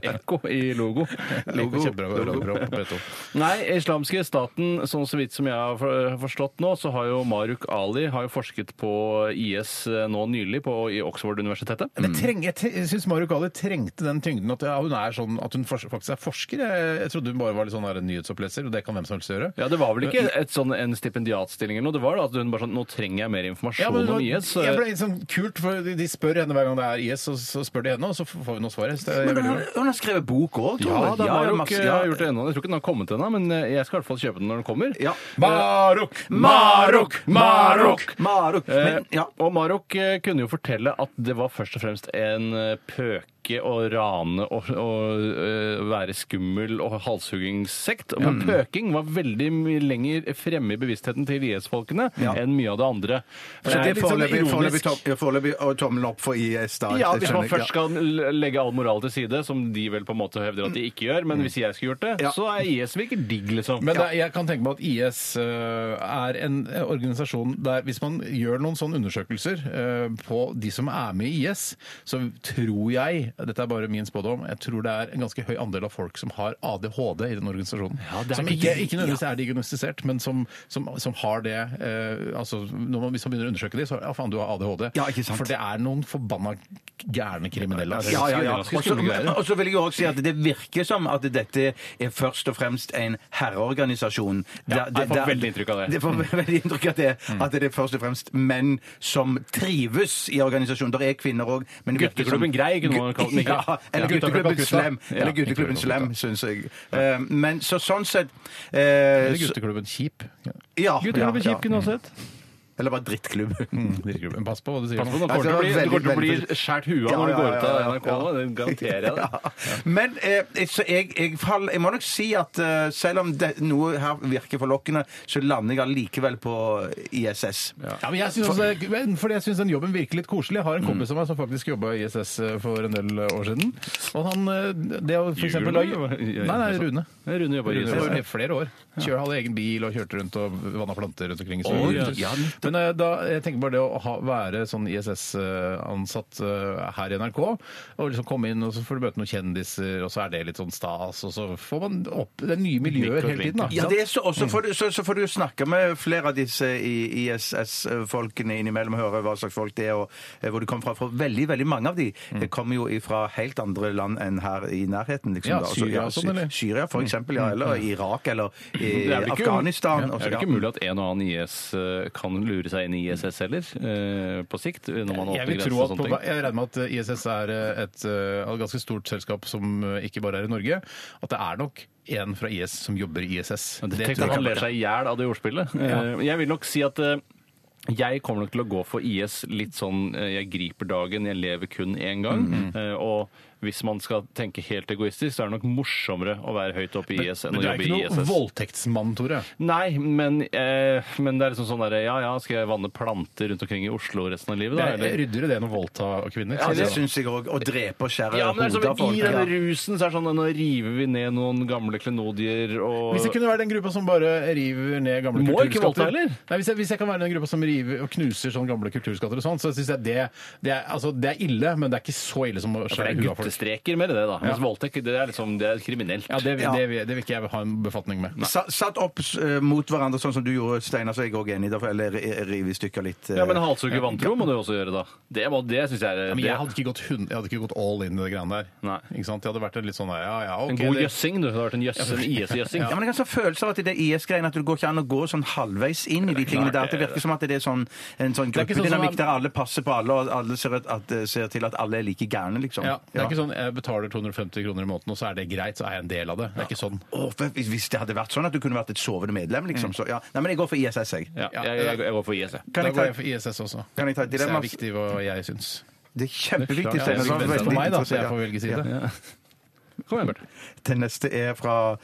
[SPEAKER 5] Ekko i logo. Mm.
[SPEAKER 4] Logo. Kjempebra radioprogram på P2.
[SPEAKER 5] Nei, islamske staten, sånn så vidt som jeg har for- forstått nå, så har jo Maruk Ali har jo forsket på IS eh, nå nylig på, i Oxford-universitetet.
[SPEAKER 4] Men jeg treng, jeg, te- jeg syns Mario Kali trengte den tyngden at ja, hun er sånn at hun fors- faktisk er forsker. Jeg, jeg trodde hun bare var litt sånn der nyhetsoppleser, og det kan hvem som helst gjøre.
[SPEAKER 5] Ja, Det var vel ikke et sånn, en stipendiatstilling eller noe? Det var da at hun bare sånn Nå trenger jeg mer informasjon
[SPEAKER 4] Ja, men det
[SPEAKER 5] om
[SPEAKER 4] var,
[SPEAKER 5] IS. eh.
[SPEAKER 4] jeg ble litt sånn kult, for de- de spør henne hver gang det er IS, så, så spør de henne, og så får vi noe svar. Så det
[SPEAKER 6] Men
[SPEAKER 4] er
[SPEAKER 6] hun
[SPEAKER 4] veldig
[SPEAKER 6] har,
[SPEAKER 4] bra.
[SPEAKER 6] hun har skrevet bok òg, tror
[SPEAKER 5] Ja,
[SPEAKER 6] jeg.
[SPEAKER 5] da
[SPEAKER 6] Ja, ja,
[SPEAKER 5] Maruk
[SPEAKER 6] masse-
[SPEAKER 5] eh,
[SPEAKER 6] ja.
[SPEAKER 5] har gjort det ennå. Jeg tror ikke den har kommet ennå, men eh, jeg skal i hvert fall kjøpe den når den kommer. Eh,
[SPEAKER 6] Ja.
[SPEAKER 4] Marok!
[SPEAKER 5] Marok! Marok!
[SPEAKER 6] Maruk. Men, ja.
[SPEAKER 5] Eh, Og Marok eh, kunne jo fortelle at det var først og fremst en eh, pøke og rane og, og eh, være skummel og halshuggingssekt. Men pøking var veldig mye lenger fremme i bevisstheten til IS-folkene enn mye av det andre.
[SPEAKER 6] Så det er
[SPEAKER 5] litt sånn
[SPEAKER 6] foreløpig
[SPEAKER 5] ironisk.
[SPEAKER 6] foreløpig tom- ja, foreløpig og tommel opp for IS, da.
[SPEAKER 5] Ja,
[SPEAKER 6] Jeg
[SPEAKER 5] hvis man
[SPEAKER 6] skjønner,
[SPEAKER 5] først skal l- legge all moral til side, som de vel på en måte hevder at de ikke gjør, men hvis jeg skulle gjort det,
[SPEAKER 6] Mm. Ja.
[SPEAKER 5] så er IS virker digg, liksom.
[SPEAKER 4] Men det, er- jeg kan tenke meg at IS eh, er en eh, organisasjon der hvis man gjør noen sånne undersøkelser eh, på de som er med i IS, så tror jeg, dette er bare min spådom, jeg tror det er en ganske høy andel av folk som har ADHD i den organisasjonen.
[SPEAKER 5] det er
[SPEAKER 4] som
[SPEAKER 5] ikke-
[SPEAKER 4] ikke, ikke nødvendigvis er diagnostisert, men som, som, som har det eh, altså, når man, Hvis man begynner å undersøke det, så ja, faen, du har ADHD.
[SPEAKER 6] Ja, ikke sant.
[SPEAKER 4] For det er noen forbanna gærne kriminelle. altså.
[SPEAKER 6] Ja, ja, ja.
[SPEAKER 5] Ganske
[SPEAKER 6] Og
[SPEAKER 5] skumle greier.
[SPEAKER 6] så- Og så vil jeg jo også si at det virker som at dette er først og fremst en herreorganisasjon. Der-
[SPEAKER 5] jeg får
[SPEAKER 6] der-
[SPEAKER 5] veldig inntrykk av det. Mm.
[SPEAKER 6] Jeg får veldig inntrykk av det. At det er først og fremst menn som trives i organisasjonen. Der er kvinner òg, men det virker som-
[SPEAKER 5] Gutteklubben Grei kunne man kalt den, ikke?
[SPEAKER 6] Ja, eller
[SPEAKER 5] Ja.
[SPEAKER 6] Gutteklubben
[SPEAKER 5] Gutta.
[SPEAKER 6] Slem.
[SPEAKER 5] Ja,
[SPEAKER 6] Eller Gutteklubben
[SPEAKER 5] Gutteklubben
[SPEAKER 6] Slem, syns jeg. Eh, Men så sånn sett eh,
[SPEAKER 4] Eller
[SPEAKER 6] så-
[SPEAKER 4] gutteklubben Kjip. Ja.
[SPEAKER 6] Ja.
[SPEAKER 5] Gutteklubben
[SPEAKER 6] ja,
[SPEAKER 5] Kjip kunne Mm, også hett.
[SPEAKER 6] ja. Eller bare drittklubben.
[SPEAKER 4] Gutteklubben. Pass på hva du sier.
[SPEAKER 5] Pass på,
[SPEAKER 4] nå.
[SPEAKER 5] nå
[SPEAKER 6] Ja,
[SPEAKER 5] kommer
[SPEAKER 6] Altså, det var
[SPEAKER 5] til å bli, du
[SPEAKER 6] veldig,
[SPEAKER 5] kommer til å bli
[SPEAKER 6] veldig-
[SPEAKER 5] skjært huet av når du går ut av NRK nå, det garanterer jeg deg.
[SPEAKER 6] Ja. Men eh, så jeg, jeg, fall, jeg må nok si at eh, selv om det, noe her virker forlokkende, så lander jeg allikevel på eh, ISS.
[SPEAKER 4] Ja, men jeg synes også det, er- men fordi jeg syns den jobben virker litt koselig. Jeg har en
[SPEAKER 5] Mm.
[SPEAKER 4] kompis av meg som faktisk jobba i ISS eh, for en del år siden. Og han eh, det å for eksempel,
[SPEAKER 5] Ljuger du,
[SPEAKER 4] Nei,
[SPEAKER 5] eller?
[SPEAKER 4] nei, Rune.
[SPEAKER 5] Rune jobber i
[SPEAKER 4] Rune
[SPEAKER 5] ISS.
[SPEAKER 4] var i flere år. Kjør hadde egen bil og kjørte rundt og vanna planter rundt omkring. i Sverige.
[SPEAKER 5] Oi, ja, ja,
[SPEAKER 4] Men eh, da, jeg tenker bare det å ha, være sånn ISS-ansatt eh, her i NRK, og liksom komme inn og så får du møte noen kjendiser, og så er det litt sånn stas, og så får man opp det er nye miljøer hele tiden. da.
[SPEAKER 6] Ja, det er så, og så
[SPEAKER 5] Mm.
[SPEAKER 6] får du- så, så får du jo snakke med flere av disse i- ISS-folkene innimellom, høre hva slags folk det er, og eh, hvor de kommer fra. For veldig veldig mange av de
[SPEAKER 5] Mm.
[SPEAKER 6] eh, kommer jo fra helt andre land enn her i nærheten. Liksom,
[SPEAKER 4] Ja,
[SPEAKER 6] da. Altså,
[SPEAKER 4] Syria og
[SPEAKER 6] Sy-
[SPEAKER 4] sånn, eller?
[SPEAKER 6] Syria, for eksempel, ja, eller Irak, eller eh,
[SPEAKER 5] Mm. Det er vel ikke- um-
[SPEAKER 6] Afghanistan.
[SPEAKER 5] Ja,
[SPEAKER 6] og
[SPEAKER 5] det
[SPEAKER 6] så-
[SPEAKER 5] er vel
[SPEAKER 6] ja.
[SPEAKER 5] ikke mulig at en og annen IS eh, kan lure lure seg inn i ISS heller, eh, på sikt. Når man
[SPEAKER 4] Jeg
[SPEAKER 5] åpner
[SPEAKER 4] vil
[SPEAKER 5] grenser
[SPEAKER 4] tro
[SPEAKER 5] og
[SPEAKER 4] at
[SPEAKER 5] sånne
[SPEAKER 4] på,
[SPEAKER 5] ting.
[SPEAKER 4] jeg regner med at ISS er et eh, ganske stort selskap som eh, ikke bare er i Norge. At det er nok en fra IS som jobber i ISS.
[SPEAKER 5] Det
[SPEAKER 4] Det
[SPEAKER 5] Tenk
[SPEAKER 4] tror jeg
[SPEAKER 5] at han
[SPEAKER 4] kan
[SPEAKER 5] ler
[SPEAKER 4] være.
[SPEAKER 5] seg i hjel av det ordspillet. Eh, Jeg vil nok si at eh, jeg kommer nok til å gå for IS litt sånn eh, jeg griper dagen, jeg lever kun én gang.
[SPEAKER 4] Mm.
[SPEAKER 5] Eh, Og hvis man skal tenke helt egoistisk, så er det nok morsommere å være høyt oppe i IS enn
[SPEAKER 4] Men
[SPEAKER 5] å
[SPEAKER 4] du er
[SPEAKER 5] jobbe
[SPEAKER 4] ikke
[SPEAKER 5] i
[SPEAKER 4] noen
[SPEAKER 5] ISS.
[SPEAKER 4] voldtektsmann, Tore.
[SPEAKER 5] Nei, men, eh, men det er liksom sånn derre Ja ja, skal jeg vanne planter rundt omkring i Oslo resten av livet,
[SPEAKER 4] Det
[SPEAKER 5] da?
[SPEAKER 4] er
[SPEAKER 5] Eller?
[SPEAKER 4] ryddigere det enn å voldta kvinner.
[SPEAKER 6] Ja, det syns jeg òg. Å drepe og skjære
[SPEAKER 5] Altså- Ja, men det er
[SPEAKER 6] hodet av
[SPEAKER 5] sånn,
[SPEAKER 6] folk.
[SPEAKER 5] I
[SPEAKER 6] ja.
[SPEAKER 5] den rusen så er det sånn Nå river vi ned noen gamle klenodier og
[SPEAKER 4] Hvis jeg kunne være den gruppa som bare river ned gamle
[SPEAKER 5] Må ikke
[SPEAKER 4] kulturskatter
[SPEAKER 5] voldta heller.
[SPEAKER 4] Nei, hvis, jeg, hvis jeg kan være den gruppa som river og knuser sånn gamle kulturskatter og sånn, så syns jeg det, det, er, altså, det er ille, men det er ikke så ille som å
[SPEAKER 5] For
[SPEAKER 4] skjære
[SPEAKER 5] det er
[SPEAKER 4] huet av folk.
[SPEAKER 5] guttestreker mer i det, da. Mens voldtekt det er liksom, det er kriminelt.
[SPEAKER 4] Ja, det,
[SPEAKER 6] Ja.
[SPEAKER 4] det, vil- det vil ikke jeg ha en befatning med.
[SPEAKER 6] Sa- Satt opp eh, mot hverandre, sånn som du gjorde, Steinar, så er jeg òg enig. Derfor, eller eh, rive i stykker litt. eh.
[SPEAKER 5] Ja, Men halshugge vantro må du også gjøre, da. Det, må- det syns jeg er
[SPEAKER 4] Men
[SPEAKER 5] det,
[SPEAKER 4] jeg hadde ikke gått, hund, jeg hadde ikke gått all in i det greiene der.
[SPEAKER 5] Nei.
[SPEAKER 4] Ikke sant? Jeg hadde vært en litt sånn der, ja, ja, ok.
[SPEAKER 5] En god
[SPEAKER 4] det-
[SPEAKER 5] jøssing, du. Det har vært en jøss- en IS-jøssing.
[SPEAKER 6] Ja, men Jeg har sånn følelse av at i det IS-greiene at det går ikke an å gå sånn halvveis inn i de tingene der. at Det virker som at det er sånn, en sånn
[SPEAKER 4] eh, Det er ikke sånn som
[SPEAKER 6] gruppedynamikk
[SPEAKER 4] at-
[SPEAKER 6] der alle passer på alle, og alle ser, at, at, eh, ser til at alle er like gærne, liksom.
[SPEAKER 4] Ja, det er
[SPEAKER 6] Ja.
[SPEAKER 4] ikke sånn jeg betaler 250 kroner i måneden, og så er det greit, så er jeg en del av det. Det er ikke sånn. Mm.
[SPEAKER 6] Åh, for hvis- hvis det hadde vært sånn at du kunne vært et sovende medlem, liksom, så ja. Nei, men jeg går for ISS, jeg.
[SPEAKER 5] Ja, jeg, jeg, jeg går for IS, jeg.
[SPEAKER 6] Kan
[SPEAKER 4] eh, Da
[SPEAKER 6] jeg ta-
[SPEAKER 4] går jeg for ISS også.
[SPEAKER 6] Kan jeg ta et
[SPEAKER 4] Hvis det
[SPEAKER 6] dilemma?
[SPEAKER 4] er viktig hva jeg syns.
[SPEAKER 6] Det er kjempeviktig.
[SPEAKER 5] Ja,
[SPEAKER 4] Det
[SPEAKER 6] Steinar,
[SPEAKER 4] er
[SPEAKER 5] jeg
[SPEAKER 6] så
[SPEAKER 5] vil
[SPEAKER 6] det er
[SPEAKER 4] viktig
[SPEAKER 5] vente
[SPEAKER 6] veldig
[SPEAKER 4] for meg, da, så jeg
[SPEAKER 6] interessant.
[SPEAKER 4] får velge side.
[SPEAKER 5] Kom igjen, Bjarte.
[SPEAKER 6] Den neste er fra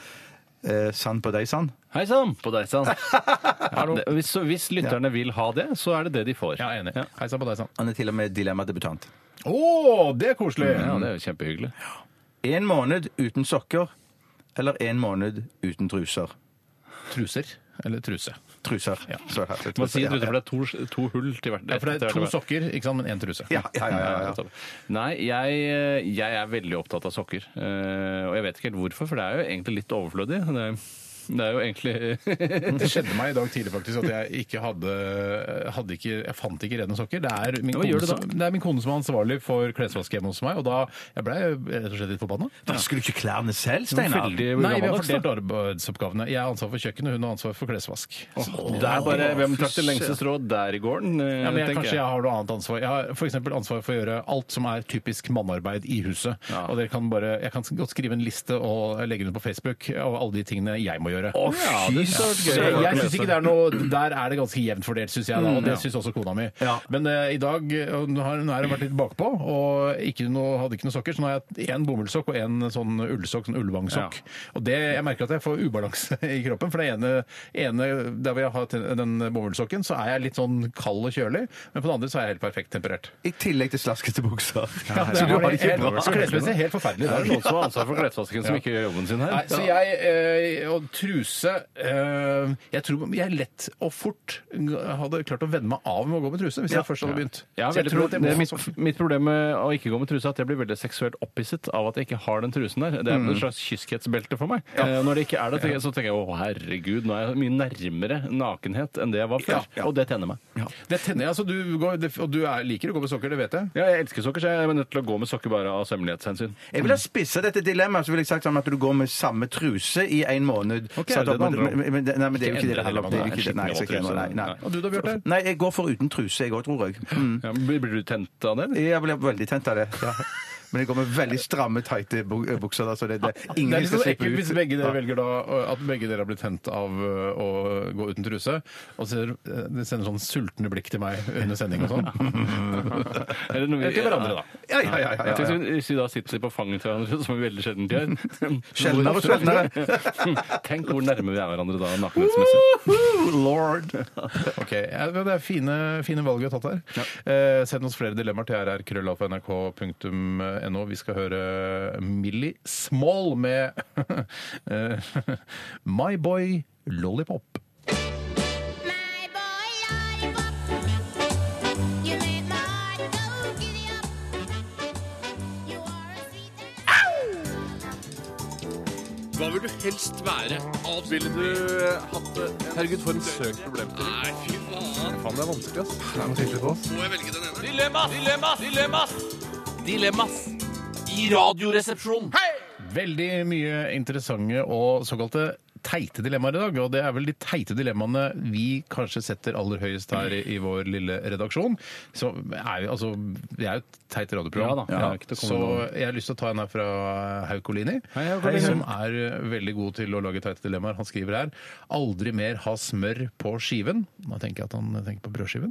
[SPEAKER 6] eh, Sand på deg, Sand.
[SPEAKER 5] Hei sann på deg sann. Ja, det- hvis, så hvis lytterne vil ha det, så er det det de får.
[SPEAKER 4] Ja, enig.
[SPEAKER 5] Ja.
[SPEAKER 4] Hei sann på deg sann.
[SPEAKER 6] Han er til og med dilemmadebutant.
[SPEAKER 4] Å, det er koselig!
[SPEAKER 5] Ja, det er jo kjempehyggelig.
[SPEAKER 6] En måned uten sokker eller en måned uten truser.
[SPEAKER 4] Truser. Eller truse.
[SPEAKER 6] Truser. Så her, så
[SPEAKER 5] Man
[SPEAKER 6] truser,
[SPEAKER 5] sier
[SPEAKER 6] ja, ja.
[SPEAKER 5] truser, for det er to, to hull til hvert.
[SPEAKER 4] Ja, for det
[SPEAKER 5] til
[SPEAKER 4] er to
[SPEAKER 5] hvert-
[SPEAKER 4] sokker, ikke sant, men én truse.
[SPEAKER 6] Ja, ja, ja, ja, ja.
[SPEAKER 5] Nei, jeg, eh, jeg er veldig opptatt av sokker. Eh, og jeg vet ikke helt hvorfor, for det er jo egentlig litt overflødig. Det er, det er jo egentlig
[SPEAKER 4] Det skjedde meg i dag tidlig faktisk at jeg ikke hadde, hadde ikke, jeg fant ikke rene sokker. Det er, min
[SPEAKER 5] Hva
[SPEAKER 4] kone,
[SPEAKER 5] gjør du da?
[SPEAKER 4] som- det er min kone som er ansvarlig for klesvask hjemme hos meg, og da jeg ble jeg rett og slett litt forbanna.
[SPEAKER 6] Vasker du ikke klærne selv, Steinar?
[SPEAKER 5] veldig
[SPEAKER 4] Nei, vi har
[SPEAKER 5] gammeldags.
[SPEAKER 4] fordelt
[SPEAKER 5] da.
[SPEAKER 4] arbeidsoppgavene. Jeg har ansvar for kjøkkenet, hun har ansvar for klesvask.
[SPEAKER 5] Det er bare hvem trakk det lengste strå der i gården, eh,
[SPEAKER 4] Ja, men jeg,
[SPEAKER 5] tenker
[SPEAKER 4] kanskje jeg
[SPEAKER 5] jeg.
[SPEAKER 4] har noe annet ansvar. Jeg har f.eks. ansvar for å gjøre alt som er typisk mannarbeid i huset. Og dere kan bare, Jeg kan godt skrive en liste og legge den ut på Facebook over alle de tingene jeg må gjøre.
[SPEAKER 5] Å, fy
[SPEAKER 4] Så
[SPEAKER 5] søren!
[SPEAKER 4] jeg, jeg synes ikke det er noe Der er det ganske jevnt fordelt, syns jeg. da, Og det syns også kona mi. Men eh, i dag og Nå har nå har jeg vært litt bakpå og ikke noe, hadde ikke noen sokker. Så nå har jeg én bomullssokk og én sånn ullsokk, sånn ullvangsokk. Og det, jeg merker at jeg får ubalanse i kroppen. For det ene, ene der hvor jeg har ten- den bomullssokken, så er jeg litt sånn kald og kjølig. Men på den andre så er jeg helt perfekt temperert.
[SPEAKER 6] I tillegg til slaskete bukser.
[SPEAKER 4] Så du har det ikke bra. Klesmessig er det helt forferdelig.
[SPEAKER 5] Det er
[SPEAKER 4] Det er
[SPEAKER 5] noen som har ansvar for klesvasken, som ikke gjør jobben sin her.
[SPEAKER 4] Nei, så jeg eh, Og truse eh, Jeg tror jeg lett og fort hadde klart å venne meg av med å gå med truse hvis jeg først hadde begynt.
[SPEAKER 5] Ja,
[SPEAKER 4] så jeg
[SPEAKER 5] veldig
[SPEAKER 4] tror
[SPEAKER 5] pro-
[SPEAKER 4] at jeg
[SPEAKER 5] det er
[SPEAKER 4] må-
[SPEAKER 5] mitt, mitt problem med å ikke gå med truse er at jeg blir veldig seksuelt opphisset av at jeg ikke har den trusen der. Det er en slags kyskhetsbelte for meg. Eh, Når det ikke er det, tenker jeg- så tenker jeg å herregud, nå er jeg mye nærmere nakenhet enn det jeg var før. Og det tenner meg. Ja.
[SPEAKER 4] Det tenner jeg, altså, du går, det, Og du er, liker å gå med sokker, det vet jeg.
[SPEAKER 5] jeg elsker sokker, så jeg er nødt til å gå med sokker bare av sømmelighetshensyn.
[SPEAKER 6] Jeg ville ha spissa dette dilemmaet så ville jeg sagt sånn at du går med samme truse i en måned.
[SPEAKER 5] Ok,
[SPEAKER 6] Satt opp
[SPEAKER 5] det er det
[SPEAKER 6] mot-
[SPEAKER 5] andre.
[SPEAKER 6] men, men, nei, men det er jo
[SPEAKER 5] Ikke
[SPEAKER 6] ikke det det
[SPEAKER 5] endre
[SPEAKER 6] handler om. Det er jo
[SPEAKER 5] dilemmaet,
[SPEAKER 6] ikke det. Nei,
[SPEAKER 5] nei,
[SPEAKER 6] så ikke
[SPEAKER 5] skikkelig
[SPEAKER 6] nei, nei.
[SPEAKER 5] valgtruse.
[SPEAKER 4] Og du da, Bjarte?
[SPEAKER 6] Nei, jeg går for uten truse, jeg òg, tror jeg. Mm.
[SPEAKER 5] Ja, blir, blir du tent av det? eller?
[SPEAKER 6] Jeg blir veldig tent av det. Ja. Men jeg går med veldig stramme, tighte bu- bukser. Da, så det, det,
[SPEAKER 4] Det er
[SPEAKER 6] ingen
[SPEAKER 4] litt
[SPEAKER 6] skal
[SPEAKER 4] sånn
[SPEAKER 6] slippe
[SPEAKER 4] ekkelt
[SPEAKER 6] ut.
[SPEAKER 4] hvis begge dere
[SPEAKER 6] Ja.
[SPEAKER 4] velger da eh, at begge dere har blitt tent av eh, å gå uten truse, og så eh, de sender sånn sultne blikk til meg under sending og sånn.
[SPEAKER 5] Eller noe vi-
[SPEAKER 4] Eller til hverandre, da.
[SPEAKER 6] Ja, ja, ja, ja,
[SPEAKER 5] Jeg
[SPEAKER 6] ja,
[SPEAKER 5] tenkte,
[SPEAKER 6] ja.
[SPEAKER 5] Hvis vi da sitter på fanget til hverandre, som vi veldig sjelden gjør
[SPEAKER 6] Sjeldnere og
[SPEAKER 5] sjeldnere. Tenk hvor nærme vi er hverandre da, nakenhetsmessig.
[SPEAKER 6] Lord.
[SPEAKER 4] Ok, ja, men Det er fine, fine valg vi har tatt her. Eh, send oss flere dilemmaer til rrkrøllalfa.nrk.no. Vi skal høre Millie Small med eh, My Boy Lollipop.
[SPEAKER 11] Hva vil du helst være? Ville du eh, hatt det? Herregud, for en søk problemstilling. Nei, fy faen. Faen, det er vanskelig, ass. Må jeg velge den ene? Dilemmas! Dilemmas! Dilemmas! Dilemmas! I radioresepsjonen!
[SPEAKER 4] Veldig mye interessante og såkalte teite dilemmaer i dag, og det er vel de teite dilemmaene vi kanskje setter aller høyest her i, i vår lille redaksjon. Så er jo, altså, vi er jo et teit radioprogram,
[SPEAKER 5] Ja da, det er ikke til å komme
[SPEAKER 4] så
[SPEAKER 5] noe-
[SPEAKER 4] jeg har lyst til å ta en her fra Haukolini,
[SPEAKER 5] Hei, Hauk Olini.
[SPEAKER 4] som er eh, veldig god til å lage teite dilemmaer. Han skriver her 'aldri mer ha smør på skiven'. Da tenker jeg at han tenker på brødskiven.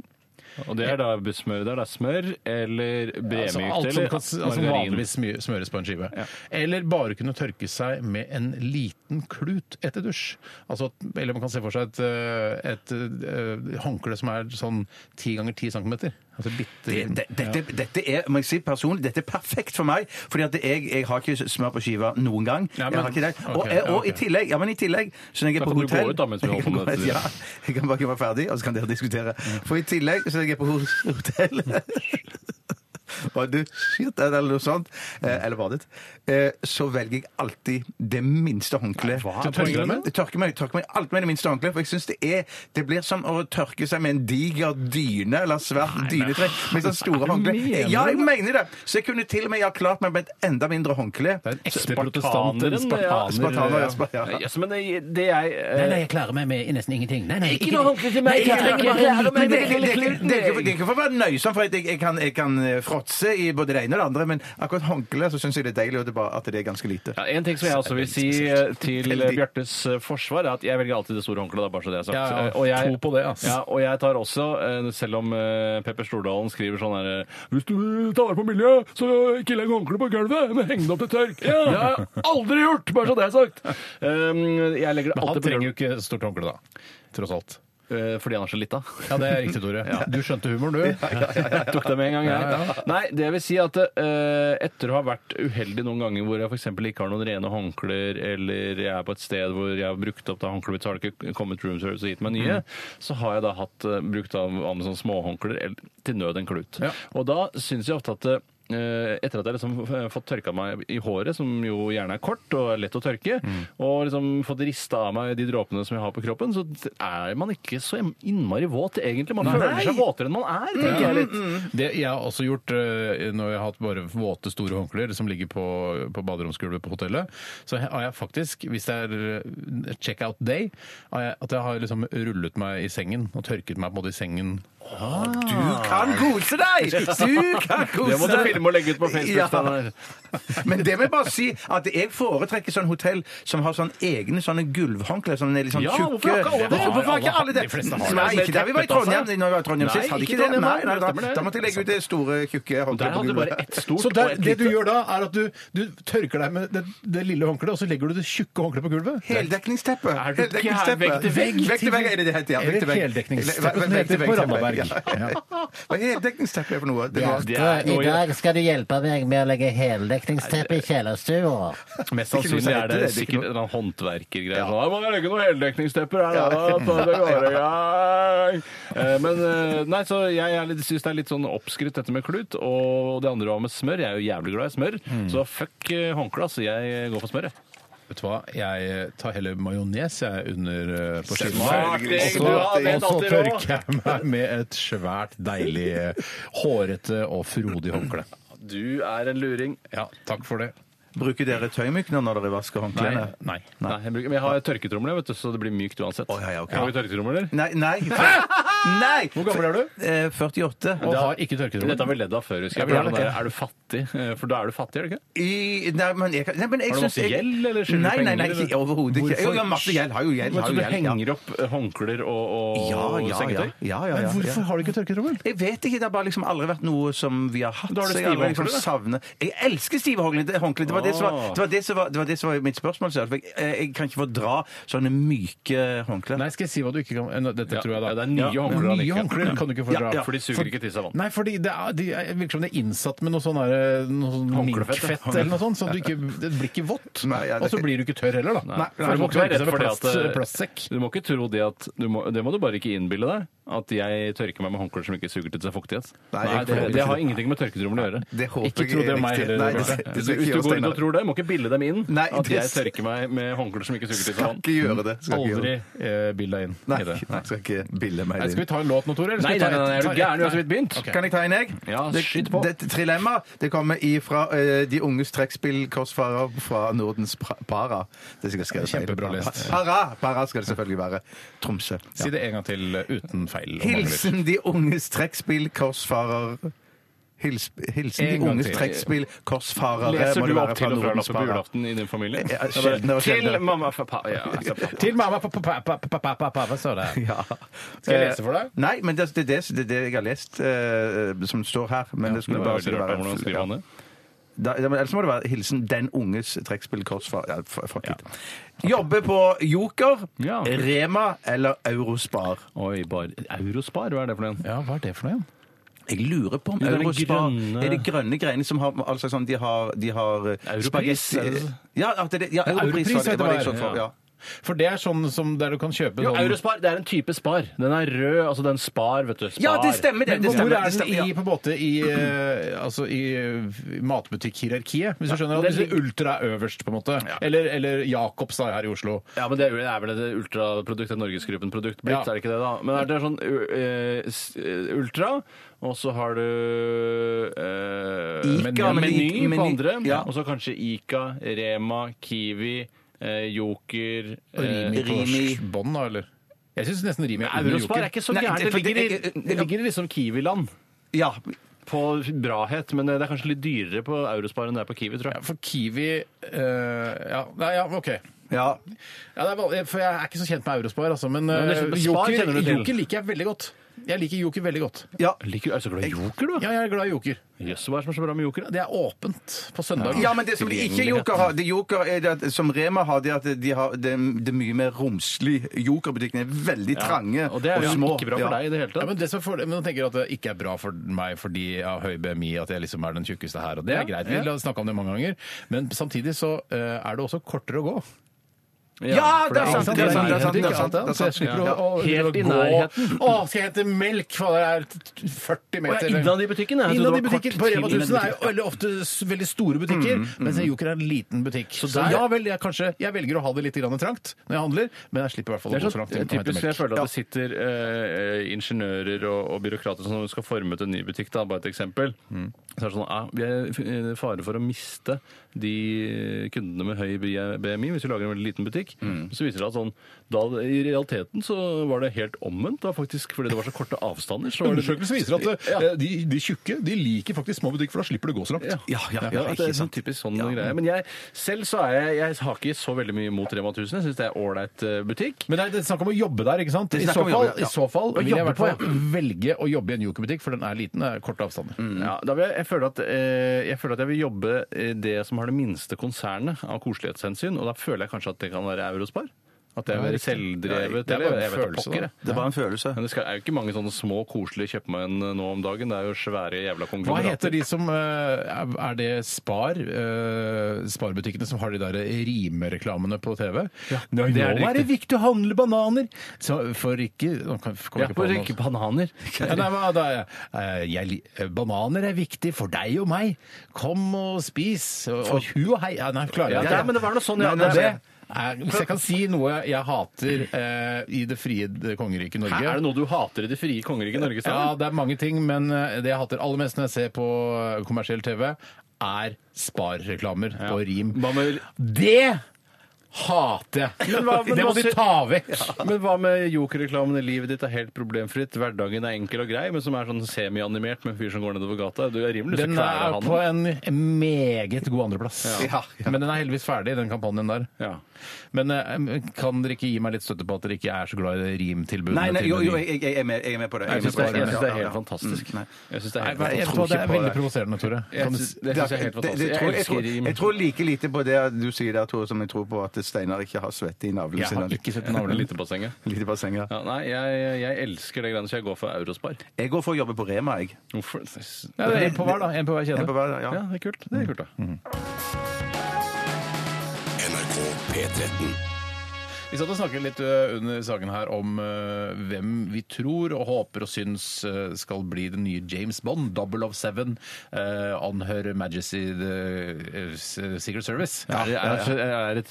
[SPEAKER 5] Og det er da bussmør. Det er da smør eller bremykt
[SPEAKER 4] Altså, alt som
[SPEAKER 5] eller
[SPEAKER 4] kan, altså, vanligvis smy- smøres på en skive.
[SPEAKER 5] Ja.
[SPEAKER 4] Eller bare kunne tørke seg med en liten klut etter dusj. Altså, at- eller man kan se for seg et, eh, et, eh, håndkle som er sånn 10 ganger 10 cm. Altså bitte
[SPEAKER 6] Det,
[SPEAKER 4] liten.
[SPEAKER 6] det, dette, dette er må jeg si personlig, dette er perfekt for meg, fordi at jeg, jeg har ikke smør på skiva noen gang.
[SPEAKER 4] Ja,
[SPEAKER 6] jeg
[SPEAKER 4] men-
[SPEAKER 6] har ikke det. Og,
[SPEAKER 4] ok,
[SPEAKER 6] jeg, og
[SPEAKER 4] ok.
[SPEAKER 6] i tillegg, ja, men i tillegg så når jeg er
[SPEAKER 5] Da
[SPEAKER 6] på
[SPEAKER 5] kan du gå
[SPEAKER 6] hotell
[SPEAKER 5] ut da, mens vi
[SPEAKER 6] Jeg kan
[SPEAKER 5] holder på med
[SPEAKER 6] gå-
[SPEAKER 5] dette.
[SPEAKER 6] Ja, jeg kan bare ikke være ferdig, og så kan dere diskutere. For i tillegg så når jeg er på ho- hotell og du shit, eller noe sånt, eh, eller badet, eh, så velger jeg alltid det minste håndkleet.
[SPEAKER 4] Til tørke deg med?
[SPEAKER 6] Jeg Tørker meg, tørker meg alt med det minste håndkleet, for jeg syns det er Det blir som å tørke seg med en diger dyne eller svært dynetrekk med sånn store håndkle.
[SPEAKER 4] mener
[SPEAKER 6] Ja, jeg mener det! Så jeg kunne til og med ha klart meg med et enda mindre håndkle.
[SPEAKER 4] Det er en ekte
[SPEAKER 5] Spartaneren,
[SPEAKER 4] protestant. en
[SPEAKER 5] ja.
[SPEAKER 4] spartaner.
[SPEAKER 6] Spartaner, ja, spa- ja.
[SPEAKER 5] Yes, men det, det jeg eh,
[SPEAKER 4] jeg klarer meg med nesten ingenting. Nei,
[SPEAKER 5] Ikke noe håndkle til meg, jeg trenger bare
[SPEAKER 6] Det det- det-
[SPEAKER 5] en liten
[SPEAKER 6] det er ikke- det er ikke for å være nøysom, for at jeg, jeg, kan, jeg kan eh, fråtse i både det ene og det andre, men akkurat håndkle så syns jeg det er deilig og det er bare at det er ganske lite.
[SPEAKER 5] Ja, en ting som jeg også vil si eh, til eh, Bjartes eh, forsvar, er at jeg velger alltid det store håndkleet. da, Bare så det er sagt.
[SPEAKER 4] Ja, ja,
[SPEAKER 5] Eh, og jeg,
[SPEAKER 4] to på det, ass.
[SPEAKER 5] Ja, og jeg tar også, eh, selv om eh, Pepper Stordalen skriver sånn her eh, Hvis du tar vare på miljøet, så ikke legg håndkleet på gulvet, men heng det opp til tørk. Ja, det har jeg aldri gjort! Bare så det er sagt. Um, jeg legger det
[SPEAKER 4] Men han
[SPEAKER 5] alltid på
[SPEAKER 4] trenger jo
[SPEAKER 5] gulvet
[SPEAKER 4] ikke stort håndkle, da. Tross alt.
[SPEAKER 5] eh, fordi han er så lita.
[SPEAKER 4] Ja, det er riktig, Tore. Du skjønte humoren, du.
[SPEAKER 5] Jeg tok det med en gang, jeg. Nei, det vil si at eh, etter å ha vært uheldig noen ganger hvor jeg f.eks. ikke har noen rene håndklær, eller jeg er på et sted hvor jeg har brukt opp det håndkleet mitt, så har det ikke kommet room service og gitt meg nye, så har jeg da hatt eh, brukt av Amazon småhåndklær, eller til nød en klut.
[SPEAKER 4] Ja.
[SPEAKER 5] Og da syns jeg ofte at eh, etter at jeg liksom har fått tørka meg i håret, som jo gjerne er kort og er lett å tørke,
[SPEAKER 4] Mm.
[SPEAKER 5] og liksom fått rista av meg de dråpene som jeg har på kroppen, så er man ikke så innmari våt egentlig. Man føler seg våtere enn man er,
[SPEAKER 4] Mm,
[SPEAKER 5] tenker jeg litt.
[SPEAKER 4] Det jeg har også gjort eh, når jeg har hatt bare våte, store håndklær som ligger på, på baderomsgulvet på hotellet, så he- har jeg faktisk, hvis det er eh, check-out day, har jeg, at jeg har liksom rullet meg i sengen og tørket meg på en måte i sengen.
[SPEAKER 6] Du kan kose deg! Du kan kose deg!
[SPEAKER 5] Det måtte du filme og legge ut på Facebook.
[SPEAKER 6] Ja.
[SPEAKER 5] Steinar.
[SPEAKER 6] Men det må jeg bare si at jeg foretrekker sånn hotell som har sånn egne sånne gulvhåndklær som er litt sånn
[SPEAKER 5] Ja,
[SPEAKER 6] tjukke.
[SPEAKER 5] hvorfor har ikke alle det?
[SPEAKER 6] Hvorfor har ikke alle det?
[SPEAKER 4] De fleste har det.
[SPEAKER 6] Nei, ikke der vi var i Trondheim.
[SPEAKER 5] Altså.
[SPEAKER 6] Når vi var i Trondheim
[SPEAKER 5] Nei,
[SPEAKER 6] sist, hadde
[SPEAKER 5] ikke
[SPEAKER 6] ikke det.
[SPEAKER 5] Trondheim,
[SPEAKER 6] Nei,
[SPEAKER 5] nei,
[SPEAKER 6] nei,
[SPEAKER 5] stemmer
[SPEAKER 6] da,
[SPEAKER 5] det.
[SPEAKER 6] da måtte jeg legge ut det store, tjukke
[SPEAKER 5] Der
[SPEAKER 6] håndkleet på
[SPEAKER 5] hadde du bare
[SPEAKER 6] gulvet.
[SPEAKER 5] ett stort
[SPEAKER 4] Så der,
[SPEAKER 5] og ett
[SPEAKER 4] det du
[SPEAKER 5] lite.
[SPEAKER 4] gjør da, er at du, du tørker deg med det, det lille håndkleet, og så legger du det tjukke håndkleet på gulvet.
[SPEAKER 6] Heldekningsteppe.
[SPEAKER 5] Er du ikke her?
[SPEAKER 6] Heldekningsteppe.
[SPEAKER 5] Vegg til vegg?
[SPEAKER 6] Vegg til vegg er det det heter, ja.
[SPEAKER 4] Eller
[SPEAKER 6] Vegg til vegg.
[SPEAKER 4] heldekningsteppe,
[SPEAKER 6] Vegg-
[SPEAKER 4] som det
[SPEAKER 6] vegg til
[SPEAKER 4] heter
[SPEAKER 6] vegg
[SPEAKER 4] på
[SPEAKER 6] til vegg,
[SPEAKER 4] Randaberg.
[SPEAKER 6] ja. Hva er heldekningsteppe for noe? Det er-
[SPEAKER 5] Det er noe-
[SPEAKER 12] skal du hjelpe meg med å legge heldekningsteppe i kjelerstua.
[SPEAKER 5] Mest
[SPEAKER 6] ikke noe
[SPEAKER 5] sannsynlig
[SPEAKER 6] som
[SPEAKER 5] er det
[SPEAKER 6] heter det, det er ikke
[SPEAKER 5] sikkert en eller annen håndverkergreie. Sånn, Ja. Må jeg legge noen heldekningstepper her, da? Ta det klare gang. Eh, Men eh, nei, så jeg er litt- syns det er litt sånn oppskrytt dette med klut. Og det andre var med smør. Jeg er jo jævlig glad i smør, så fuck eh, håndkle, altså. Jeg går for smør, jeg.
[SPEAKER 4] Vet du hva, jeg tar heller majones jeg under eh, på skiven.
[SPEAKER 5] Smart,
[SPEAKER 4] her.
[SPEAKER 5] Erik,
[SPEAKER 4] Og
[SPEAKER 5] du har
[SPEAKER 4] så-
[SPEAKER 5] det
[SPEAKER 4] Og så
[SPEAKER 5] alltid råd.
[SPEAKER 4] tørker jeg meg med et svært deilig, eh, hårete og frodig håndkle.
[SPEAKER 5] Du er en luring.
[SPEAKER 4] Ja, takk for det.
[SPEAKER 6] Bruker dere tøymykner når dere vasker håndklærne?
[SPEAKER 4] Nei.
[SPEAKER 5] Nei, jeg, bruker, men jeg har tørketromler, vet du, så det blir mykt uansett.
[SPEAKER 6] Å, ja, ja, ok.
[SPEAKER 5] Har du tørketromler?
[SPEAKER 6] Nei, nei. nei.
[SPEAKER 4] Hvor gammel er du?
[SPEAKER 6] Eh, 48.
[SPEAKER 4] Og har ikke
[SPEAKER 5] Dette har
[SPEAKER 4] tørketrommel.
[SPEAKER 5] vi ledd av før, husker jeg.
[SPEAKER 4] Ja, vi har
[SPEAKER 5] Sånn
[SPEAKER 4] det.
[SPEAKER 5] der, Er du fattig? Eh, For da er du fattig, er du ikke?
[SPEAKER 6] I, nei, men jeg, kan- nei, men jeg
[SPEAKER 5] Har du
[SPEAKER 6] syns
[SPEAKER 5] masse
[SPEAKER 6] jeg-
[SPEAKER 5] gjeld, eller skylder du
[SPEAKER 6] Nei, nei, nei,
[SPEAKER 5] penger,
[SPEAKER 6] ikke- overhodet ikke. Jo, jeg har masse gjeld. Har jo gjeld.
[SPEAKER 5] Men
[SPEAKER 6] Har
[SPEAKER 5] så
[SPEAKER 6] jo
[SPEAKER 5] du
[SPEAKER 6] gjeld ja.
[SPEAKER 5] henger opp eh, håndklær og, og
[SPEAKER 6] ja, ja, ja,
[SPEAKER 5] sengetøy?
[SPEAKER 6] ja, ja, ja,
[SPEAKER 4] Men hvorfor
[SPEAKER 6] ja.
[SPEAKER 4] har du ikke tørketrommel?
[SPEAKER 6] Jeg vet ikke, det har bare liksom aldri vært noe som vi har hatt.
[SPEAKER 5] Da har du
[SPEAKER 6] så jeg aldri
[SPEAKER 5] stive
[SPEAKER 6] liksom
[SPEAKER 5] håndklær, da.
[SPEAKER 6] savnet- Jeg elsker stive håndklær. Det, håndklær. det, var det, som var, det, var det, som var, det var det som var mitt spørsmål. selv, for Jeg, eh, jeg kan ikke fordra sånne myke håndklær.
[SPEAKER 4] Nei, skal jeg si hva du ikke kan Nå, Dette
[SPEAKER 5] Ja,
[SPEAKER 4] tror jeg da.
[SPEAKER 5] ja, det er nye håndklær han
[SPEAKER 4] Nye
[SPEAKER 5] ikke kan.
[SPEAKER 4] håndklær
[SPEAKER 5] Ja.
[SPEAKER 4] kan du ikke
[SPEAKER 5] Ja,
[SPEAKER 4] fordra.
[SPEAKER 5] ja, for de suger ikke til seg vann.
[SPEAKER 4] Nei, fordi det er, de er, virker som de er innsatt med noe sånn her, noe sånn
[SPEAKER 5] Håndklefett, ja.
[SPEAKER 4] minkfett eller noe sånt, så du ikke, det blir ikke vått.
[SPEAKER 6] Nei, ja, det-
[SPEAKER 4] Og så blir du ikke tørr heller, da.
[SPEAKER 5] Nei,
[SPEAKER 4] for
[SPEAKER 5] du
[SPEAKER 4] du
[SPEAKER 5] må
[SPEAKER 4] må
[SPEAKER 5] ikke
[SPEAKER 4] tørke
[SPEAKER 5] være redd
[SPEAKER 4] seg med
[SPEAKER 5] for det eh,
[SPEAKER 4] plast,
[SPEAKER 5] at-
[SPEAKER 4] plastsekk.
[SPEAKER 5] Du må ikke tro det at du må, Det må du bare ikke innbille deg. At jeg tørker meg med håndklær som ikke suger til seg fuktighet? Nei,
[SPEAKER 6] Nei, jeg
[SPEAKER 5] det,
[SPEAKER 6] håper
[SPEAKER 5] det
[SPEAKER 6] ikke
[SPEAKER 5] har
[SPEAKER 6] det.
[SPEAKER 5] ingenting med tørketrommel å gjøre.
[SPEAKER 6] det håper jeg
[SPEAKER 5] ikke tro det
[SPEAKER 6] er
[SPEAKER 5] om meg
[SPEAKER 6] riktig.
[SPEAKER 5] heller.
[SPEAKER 6] Nei, det- det
[SPEAKER 5] Bjarte. Hvis
[SPEAKER 6] skal ikke gjøre,
[SPEAKER 5] hvis du går rundt og
[SPEAKER 6] Steinar.
[SPEAKER 5] tror det, må ikke bilde dem inn.
[SPEAKER 6] Nei,
[SPEAKER 5] at
[SPEAKER 6] det-
[SPEAKER 5] jeg tørker meg med håndklær som ikke suger til seg
[SPEAKER 6] Skal
[SPEAKER 5] vann.
[SPEAKER 6] ikke gjøre det. Skal ikke gjøre
[SPEAKER 5] Aldri
[SPEAKER 6] det.
[SPEAKER 4] eh, bild deg inn
[SPEAKER 6] Nei,
[SPEAKER 4] i det.
[SPEAKER 6] nei, skal ikke bille meg
[SPEAKER 4] Nei, skal vi ta en låt nå, Tore? eller skal
[SPEAKER 5] Nei,
[SPEAKER 4] vi ta et-
[SPEAKER 5] nei, nei, nei, er du
[SPEAKER 4] ta et-
[SPEAKER 5] gæren? Vi har så
[SPEAKER 6] Altså,
[SPEAKER 4] Nei.
[SPEAKER 5] vidt begynt.
[SPEAKER 4] Ok.
[SPEAKER 6] Kan jeg ta en, jeg?
[SPEAKER 5] Ja,
[SPEAKER 6] det,
[SPEAKER 5] skyt på.
[SPEAKER 6] Det er et dilemma. Det kommer ifra eh, de unges trekkspillkorsfarer fra Nordens pra- Para. Det skal jeg skrive feil.
[SPEAKER 4] Kjempebra lest.
[SPEAKER 6] Para! Para skal det selvfølgelig være. Tromsø. Ja.
[SPEAKER 4] Si det en gang til eh, uten feil. og mangler.
[SPEAKER 6] Hilsen de unges trekkspillkorsfarer Hils, Hilsen
[SPEAKER 4] En
[SPEAKER 6] de
[SPEAKER 4] gang
[SPEAKER 6] unges
[SPEAKER 4] til.
[SPEAKER 6] trekkspillkorsfarere
[SPEAKER 5] Leser
[SPEAKER 6] må
[SPEAKER 5] du
[SPEAKER 6] det være
[SPEAKER 5] opp
[SPEAKER 6] fra
[SPEAKER 5] til og fra
[SPEAKER 6] Nordens
[SPEAKER 5] lappen på
[SPEAKER 6] Para.
[SPEAKER 5] julaften i din familie?
[SPEAKER 6] Ja,
[SPEAKER 5] Det er
[SPEAKER 6] sjeldnere og
[SPEAKER 5] bare, Til
[SPEAKER 6] sjeldnere."
[SPEAKER 5] mamma for pappa. Ja, altså, pappa.
[SPEAKER 4] Til mamma pa- pa- pa- pa- pa- pa- pa- pa- Hva står det?
[SPEAKER 6] Ja.
[SPEAKER 4] Skal jeg lese for deg?
[SPEAKER 6] Eh, Nei, men det, det, er det, det er det jeg har lest eh, som står her. Men det
[SPEAKER 5] Det
[SPEAKER 6] skulle
[SPEAKER 5] var
[SPEAKER 6] bare
[SPEAKER 5] veldig
[SPEAKER 6] sikkert
[SPEAKER 5] rart
[SPEAKER 6] være
[SPEAKER 5] hvordan han skriver om det.
[SPEAKER 6] Da, ja, men ellers må det være hilsen den unges trekkspillkorsfar. Ja, f- fuck it. Jobbe på Joker,
[SPEAKER 5] Ja.
[SPEAKER 6] Rema eller Eurospar?
[SPEAKER 5] Oi, bare Eurospar, hva er det for noe?
[SPEAKER 4] Ja, hva er det for noe igjen?
[SPEAKER 6] Jeg lurer på om
[SPEAKER 5] Ja, det er den
[SPEAKER 6] Eurospar
[SPEAKER 5] grønne-
[SPEAKER 6] er det grønne greiene som har altså sånn, De har, de har eh,
[SPEAKER 5] Europris,
[SPEAKER 6] spagetti-
[SPEAKER 5] er det det?
[SPEAKER 6] Ja, at det, ja Europris,
[SPEAKER 4] Europris,
[SPEAKER 6] var det,
[SPEAKER 4] vet
[SPEAKER 6] det
[SPEAKER 4] du
[SPEAKER 6] var det
[SPEAKER 4] hva
[SPEAKER 6] jeg så
[SPEAKER 4] er,
[SPEAKER 6] for.
[SPEAKER 4] ja.
[SPEAKER 6] Ja.
[SPEAKER 4] For det er sånn som der du kan kjøpe
[SPEAKER 5] Jo,
[SPEAKER 4] sånn-
[SPEAKER 5] Eurospar det er en type spar. Den er rød, altså den spar, vet du. Spar.
[SPEAKER 6] Ja, det stemmer, det.
[SPEAKER 4] Men
[SPEAKER 6] det
[SPEAKER 4] hvor
[SPEAKER 6] stemmer,
[SPEAKER 4] er
[SPEAKER 6] det stemmer, ja.
[SPEAKER 4] den i, på en måte, i, eh, altså, i eh, matbutikkhierarkiet? Hvis du skjønner at
[SPEAKER 5] den
[SPEAKER 4] hvis Ultra er øverst, på en måte. Eller, eller Jacobs da, her i Oslo.
[SPEAKER 5] Ja, men Det er vel- det er vel et ultraprodukt, et Norgesgruppen-produkt blitt,
[SPEAKER 4] Ja.
[SPEAKER 5] er det ikke det, da? Men er det sånn ø- eh, s- eh, ultra, og så har du eh,
[SPEAKER 6] Ica,
[SPEAKER 5] men-
[SPEAKER 6] men
[SPEAKER 5] Meny
[SPEAKER 6] Ica-
[SPEAKER 5] på
[SPEAKER 6] Meny-
[SPEAKER 5] andre,
[SPEAKER 6] ja.
[SPEAKER 5] og så kanskje Ica, Rema, Kiwi, eh, Joker eh,
[SPEAKER 4] Rimi på
[SPEAKER 6] Rimi.
[SPEAKER 4] norsk bånd, da, eller? Jeg syns nesten Rimi er under
[SPEAKER 5] Eurospar er
[SPEAKER 4] joker.
[SPEAKER 5] ikke så
[SPEAKER 6] Nei,
[SPEAKER 5] gærent.
[SPEAKER 6] det-
[SPEAKER 5] Det,
[SPEAKER 6] for det-
[SPEAKER 5] ligger i-
[SPEAKER 6] jeg- jeg-
[SPEAKER 5] det ligger i liksom Kiwi-land
[SPEAKER 6] Ja.
[SPEAKER 5] på brahet, men eh, det er kanskje litt dyrere på Eurospar enn det er på Kiwi, tror jeg.
[SPEAKER 4] Ja, For Kiwi eh, ja. Nei, ja, OK.
[SPEAKER 6] ja.
[SPEAKER 4] Ja, det er, vanlig, for jeg er ikke så kjent med Eurospar, altså. Men
[SPEAKER 5] men det er
[SPEAKER 4] eh,
[SPEAKER 5] kjent med Spar, kjenner
[SPEAKER 4] joker,
[SPEAKER 5] du til.
[SPEAKER 4] joker liker jeg veldig godt. Jeg liker Joker veldig godt.
[SPEAKER 6] ja.
[SPEAKER 5] Liker, er du så glad i Joker, du?
[SPEAKER 4] Ja, jeg er glad i Joker.
[SPEAKER 5] Jøss, hva er det som er så bra med Joker? da?
[SPEAKER 4] Det er åpent på søndag.
[SPEAKER 6] Ja, men det som de ikke Joker har, det Joker er det at, som Rema har, det er at de har, det, er- det er mye mer romslig. Joker-butikkene er veldig trange
[SPEAKER 5] Og det er jo
[SPEAKER 6] små.
[SPEAKER 5] ikke bra for
[SPEAKER 6] Ja.
[SPEAKER 5] deg i det hele
[SPEAKER 4] Ja,
[SPEAKER 5] tatt.
[SPEAKER 4] men det som er fordelen- men jeg tenker at det ikke er bra for meg fordi jeg har høy BMI, at jeg liksom er den tjukkeste her. Og det er
[SPEAKER 5] Ja,
[SPEAKER 4] greit, vi
[SPEAKER 5] ja.
[SPEAKER 4] har snakka om det mange ganger. Men samtidig så eh, er det også kortere å gå.
[SPEAKER 6] Ja,
[SPEAKER 5] for
[SPEAKER 6] det er sant,
[SPEAKER 5] alltid
[SPEAKER 6] det er sant, det er sant, det er
[SPEAKER 4] Ikke
[SPEAKER 6] sant, det er
[SPEAKER 4] Så jeg
[SPEAKER 6] sant.
[SPEAKER 4] slipper å,
[SPEAKER 5] Ja.
[SPEAKER 4] å,
[SPEAKER 5] Helt i
[SPEAKER 4] gå.
[SPEAKER 5] nærheten.
[SPEAKER 4] Å, skal jeg hente melk? Fader, det er 40
[SPEAKER 5] Å, ja,
[SPEAKER 4] meter.
[SPEAKER 5] innad i butikken, ja.
[SPEAKER 4] Innad
[SPEAKER 5] Jeg trodde
[SPEAKER 4] i
[SPEAKER 5] det var
[SPEAKER 4] butikken.
[SPEAKER 5] kort
[SPEAKER 4] På Rema
[SPEAKER 5] til
[SPEAKER 4] 1000 er jo
[SPEAKER 5] innad i butikken. Mm,
[SPEAKER 4] veldig ofte s- veldig store butikker, mens Joker er en liten butikk. Så,
[SPEAKER 5] der-
[SPEAKER 4] ja vel, jeg, kanskje, jeg velger å ha det litt grann trangt når jeg handler, men jeg slipper i hvert fall
[SPEAKER 5] Det
[SPEAKER 4] å
[SPEAKER 5] er
[SPEAKER 4] gå så
[SPEAKER 5] sånn
[SPEAKER 4] langt. inn og hente
[SPEAKER 5] typisk når jeg
[SPEAKER 4] melk.
[SPEAKER 5] føler at det sitter eh, ingeniører og, og byråkrater som skal forme ut en ny butikk, da, bare et eksempel.
[SPEAKER 4] Mm.
[SPEAKER 5] Så er det sånn, ah, vi er f- eh, fare for å miste de kundene med høy B- BMI hvis vi lager en veldig liten butikk.
[SPEAKER 4] Mm.
[SPEAKER 5] Så viser det seg at sånn, da, i realiteten så var det helt omvendt, da, faktisk, fordi det var så korte avstander. Så var det-
[SPEAKER 4] Undersøkelsen viser at
[SPEAKER 5] Ja.
[SPEAKER 4] eh, de, de tjukke de liker faktisk små butikker, for da slipper du å gå så langt.
[SPEAKER 6] Ja, ja, ja,
[SPEAKER 5] at det
[SPEAKER 6] ikke
[SPEAKER 5] er sånn
[SPEAKER 6] sant.
[SPEAKER 5] typisk sånn greie. Men jeg, selv så er jeg, jeg har ikke så veldig mye mot Rema 1000. Jeg syns det er ålreit eh, butikk.
[SPEAKER 4] Men det er- det er snakk om å jobbe der, ikke sant? I
[SPEAKER 6] Det er
[SPEAKER 4] så
[SPEAKER 6] snakk om å
[SPEAKER 4] fall,
[SPEAKER 6] jobbe, ja.
[SPEAKER 4] i så fall
[SPEAKER 5] Å
[SPEAKER 4] vil jeg i
[SPEAKER 5] jobbe
[SPEAKER 4] hvert fall
[SPEAKER 5] på,
[SPEAKER 4] velge å jobbe i en jokerbutikk, for den er liten, det er korte avstander.
[SPEAKER 5] Ja, da vil jeg, jeg, føler at, eh, jeg føler at jeg vil jobbe eh, det som har det minste konsernet av koselighetshensyn, og da føler jeg kanskje at det kan være Eurospar. At det
[SPEAKER 4] Ja,
[SPEAKER 5] er mer
[SPEAKER 4] riktig. Ja,
[SPEAKER 5] selvdrevet,
[SPEAKER 4] det er bare
[SPEAKER 5] eller
[SPEAKER 4] en
[SPEAKER 5] jeg vet da
[SPEAKER 4] følelse, da.
[SPEAKER 5] pokker. jeg.
[SPEAKER 6] Det er bare en følelse.
[SPEAKER 5] Men det skal, er jo ikke mange sånne små, koselige kjøpmenn eh, nå om dagen. Det er jo svære jævla
[SPEAKER 4] Hva
[SPEAKER 5] konglomerater.
[SPEAKER 4] heter de som eh, Er er det Spar? eh, Sparbutikkene som har de der rimereklamene på TV? Nei,
[SPEAKER 5] det er det
[SPEAKER 4] nå er det viktig å handle bananer! Så for ikke Nå kan- kom
[SPEAKER 5] Ja,
[SPEAKER 4] jeg ikke på
[SPEAKER 5] for
[SPEAKER 4] noe.
[SPEAKER 5] ikke altså. bananer.
[SPEAKER 4] Ja, nei, hva da? Eh, Jeg, li- eh, bananer er viktig for deg og meg. Kom og spis. Og, og hu og hei. Ja, nei, klarer
[SPEAKER 5] Ja,
[SPEAKER 4] jeg
[SPEAKER 5] det, men det var noe sånn, ja.
[SPEAKER 4] Nei, nei,
[SPEAKER 5] det,
[SPEAKER 4] det er, hvis jeg kan si noe jeg hater eh, i det frie d- kongeriket Norge
[SPEAKER 5] er det noe du hater i det frie kongeriket Norge?
[SPEAKER 4] Ja,
[SPEAKER 5] Steinar?
[SPEAKER 4] det er mange ting, men eh, det jeg hater aller mest når jeg ser på eh, kommersiell TV, er sparreklamer på rim.
[SPEAKER 5] Hva med-
[SPEAKER 4] Det hater jeg!
[SPEAKER 5] Men hva- men
[SPEAKER 4] det må
[SPEAKER 5] hva
[SPEAKER 4] de
[SPEAKER 5] ser-
[SPEAKER 4] ta vekk!
[SPEAKER 5] Men hva med jokerreklamene? Livet ditt er helt problemfritt, hverdagen er enkel og grei, men som er sånn semianimert med en fyr som går nedover gata. Du er rimelig lyst til
[SPEAKER 4] Den
[SPEAKER 5] å kvæle
[SPEAKER 4] er
[SPEAKER 5] han.
[SPEAKER 4] på en meget god andreplass.
[SPEAKER 6] Ja, ja.
[SPEAKER 4] Men den er heldigvis ferdig, den kampanjen der.
[SPEAKER 5] Ja.
[SPEAKER 4] Men eh, kan dere ikke gi meg litt støtte på at dere ikke er så glad i rimtilbudene?
[SPEAKER 6] Nei, nei,
[SPEAKER 4] til
[SPEAKER 6] jo, jo,
[SPEAKER 4] de-
[SPEAKER 6] jeg, jeg, er med, jeg er med på det.
[SPEAKER 5] Jeg syns det, er- jeg synes det er
[SPEAKER 6] Ja,
[SPEAKER 5] helt
[SPEAKER 6] ja.
[SPEAKER 5] fantastisk.
[SPEAKER 6] Mm, nei.
[SPEAKER 5] Jeg syns det er helt
[SPEAKER 4] Nei, jeg
[SPEAKER 5] fantastisk.
[SPEAKER 4] tror det er
[SPEAKER 6] ikke på
[SPEAKER 4] veldig
[SPEAKER 6] det.
[SPEAKER 4] provoserende, Tore.
[SPEAKER 5] Jeg
[SPEAKER 4] Kan du-
[SPEAKER 5] synes- Det syns jeg er helt
[SPEAKER 6] Det- det-
[SPEAKER 5] fantastisk.
[SPEAKER 6] jeg
[SPEAKER 5] Jeg
[SPEAKER 6] tror- jeg
[SPEAKER 5] elsker
[SPEAKER 6] tror-
[SPEAKER 5] rim.
[SPEAKER 6] Jeg tror like lite på det du sier der, Tore, som jeg tror på at Steinar ikke har svette i navlen
[SPEAKER 4] Jeg
[SPEAKER 6] sin.
[SPEAKER 4] har ikke sett
[SPEAKER 5] Navlen
[SPEAKER 4] navlen
[SPEAKER 5] litt i bassenget.
[SPEAKER 6] Lite bassenger.
[SPEAKER 5] Ja, nei, jeg, jeg elsker det greiene, så jeg går for Eurospar.
[SPEAKER 6] Jeg går for å jobbe på Rema, jeg.
[SPEAKER 5] Hvorfor?
[SPEAKER 4] Ja, det er en på hver, da. En på hver
[SPEAKER 6] Jeg er på
[SPEAKER 4] kjede.
[SPEAKER 6] hver- ja.
[SPEAKER 5] Ja, det er kult. Det er kult da.
[SPEAKER 7] NRK P13.
[SPEAKER 4] Vi satt og snakket litt ø, under saken her om ø, hvem vi tror og håper og syns ø, skal bli den nye James Bond. Double of Seven, uh, On Her Majesty the, ø, Secret Service.
[SPEAKER 5] Er, er, er et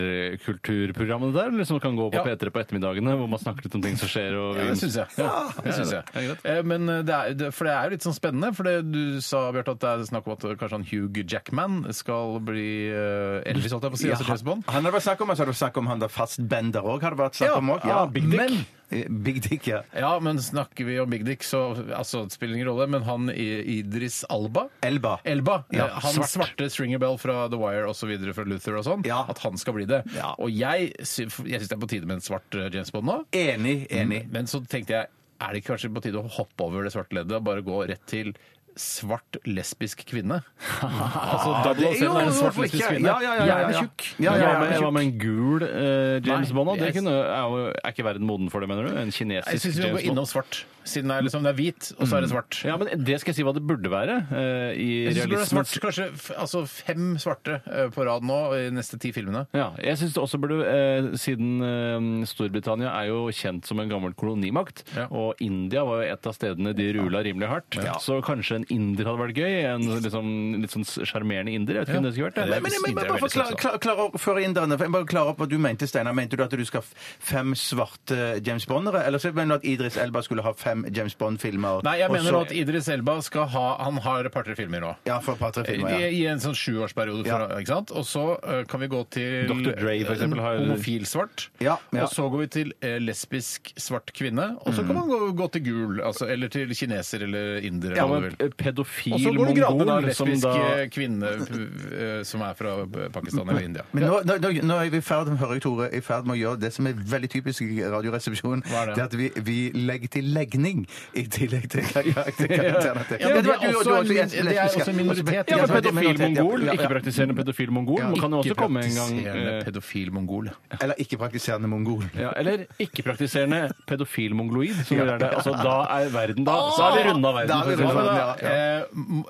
[SPEAKER 5] populærkulturprogram det der, eller som kan gå på
[SPEAKER 4] Ja.
[SPEAKER 5] P3 på ettermiddagene, hvor man snakker litt om ting som skjer? Og,
[SPEAKER 4] Ja, det syns jeg. Ja, det synes jeg. Eh, Men det er, det, for det er jo litt sånn spennende. For det, du sa Bjørte, at det er snakk om at kanskje han Hugh Jackman skal bli eh, Elvis, holdt jeg på å si.
[SPEAKER 6] Ja,
[SPEAKER 4] altså James Bond.
[SPEAKER 6] Han har vært snakk om, og så har det vært snakk om han der fastbender òg. Har det vært snakk
[SPEAKER 4] Ja,
[SPEAKER 6] om også?
[SPEAKER 5] Ah,
[SPEAKER 4] ja, Big Dick.
[SPEAKER 6] Men- Eh, Big Dick, ja.
[SPEAKER 4] Ja, men snakker vi om Big Dick, så altså, det spiller ingen rolle. Men han i- Idris Alba
[SPEAKER 6] Elba.
[SPEAKER 4] Elba,
[SPEAKER 6] Ja,
[SPEAKER 4] eh, han
[SPEAKER 6] svart.
[SPEAKER 4] svarte Stringer Bell fra The Wire og så videre fra Luther og sånn, at han skal bli det. Og jeg, sy- jeg syns det er på tide med en svart eh, James Bond nå.
[SPEAKER 6] Enig, enig.
[SPEAKER 4] Mm, Men så tenkte jeg, er det ikke kanskje på tide å hoppe over det svarte leddet og bare gå rett til svart lesbisk kvinne? altså
[SPEAKER 5] Ah,
[SPEAKER 4] double
[SPEAKER 5] det- jo,
[SPEAKER 4] er en svart
[SPEAKER 5] hvorfor
[SPEAKER 4] lesbisk
[SPEAKER 5] ikke?
[SPEAKER 4] kvinne.
[SPEAKER 5] Ja, ja, ja, ja,
[SPEAKER 4] Gjerne
[SPEAKER 5] ja.
[SPEAKER 4] tjukk.
[SPEAKER 5] Ja, ja, ja,
[SPEAKER 4] Gjerne
[SPEAKER 5] men
[SPEAKER 4] tjukk.
[SPEAKER 5] Hva med en gul eh, James
[SPEAKER 4] Nei,
[SPEAKER 5] Bond? da? Det
[SPEAKER 4] jeg-
[SPEAKER 5] kunne, er, jo, er ikke verden moden for det, mener du? En
[SPEAKER 4] Jeg
[SPEAKER 5] kinesisk
[SPEAKER 4] syns vi må gå
[SPEAKER 5] James
[SPEAKER 4] innom
[SPEAKER 5] Bond?
[SPEAKER 4] svart. Siden det er, liksom, det er hvit, og så er det svart.
[SPEAKER 5] Ja, men Det skal jeg si hva det burde være. eh, I
[SPEAKER 4] Jeg synes det burde være
[SPEAKER 5] realismens
[SPEAKER 4] svart, kanskje f altså fem svarte eh, på rad nå i de neste ti filmene.
[SPEAKER 5] Ja, jeg synes det også burde, eh, Siden eh, Storbritannia er jo kjent som en gammel kolonimakt, og India var jo et av stedene de rula rimelig hardt, så kanskje en inder hadde vært gøy? En liksom, litt sånn sjarmerende inder? Jeg vet ikke om det skulle vært
[SPEAKER 6] Men,
[SPEAKER 5] det.
[SPEAKER 6] men, men, men bare for å klare, klare, klare opp før inderne, for jeg bare klare opp hva du mente, Steinar. Mente du at du skal ha f- fem svarte James Bondere? Eller så mener du at Idris Elba skulle ha fem James Bond-filmer?
[SPEAKER 4] Nei, jeg
[SPEAKER 6] og
[SPEAKER 4] mener
[SPEAKER 6] så-
[SPEAKER 4] at Idris Elba skal ha Han har et par-tre filmer nå.
[SPEAKER 6] Ja, for et par-tre filmer, ja.
[SPEAKER 4] I, I en sånn sjuårsperiode. for- Ikke sant? Og så eh, kan vi gå til eh,
[SPEAKER 5] Dr. Dre, for eksempel, har-
[SPEAKER 4] homofil svart.
[SPEAKER 6] Ja, ja.
[SPEAKER 4] Og så går vi til eh, lesbisk svart kvinne. Og så kan man gå, gå til gul, altså, eller til kineser eller inder. eller
[SPEAKER 5] Ja,
[SPEAKER 4] hva du
[SPEAKER 5] men eh,
[SPEAKER 4] vil.
[SPEAKER 5] pedofil
[SPEAKER 4] Og så går det gradene, da.
[SPEAKER 5] mongol som
[SPEAKER 4] Lesbisk
[SPEAKER 5] da
[SPEAKER 4] eh, kvinne eh, som er fra Pakistan eller India.
[SPEAKER 6] Men nå, nå, nå- nå er vi i ferd med, hører jeg, Tore, i ferd med å gjøre det som er veldig typisk i Radioresepsjonen.
[SPEAKER 4] Hva er det?
[SPEAKER 6] det? er at vi, vi legger til legning i tillegg til kar- til karakterene. til-
[SPEAKER 4] Ja, men
[SPEAKER 6] det
[SPEAKER 4] det
[SPEAKER 6] var
[SPEAKER 4] er
[SPEAKER 6] du-
[SPEAKER 4] også
[SPEAKER 6] du-
[SPEAKER 4] en
[SPEAKER 6] du-
[SPEAKER 4] min- det er
[SPEAKER 6] lesbisk, Altså,
[SPEAKER 4] også en minoritet.
[SPEAKER 5] Ja,
[SPEAKER 6] Ja,
[SPEAKER 5] men
[SPEAKER 6] sorry,
[SPEAKER 5] pedofil
[SPEAKER 6] minoritet, ja.
[SPEAKER 5] mongol,
[SPEAKER 6] Ja, ja.
[SPEAKER 5] ikke-praktiserende pedofil mongol,
[SPEAKER 6] Ja.
[SPEAKER 5] man kan jo også komme en gang
[SPEAKER 4] Ikke-praktiserende
[SPEAKER 5] eh,
[SPEAKER 4] pedofil mongol.
[SPEAKER 6] Eller ikke-praktiserende mongol.
[SPEAKER 5] ja, Eller ikke-praktiserende pedofil mongoloid, som er det. Altså, da er verden da. Så er vi runda verden.
[SPEAKER 4] Da
[SPEAKER 5] for
[SPEAKER 4] er
[SPEAKER 5] å si det
[SPEAKER 4] vi
[SPEAKER 5] sånn.
[SPEAKER 4] runde,
[SPEAKER 6] ja,
[SPEAKER 4] da.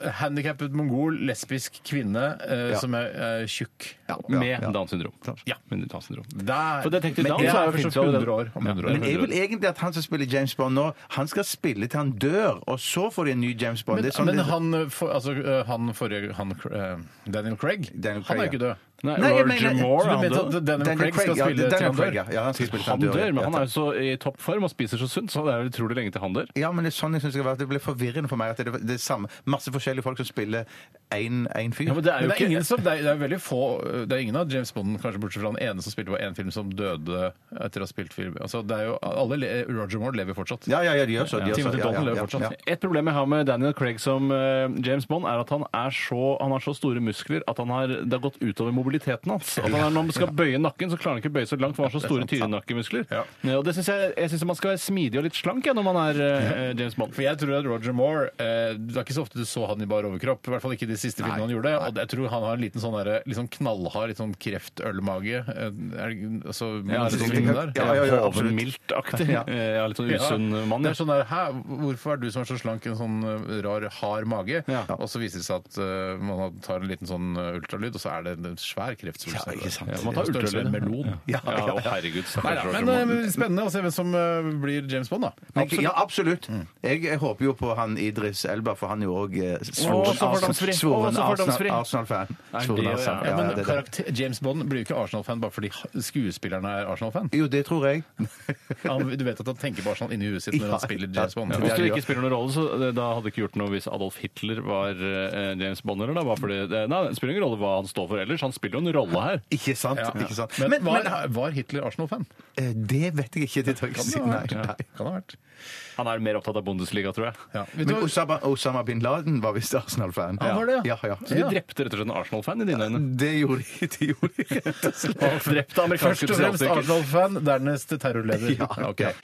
[SPEAKER 4] Eh, handikappet mongol, lesbisk kvinne eh,
[SPEAKER 6] Ja.
[SPEAKER 4] som er eh, tjukk.
[SPEAKER 5] Med Downs syndrom.
[SPEAKER 4] Ja.
[SPEAKER 5] Med Downs syndrom.
[SPEAKER 4] Der-
[SPEAKER 5] For det tenkte
[SPEAKER 4] Men det
[SPEAKER 5] jeg da, så er
[SPEAKER 4] er
[SPEAKER 5] jo
[SPEAKER 4] først
[SPEAKER 5] fint
[SPEAKER 4] om
[SPEAKER 5] å-
[SPEAKER 4] 100 år. Om
[SPEAKER 5] Ja,
[SPEAKER 4] 100 år.
[SPEAKER 6] Men jeg vil egentlig at han som spiller James Bond nå, han skal spille til han dør, og så får de en ny James Bond.
[SPEAKER 4] Men,
[SPEAKER 6] Det er sånn
[SPEAKER 4] men
[SPEAKER 6] det-
[SPEAKER 4] han, eh, for, altså, eh, han forrige han, eh, Daniel Craig,
[SPEAKER 6] Daniel
[SPEAKER 4] han
[SPEAKER 6] Craig,
[SPEAKER 4] er jo ikke
[SPEAKER 6] ja.
[SPEAKER 4] død.
[SPEAKER 5] Nei,
[SPEAKER 6] Nei, jeg
[SPEAKER 5] Roger
[SPEAKER 6] mener-
[SPEAKER 4] Så
[SPEAKER 5] Moore,
[SPEAKER 4] du
[SPEAKER 5] han
[SPEAKER 4] mente at
[SPEAKER 5] døde.
[SPEAKER 4] Daniel,
[SPEAKER 6] Daniel
[SPEAKER 4] Craig skal
[SPEAKER 6] Craig, ja,
[SPEAKER 4] spille til
[SPEAKER 6] Daniel
[SPEAKER 4] han
[SPEAKER 6] Craig,
[SPEAKER 4] dør?
[SPEAKER 6] ja. Ja, han skal spille til
[SPEAKER 5] Han dør, men
[SPEAKER 6] ja.
[SPEAKER 5] han er jo så i toppform og spiser så sunt, så det er jo utrolig lenge til han dør.
[SPEAKER 6] Ja, men det er sånn jeg synes det skal være. Det ble forvirrende for meg at det er det samme. Masse forskjellige folk som spiller én fyr.
[SPEAKER 5] Ja, men det er
[SPEAKER 4] Men
[SPEAKER 5] jo
[SPEAKER 4] det er, ingen
[SPEAKER 5] ikke
[SPEAKER 4] som, det, er, det er veldig få Det er ingen av James Bond, kanskje bortsett fra den ene som spilte på en film, som døde etter å ha spilt film. Altså, det er jo, alle, le- Roger Moore lever fortsatt.
[SPEAKER 6] Ja, ja, ja, de gjør så. De gjør så.
[SPEAKER 4] Timothy
[SPEAKER 6] Ja,
[SPEAKER 4] Dalton
[SPEAKER 6] ja,
[SPEAKER 4] lever
[SPEAKER 6] ja,
[SPEAKER 4] fortsatt.
[SPEAKER 6] ja.
[SPEAKER 5] Et problem jeg har med Daniel Craig som eh, James Bond, er at han, er så, han har så store muskler at han har, det har gått utover mobiliteten hans. At han er, når man skal bøye nakken, så klarer han ikke bøye så langt, for han har så store tyrenakkemuskler.
[SPEAKER 4] Ja.
[SPEAKER 5] Ja, og det synes jeg, jeg syns man skal være smidig og litt slank jeg, når man er eh, James Bond.
[SPEAKER 4] For jeg tror at Roger Moore eh, Det er ikke så ofte du så han i bar overkropp. I hvert fall ikke de siste filmene han gjorde. Og jeg tror han har en liten sånn derre- litt sånn knallhard, litt sånn kreftølmage. Eh, Er det altså,
[SPEAKER 5] Ja,
[SPEAKER 4] man-
[SPEAKER 5] det
[SPEAKER 4] sånn
[SPEAKER 5] er
[SPEAKER 4] filmen
[SPEAKER 6] sånn-
[SPEAKER 4] der?
[SPEAKER 6] Ja, ja, ja, absolutt.
[SPEAKER 5] Hovenmiltaktig.
[SPEAKER 6] Ja.
[SPEAKER 5] Eh, Jeg er litt sånn
[SPEAKER 4] Ja.
[SPEAKER 5] usunn mann.
[SPEAKER 4] Det
[SPEAKER 5] jeg.
[SPEAKER 4] er sånn der, hæ, Hvorfor er du som er så slank, en sånn eh, rar, hard mage?
[SPEAKER 5] Ja.
[SPEAKER 4] Og så viser det seg at eh, man har- tar en liten sånn eh, ultralyd, og så er det en svær kreftsvulst.
[SPEAKER 6] Ja, ikke sant.
[SPEAKER 4] Ja, man tar ultralyd.
[SPEAKER 5] Størrelse
[SPEAKER 4] en
[SPEAKER 5] med
[SPEAKER 4] melon.
[SPEAKER 5] Ja, å, herregud.
[SPEAKER 4] Nei,
[SPEAKER 5] stakkars
[SPEAKER 4] da,
[SPEAKER 5] Roger
[SPEAKER 4] men
[SPEAKER 5] Moore.
[SPEAKER 4] eh, spennende å se hvem som eh, blir James Bond, da.
[SPEAKER 6] Men- Ja, absolutt. Jeg, jeg håper jo på han Idris Elba, for han er jo òg
[SPEAKER 5] Å, så fordomsfri. Å,
[SPEAKER 6] svoren
[SPEAKER 5] så fordomsfri.
[SPEAKER 6] Arsenal- Arsenal-fan.
[SPEAKER 5] Er
[SPEAKER 6] Svoren
[SPEAKER 5] det-
[SPEAKER 6] Arsenal-
[SPEAKER 4] Ja,
[SPEAKER 6] ja,
[SPEAKER 4] men
[SPEAKER 6] det er det.
[SPEAKER 4] karakter, James Bond blir jo ikke Arsenal-fan bare fordi skuespillerne er Arsenal-fan.
[SPEAKER 6] Jo, det tror jeg.
[SPEAKER 4] Han, du vet at han tenker på Arsenal inni huet sitt når
[SPEAKER 6] Ja.
[SPEAKER 4] han spiller James Bond.
[SPEAKER 6] Ja.
[SPEAKER 5] Hvis
[SPEAKER 4] Det er-
[SPEAKER 5] det ikke spiller noen rolle, så eh, da hadde det ikke gjort noe hvis Adolf Hitler var eh, James Bond eller da, bare fordi det, Nei, det spiller ingen rolle hva han står for ellers, han spiller jo en rolle her.
[SPEAKER 6] Ikke sant?
[SPEAKER 4] Ja.
[SPEAKER 6] Ikke sant?
[SPEAKER 4] Men,
[SPEAKER 6] Men, men,
[SPEAKER 4] var, var Hitler Arsenal-fan?
[SPEAKER 6] eh, det vet jeg ikke. Det tør jeg ikke si. Nei, nei.
[SPEAKER 4] Kan det ha vært.
[SPEAKER 5] Han er mer opptatt av Bundesliga, tror jeg.
[SPEAKER 4] Ja. Vet du
[SPEAKER 6] Men
[SPEAKER 4] hva-
[SPEAKER 6] Osama, Osama bin Laden var visst Arsenal-fan.
[SPEAKER 4] Han var det,
[SPEAKER 6] ja. ja,
[SPEAKER 5] Så de
[SPEAKER 4] Ja.
[SPEAKER 5] drepte rett og slett en Arsenal-fan i dine øyne.
[SPEAKER 6] Det gjorde de, de gjorde de rett og slett.
[SPEAKER 5] Drepte
[SPEAKER 4] Først
[SPEAKER 5] amerikanske
[SPEAKER 4] og fremst
[SPEAKER 5] spesialstyrker.
[SPEAKER 4] Arsenal-fan, dernest terrorleder.
[SPEAKER 6] Ja,
[SPEAKER 4] Ok.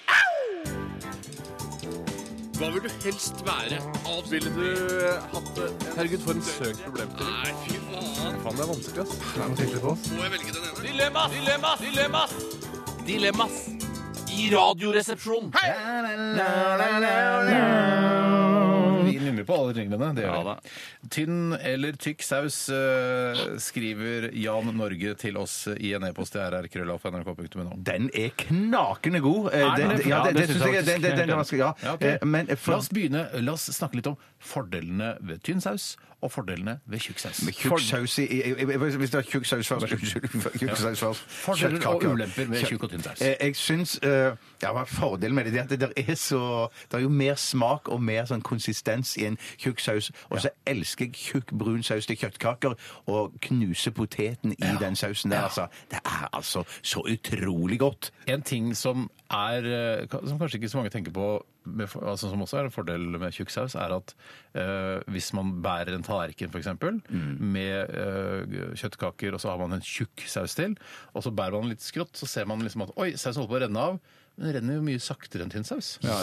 [SPEAKER 11] Hva vil du helst være? Alt ville du eh, hatt det? Herregud, for en søk problemstilling. Nei, fy faen. Faen, det er vanskelig, ass. Det er noe sikkert på oss. Må jeg velge den ene? Dilemmas! Dilemmas! Dilemmas! Dilemmas i radioresepsjonen. Hei!
[SPEAKER 4] Vi mumler følger på alle jinglene. Det gjør
[SPEAKER 5] Ja
[SPEAKER 4] vi. Tynn eller tykk saus, eh, skriver Jan Norge til oss i en e-post til rrkrøllalfa.nrk.no.
[SPEAKER 6] Den er knakende god. Eh,
[SPEAKER 4] Er den det?
[SPEAKER 6] ja,
[SPEAKER 4] Ja,
[SPEAKER 6] det, det
[SPEAKER 4] det synes
[SPEAKER 6] syns jeg
[SPEAKER 4] jeg
[SPEAKER 6] den, den, den er vanskelig. Ja.
[SPEAKER 4] Ja, ok.
[SPEAKER 6] Eh, Men eh, for,
[SPEAKER 4] La oss begynne, la oss snakke litt om fordelene ved tynn saus og fordelene ved tjukk saus.
[SPEAKER 6] med tjukk saus i, i, i, i Hvis det er tjukk saus først, unnskyld. Tjukk saus først.
[SPEAKER 4] Fordeler og
[SPEAKER 6] Kjøttkaker.
[SPEAKER 4] ulemper med
[SPEAKER 6] Kjøtt-
[SPEAKER 4] tjukk og tynn saus.
[SPEAKER 6] Eh, Jeg syns eh, ja, hva er Fordelen med det Det er at det der er så Det er jo mer smak og mer sånn konsistens i en tjukk saus. Og så elsker jeg tjukk brun saus til kjøttkaker og knuse poteten i den sausen der, altså. Det er altså så utrolig godt.
[SPEAKER 4] En ting som er eh, ka- Som kanskje ikke så mange tenker på, med, for- altså som også er en fordel med tjukk saus, er at eh, hvis man bærer en tallerken f.eks. Mm. med eh, kjøttkaker, og så har man en tjukk saus til, og så bærer man den litt skrått, så ser man liksom at oi, sausen holder på å renne av. Men den renner jo mye saktere enn tynn saus.
[SPEAKER 6] Ja,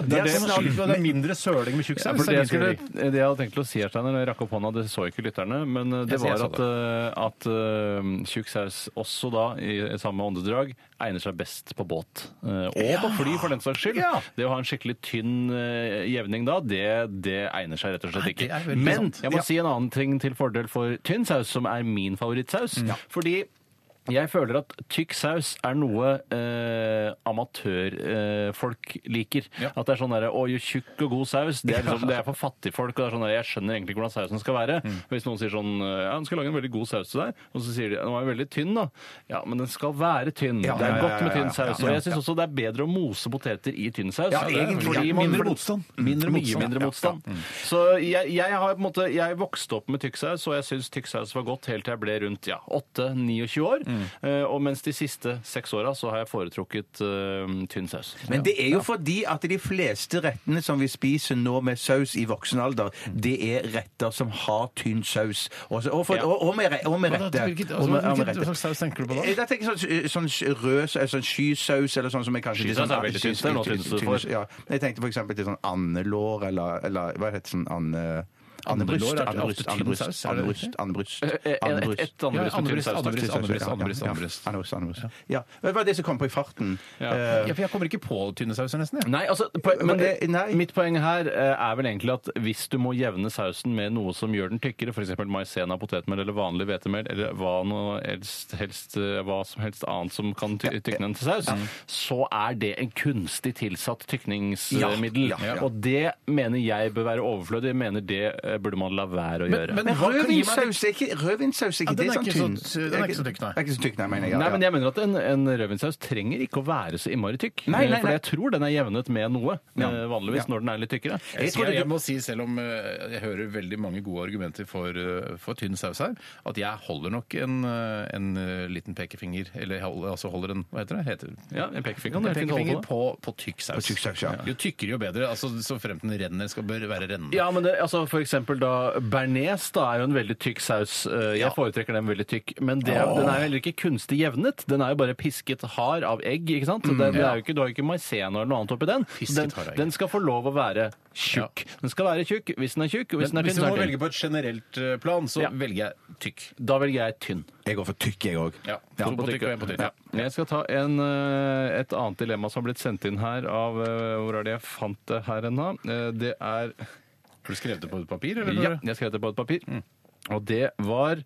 [SPEAKER 4] det, er det,
[SPEAKER 6] snart-
[SPEAKER 4] som er litt- det er mindre søling med tjukk
[SPEAKER 5] Ja,
[SPEAKER 4] saus.
[SPEAKER 5] for det,
[SPEAKER 4] er
[SPEAKER 5] jeg
[SPEAKER 4] min
[SPEAKER 5] skulle,
[SPEAKER 4] teori.
[SPEAKER 5] det jeg hadde tenkt til å si, her, Steiner, når jeg rakk opp hånda, det så ikke lytterne, men eh, det
[SPEAKER 4] Jeg- jeg
[SPEAKER 5] var
[SPEAKER 4] så
[SPEAKER 5] at, eh, at eh, tjukk saus også da, i samme åndedrag, egner seg best på båt. Eh, Og på fly, for den saks skyld.
[SPEAKER 4] Ja.
[SPEAKER 5] Det å ha en skikkelig tynn eh, jevning da, det, det egner seg rett og slett
[SPEAKER 4] Nei, det
[SPEAKER 5] ikke.
[SPEAKER 4] er veldig
[SPEAKER 5] Men
[SPEAKER 4] sant.
[SPEAKER 5] jeg
[SPEAKER 4] Ja.
[SPEAKER 5] må si en annen ting til fordel for tynn saus, som er min favorittsaus. Fordi jeg føler at tykk saus er noe eh, amatørfolk eh, liker.
[SPEAKER 4] Ja.
[SPEAKER 5] At det er sånn derre Å, jo tjukk og god saus. Det er, liksom, det er for fattigfolk. Og det er sånn der, jeg skjønner egentlig ikke hvordan sausen skal være.
[SPEAKER 6] Mm.
[SPEAKER 5] Hvis noen sier sånn Ja, du skal lage en veldig god saus til deg. Og så sier de Den var jo veldig tynn, da. Ja, men den skal være tynn.
[SPEAKER 6] Ja,
[SPEAKER 5] det
[SPEAKER 6] ja,
[SPEAKER 5] er
[SPEAKER 6] ja,
[SPEAKER 5] godt
[SPEAKER 6] ja,
[SPEAKER 5] med
[SPEAKER 6] ja,
[SPEAKER 5] tynn saus.
[SPEAKER 6] ja, ja.
[SPEAKER 5] Og jeg syns også det er bedre å mose poteter i tynn saus.
[SPEAKER 6] Ja,
[SPEAKER 5] det er
[SPEAKER 6] egentlig,
[SPEAKER 5] fordi
[SPEAKER 6] ja.
[SPEAKER 5] man-
[SPEAKER 6] Mindre
[SPEAKER 4] motstand.
[SPEAKER 5] Mindre
[SPEAKER 4] Mye
[SPEAKER 5] motstand.
[SPEAKER 4] mindre
[SPEAKER 5] Ja,
[SPEAKER 4] motstand.
[SPEAKER 5] ja. Mm. Så jeg, jeg har på en måte Jeg vokste opp med tykksaus, og jeg syns tykksaus var godt helt til jeg ble rundt ja, 8-29 år. Eh, og mens de siste seks åra så har jeg foretrukket eh, tynn saus.
[SPEAKER 6] Men det er jo fordi at de fleste rettene som vi spiser nå med saus i voksen alder, det er retter som har tynn saus. Og, så- og, for,
[SPEAKER 5] Ja.
[SPEAKER 6] og, og med, re- og med
[SPEAKER 4] Hva da?
[SPEAKER 6] rette.
[SPEAKER 4] Hvilket- altså,
[SPEAKER 6] Og med- og med
[SPEAKER 4] hvilket-
[SPEAKER 6] rette.
[SPEAKER 4] hva slags saus tenker du på da?
[SPEAKER 6] Eh, Jeg tenker sånn, sånn rød saus, sånn skysaus eller sånn som jeg kanskje
[SPEAKER 5] Skysaus er veldig tynt, det er noe tynt du får.
[SPEAKER 6] Ja. Jeg tenkte for eksempel til sånn andelår eller, eller hva heter det sånn ande...
[SPEAKER 4] Andelår
[SPEAKER 6] Andebryst.
[SPEAKER 4] er
[SPEAKER 6] Andebryst.
[SPEAKER 4] ofte tynn saus,
[SPEAKER 6] Andebryst.
[SPEAKER 4] er
[SPEAKER 6] Andebryst.
[SPEAKER 4] det ikke?
[SPEAKER 6] Andebryst.
[SPEAKER 5] Eh, eh, Et, et annerledes med tynn
[SPEAKER 4] Andebryst,
[SPEAKER 5] saus.
[SPEAKER 4] andebryst,
[SPEAKER 5] takk.
[SPEAKER 4] andebryst,
[SPEAKER 6] Ja, ja,
[SPEAKER 4] andebryst,
[SPEAKER 6] ja.
[SPEAKER 4] andebryst.
[SPEAKER 6] Andebryst, andebryst. Ja. Det var det som kom på i farten. Eh,
[SPEAKER 4] Ja, for jeg kommer ikke på tynnesauser, nesten. jeg.
[SPEAKER 5] Nei, altså, poe- men det,
[SPEAKER 6] Eh, nei.
[SPEAKER 5] mitt poeng her eh, er vel egentlig at hvis du må jevne sausen med noe som gjør den tykkere, f.eks. maisena, potetmel eller vanlig hvetemel, eller hva, noe helst, helst, eh, hva som helst annet som kan ty tykne den til saus,
[SPEAKER 6] Mm.
[SPEAKER 5] så er det en kunstig tilsatt tykningsmiddel.
[SPEAKER 6] Ja, ja, ja.
[SPEAKER 5] Og det mener jeg bør være overflødig. Jeg mener det eh, burde man la være å gjøre.
[SPEAKER 4] men-
[SPEAKER 6] Men
[SPEAKER 4] Hva kan gi meg
[SPEAKER 6] rødvinsaus er ikke rødvinsaus er ikke
[SPEAKER 4] Ja, den
[SPEAKER 6] det
[SPEAKER 4] er
[SPEAKER 6] sånn
[SPEAKER 4] ikke så-
[SPEAKER 6] tynn?
[SPEAKER 4] den er ikke så tykk, nei.
[SPEAKER 6] Er ikke så tykk, nei, mener jeg. ja,
[SPEAKER 5] Nei,
[SPEAKER 6] ja.
[SPEAKER 5] men jeg mener at En, en rødvinssaus trenger ikke å være så innmari tykk.
[SPEAKER 6] Nei, nei,
[SPEAKER 5] eh, For
[SPEAKER 6] nei.
[SPEAKER 5] jeg tror den er jevnet med noe, eh, vanligvis, når den er litt tykkere.
[SPEAKER 4] Jeg,
[SPEAKER 6] tror
[SPEAKER 4] jeg,
[SPEAKER 6] det-
[SPEAKER 4] jeg må si, selv om eh, jeg hører veldig mange gode argumenter for, eh, for tynn saus her, at jeg holder nok en, eh, en eh, liten pekefinger Eller jeg holder, altså holder en Hva heter det? Heter,
[SPEAKER 5] Ja, en pekefinger
[SPEAKER 4] en
[SPEAKER 5] kan du helt fint holde
[SPEAKER 4] pekefinger på,
[SPEAKER 5] på.
[SPEAKER 4] på tykk saus.
[SPEAKER 6] På tykk saus, ja.
[SPEAKER 4] Jo tykkere, jo bedre. Altså, så fremt den renner, skal bør være rennende.
[SPEAKER 5] Ja, men det, altså for eksempel da Bearnés da, er jo en veldig tykk saus. Eh, Jeg foretrekker den veldig tykk. Men det, den er jo heller ikke kunstig jevnet. Den er jo bare pisket hard av egg. ikke sant? Så den, det er jo ikke, du har jo ikke maisena eller noe annet oppi den. Så
[SPEAKER 4] Mm,
[SPEAKER 5] Den,
[SPEAKER 4] Pisket hard av egg.
[SPEAKER 5] den skal få lov å være tjukk. Den skal være tjukk hvis den er tjukk. og Hvis
[SPEAKER 4] Men
[SPEAKER 5] den er
[SPEAKER 4] hvis
[SPEAKER 5] tynn,
[SPEAKER 4] du
[SPEAKER 5] så
[SPEAKER 4] må
[SPEAKER 5] er den
[SPEAKER 4] velge
[SPEAKER 5] tynn.
[SPEAKER 4] på et generelt eh, plan, så
[SPEAKER 5] Ja.
[SPEAKER 4] velger jeg tykk.
[SPEAKER 5] Da velger jeg tynn.
[SPEAKER 6] Jeg går for tykk, jeg òg.
[SPEAKER 4] Ja. To på tykk og en på tynn.
[SPEAKER 5] Ja. Jeg skal ta en, eh, et annet dilemma som har blitt sendt inn her av eh, Hvor er det jeg fant det her hen, da? Eh, Det
[SPEAKER 4] Har
[SPEAKER 5] er
[SPEAKER 4] du skrevet det på et papir, eller?
[SPEAKER 5] Ja, jeg skrev det på et papir. Og det var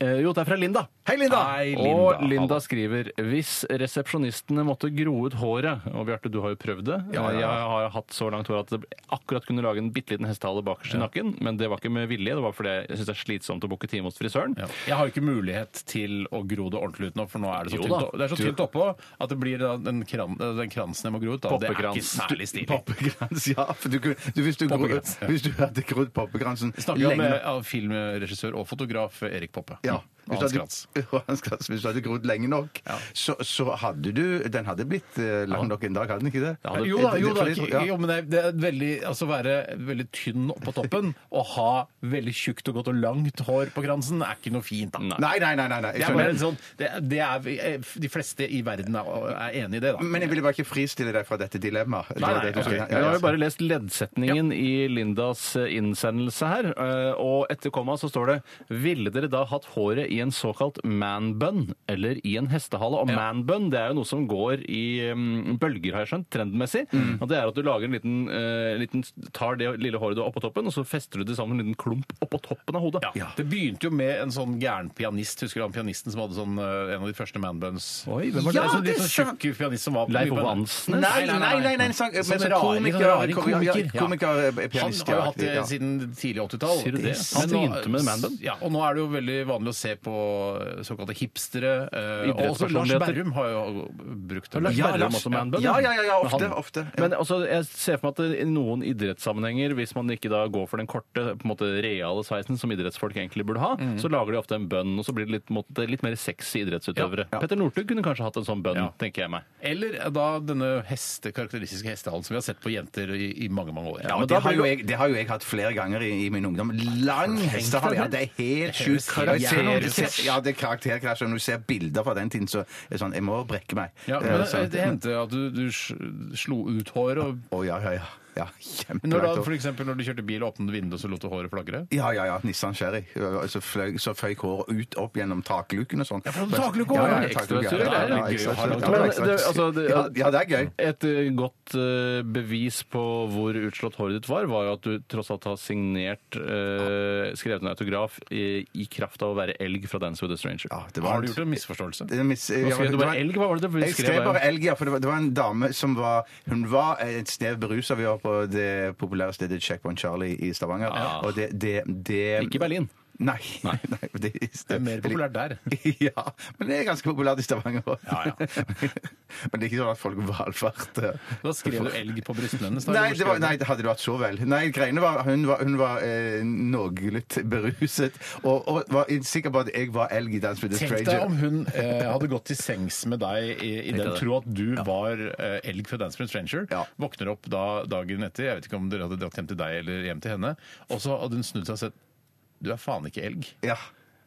[SPEAKER 5] eh, jo, det er fra Linda.
[SPEAKER 4] Hei, Linda! Hei, Linda.
[SPEAKER 5] Og Linda
[SPEAKER 4] Hallo.
[SPEAKER 5] skriver hvis resepsjonistene måtte gro ut håret Og Bjarte, du har jo prøvd det.
[SPEAKER 4] Ja, ja, ja.
[SPEAKER 5] Jeg har hatt så langt hår at det akkurat kunne lage en bitte liten hestehale bakerst i nakken. Men det var ikke med vilje, det var fordi jeg syns det er slitsomt å booke time hos frisøren.
[SPEAKER 4] Ja. Jeg har jo ikke mulighet til å gro det ordentlig ut nå, for nå er det så
[SPEAKER 5] Jo
[SPEAKER 4] tynt,
[SPEAKER 5] da.
[SPEAKER 4] opp- det er så
[SPEAKER 5] Du-
[SPEAKER 4] tynt oppå at det blir da den, kran, den kransen jeg må gro ut. Da. Det er ikke
[SPEAKER 5] Poppekrans.
[SPEAKER 4] særlig stilig.
[SPEAKER 6] Poppekrans, ja. For du, kunne- du, hvis, du gro,
[SPEAKER 4] Poppekrans, ja.
[SPEAKER 6] hvis du hadde grodd poppekransen
[SPEAKER 4] Snakker jo om
[SPEAKER 6] lenge
[SPEAKER 4] eh,
[SPEAKER 6] nok-
[SPEAKER 4] av filmregissør og fotograf Erik Poppe.
[SPEAKER 6] ja. Hvis
[SPEAKER 4] Og
[SPEAKER 6] du
[SPEAKER 4] Hans
[SPEAKER 6] hadde-
[SPEAKER 4] Krantz.
[SPEAKER 6] og Hans Krantz. Hvis du hadde grodd lenge nok,
[SPEAKER 4] Ja.
[SPEAKER 6] så, så hadde du Den hadde blitt eh, lang nok en dag, hadde den ikke det? Eh,
[SPEAKER 4] Ja, Jo da, jo da.
[SPEAKER 6] Fordi-
[SPEAKER 4] ikke- Jo, men det er- det er veldig, altså være veldig tynn på toppen og ha veldig tjukt og godt og langt hår på kransen er ikke noe fint, da.
[SPEAKER 6] Nei, nei, nei. nei, nei.
[SPEAKER 4] Det
[SPEAKER 6] Jeg
[SPEAKER 4] er bare en
[SPEAKER 6] skjønner.
[SPEAKER 4] sånn, det, er- det er, vi- eh, de fleste i verden er, er enig i det, da.
[SPEAKER 6] Men jeg ville bare ikke fristille deg fra dette dilemmaet. Det var
[SPEAKER 4] nei,
[SPEAKER 6] det du
[SPEAKER 4] ok.
[SPEAKER 6] skulle- ja,
[SPEAKER 5] Vi
[SPEAKER 6] ja.
[SPEAKER 5] har jo bare lest leddsetningen i eh, Lindas innsendelse her, eh, og etter komma så står det Ville dere da hatt håret i i en såkalt man-bun eller i en hestehale. Og man-bun det er jo noe som går i um, bølger, har jeg skjønt, trendmessig. Og det er at du lager en liten, eh, liten Tar det lille håret du har oppå toppen, og så fester du det sammen en liten klump oppå toppen av hodet.
[SPEAKER 4] Ja. Det begynte jo med en sånn gæren pianist. Husker du han pianisten som hadde sånn, eh, en av de første manbuns?
[SPEAKER 5] Oi, hvem var det?
[SPEAKER 4] Ja,
[SPEAKER 5] Altså,
[SPEAKER 4] det
[SPEAKER 5] litt
[SPEAKER 4] er
[SPEAKER 5] sånn
[SPEAKER 4] sant! Tjukk pianist som var
[SPEAKER 5] Leif
[SPEAKER 4] mye på-
[SPEAKER 5] Ove Ansnes?
[SPEAKER 4] Nei, nei, nei. nei,
[SPEAKER 6] nei, nei, sånn- men
[SPEAKER 4] Sånn
[SPEAKER 6] som
[SPEAKER 4] rare-
[SPEAKER 6] komiker-
[SPEAKER 4] sånn rare
[SPEAKER 6] komiker-
[SPEAKER 4] ja.
[SPEAKER 6] komiker- eh, pianist,
[SPEAKER 4] Han har jo
[SPEAKER 6] ja,
[SPEAKER 4] hatt det
[SPEAKER 6] ja.
[SPEAKER 4] siden tidlig 80-tall.
[SPEAKER 5] Sier du det? Han
[SPEAKER 4] Men nå-
[SPEAKER 5] begynte med man-bun.
[SPEAKER 4] Ja, og nå er det jo veldig vanlig å se på eh, såkalte hipstere. eh, Og også Lars
[SPEAKER 5] Idrettspersonligheter.
[SPEAKER 4] Berrum har jo brukt det.
[SPEAKER 5] Lars
[SPEAKER 4] Ja,
[SPEAKER 5] Berrum
[SPEAKER 4] Lars-
[SPEAKER 5] også med handball?
[SPEAKER 6] Ja, ja, ja, ja, ofte,
[SPEAKER 5] Men han-
[SPEAKER 6] ofte, ja.
[SPEAKER 5] Men altså, jeg ser for meg at i noen idrettssammenhenger, hvis man ikke da går for den korte, på en måte reale sveisen som idrettsfolk egentlig burde ha,
[SPEAKER 6] Mm.
[SPEAKER 5] så lager de ofte en bønn, og så blir det litt, på en måte, litt mer sexy idrettsutøvere. Petter Northug kunne kanskje hatt en sånn bønn,
[SPEAKER 4] Ja.
[SPEAKER 5] tenker jeg meg.
[SPEAKER 4] Eller eh, da denne heste, karakteristiske hestehalen som vi har sett på jenter i, i mange mange år.
[SPEAKER 6] Ja,
[SPEAKER 4] men
[SPEAKER 6] og
[SPEAKER 4] da
[SPEAKER 6] det, har
[SPEAKER 4] blir
[SPEAKER 6] jo jeg, det har jo jeg hatt flere ganger i, i min ungdom. Lang hestehale. Ja, det er helt sjukt.
[SPEAKER 4] Karakter-
[SPEAKER 6] Og jeg ser noen-
[SPEAKER 4] karakterkrasj.
[SPEAKER 6] Ja, det er karakterkrasj. og Når du ser bilder fra den tiden, så er det sånn Jeg må brekke meg.
[SPEAKER 4] Ja,
[SPEAKER 6] Eh,
[SPEAKER 4] men det,
[SPEAKER 6] sånn.
[SPEAKER 4] det hendte at du, du sl- slo ut hår og
[SPEAKER 6] Å, ja, ja, ja. ja
[SPEAKER 4] når, da,
[SPEAKER 6] Kjempelangt.
[SPEAKER 4] for eksempel, når du kjørte bil og åpnet vinduet, så lot du håret flagre?
[SPEAKER 6] Ja, ja, ja. Nissan Sherry. Så, fløy, så føyk håret ut opp gjennom takluken og sånn. Ja,
[SPEAKER 4] for takluke også,
[SPEAKER 6] ja,
[SPEAKER 4] det er
[SPEAKER 6] takluke,
[SPEAKER 4] ekstra
[SPEAKER 6] ja,
[SPEAKER 4] surr, det er
[SPEAKER 6] ja,
[SPEAKER 4] litt gøy å
[SPEAKER 6] ekstra
[SPEAKER 4] ha
[SPEAKER 6] surr,
[SPEAKER 4] langt
[SPEAKER 6] ja,
[SPEAKER 4] hår.
[SPEAKER 5] sånn- Men
[SPEAKER 6] ekstra
[SPEAKER 5] det,
[SPEAKER 6] surr.
[SPEAKER 5] altså, det,
[SPEAKER 6] Ja, ja, det er gøy.
[SPEAKER 5] Et eh, godt eh, bevis på hvor utslått håret ditt var, var jo at du tross alt har signert eh, skrevet en autograf i, i kraft av å være elg fra Dance with a Stranger.
[SPEAKER 6] Ja, det var-
[SPEAKER 4] Har du gjort en misforståelse?
[SPEAKER 6] Det er mis- ja,
[SPEAKER 5] skrev du
[SPEAKER 6] det
[SPEAKER 5] bare
[SPEAKER 6] var-
[SPEAKER 5] elg? Hva var det du
[SPEAKER 6] Jeg
[SPEAKER 5] skrev
[SPEAKER 6] skrev
[SPEAKER 5] der?
[SPEAKER 6] bare elg, ja. For det var, det var en dame som var Hun var et snev berusa. Vi var på det populære stedet Checkpoint Charlie i Stavanger.
[SPEAKER 5] Ja.
[SPEAKER 6] Og det, det, det
[SPEAKER 5] Ikke i Berlin.
[SPEAKER 6] Nei. nei det,
[SPEAKER 4] Det er mer populært der.
[SPEAKER 6] Ja, men det er ganske populært i Stavanger òg. men det er ikke sånn at folk valfarter.
[SPEAKER 4] Da skrev du elg på brystene hennes. da,
[SPEAKER 6] eh. Nei,
[SPEAKER 4] eller
[SPEAKER 6] det var,
[SPEAKER 4] skrev du-
[SPEAKER 6] nei, det hadde det vært så vel. Nei, greiene var Hun var, hun var eh, noenlunde beruset og, og var sikker på at jeg var elg i Dance with the
[SPEAKER 4] Tenk
[SPEAKER 6] Stranger.
[SPEAKER 4] deg om hun eh, hadde gått til sengs med deg i, i den
[SPEAKER 5] deg det.
[SPEAKER 4] tro at du var eh, elg fra Dance with a Stranger.
[SPEAKER 6] Ja.
[SPEAKER 4] Våkner opp da dagen etter, jeg vet ikke om dere hadde dratt hjem til deg eller hjem til henne, og så hadde hun snudd seg og sett Du er faen ikke elg.
[SPEAKER 6] Ja.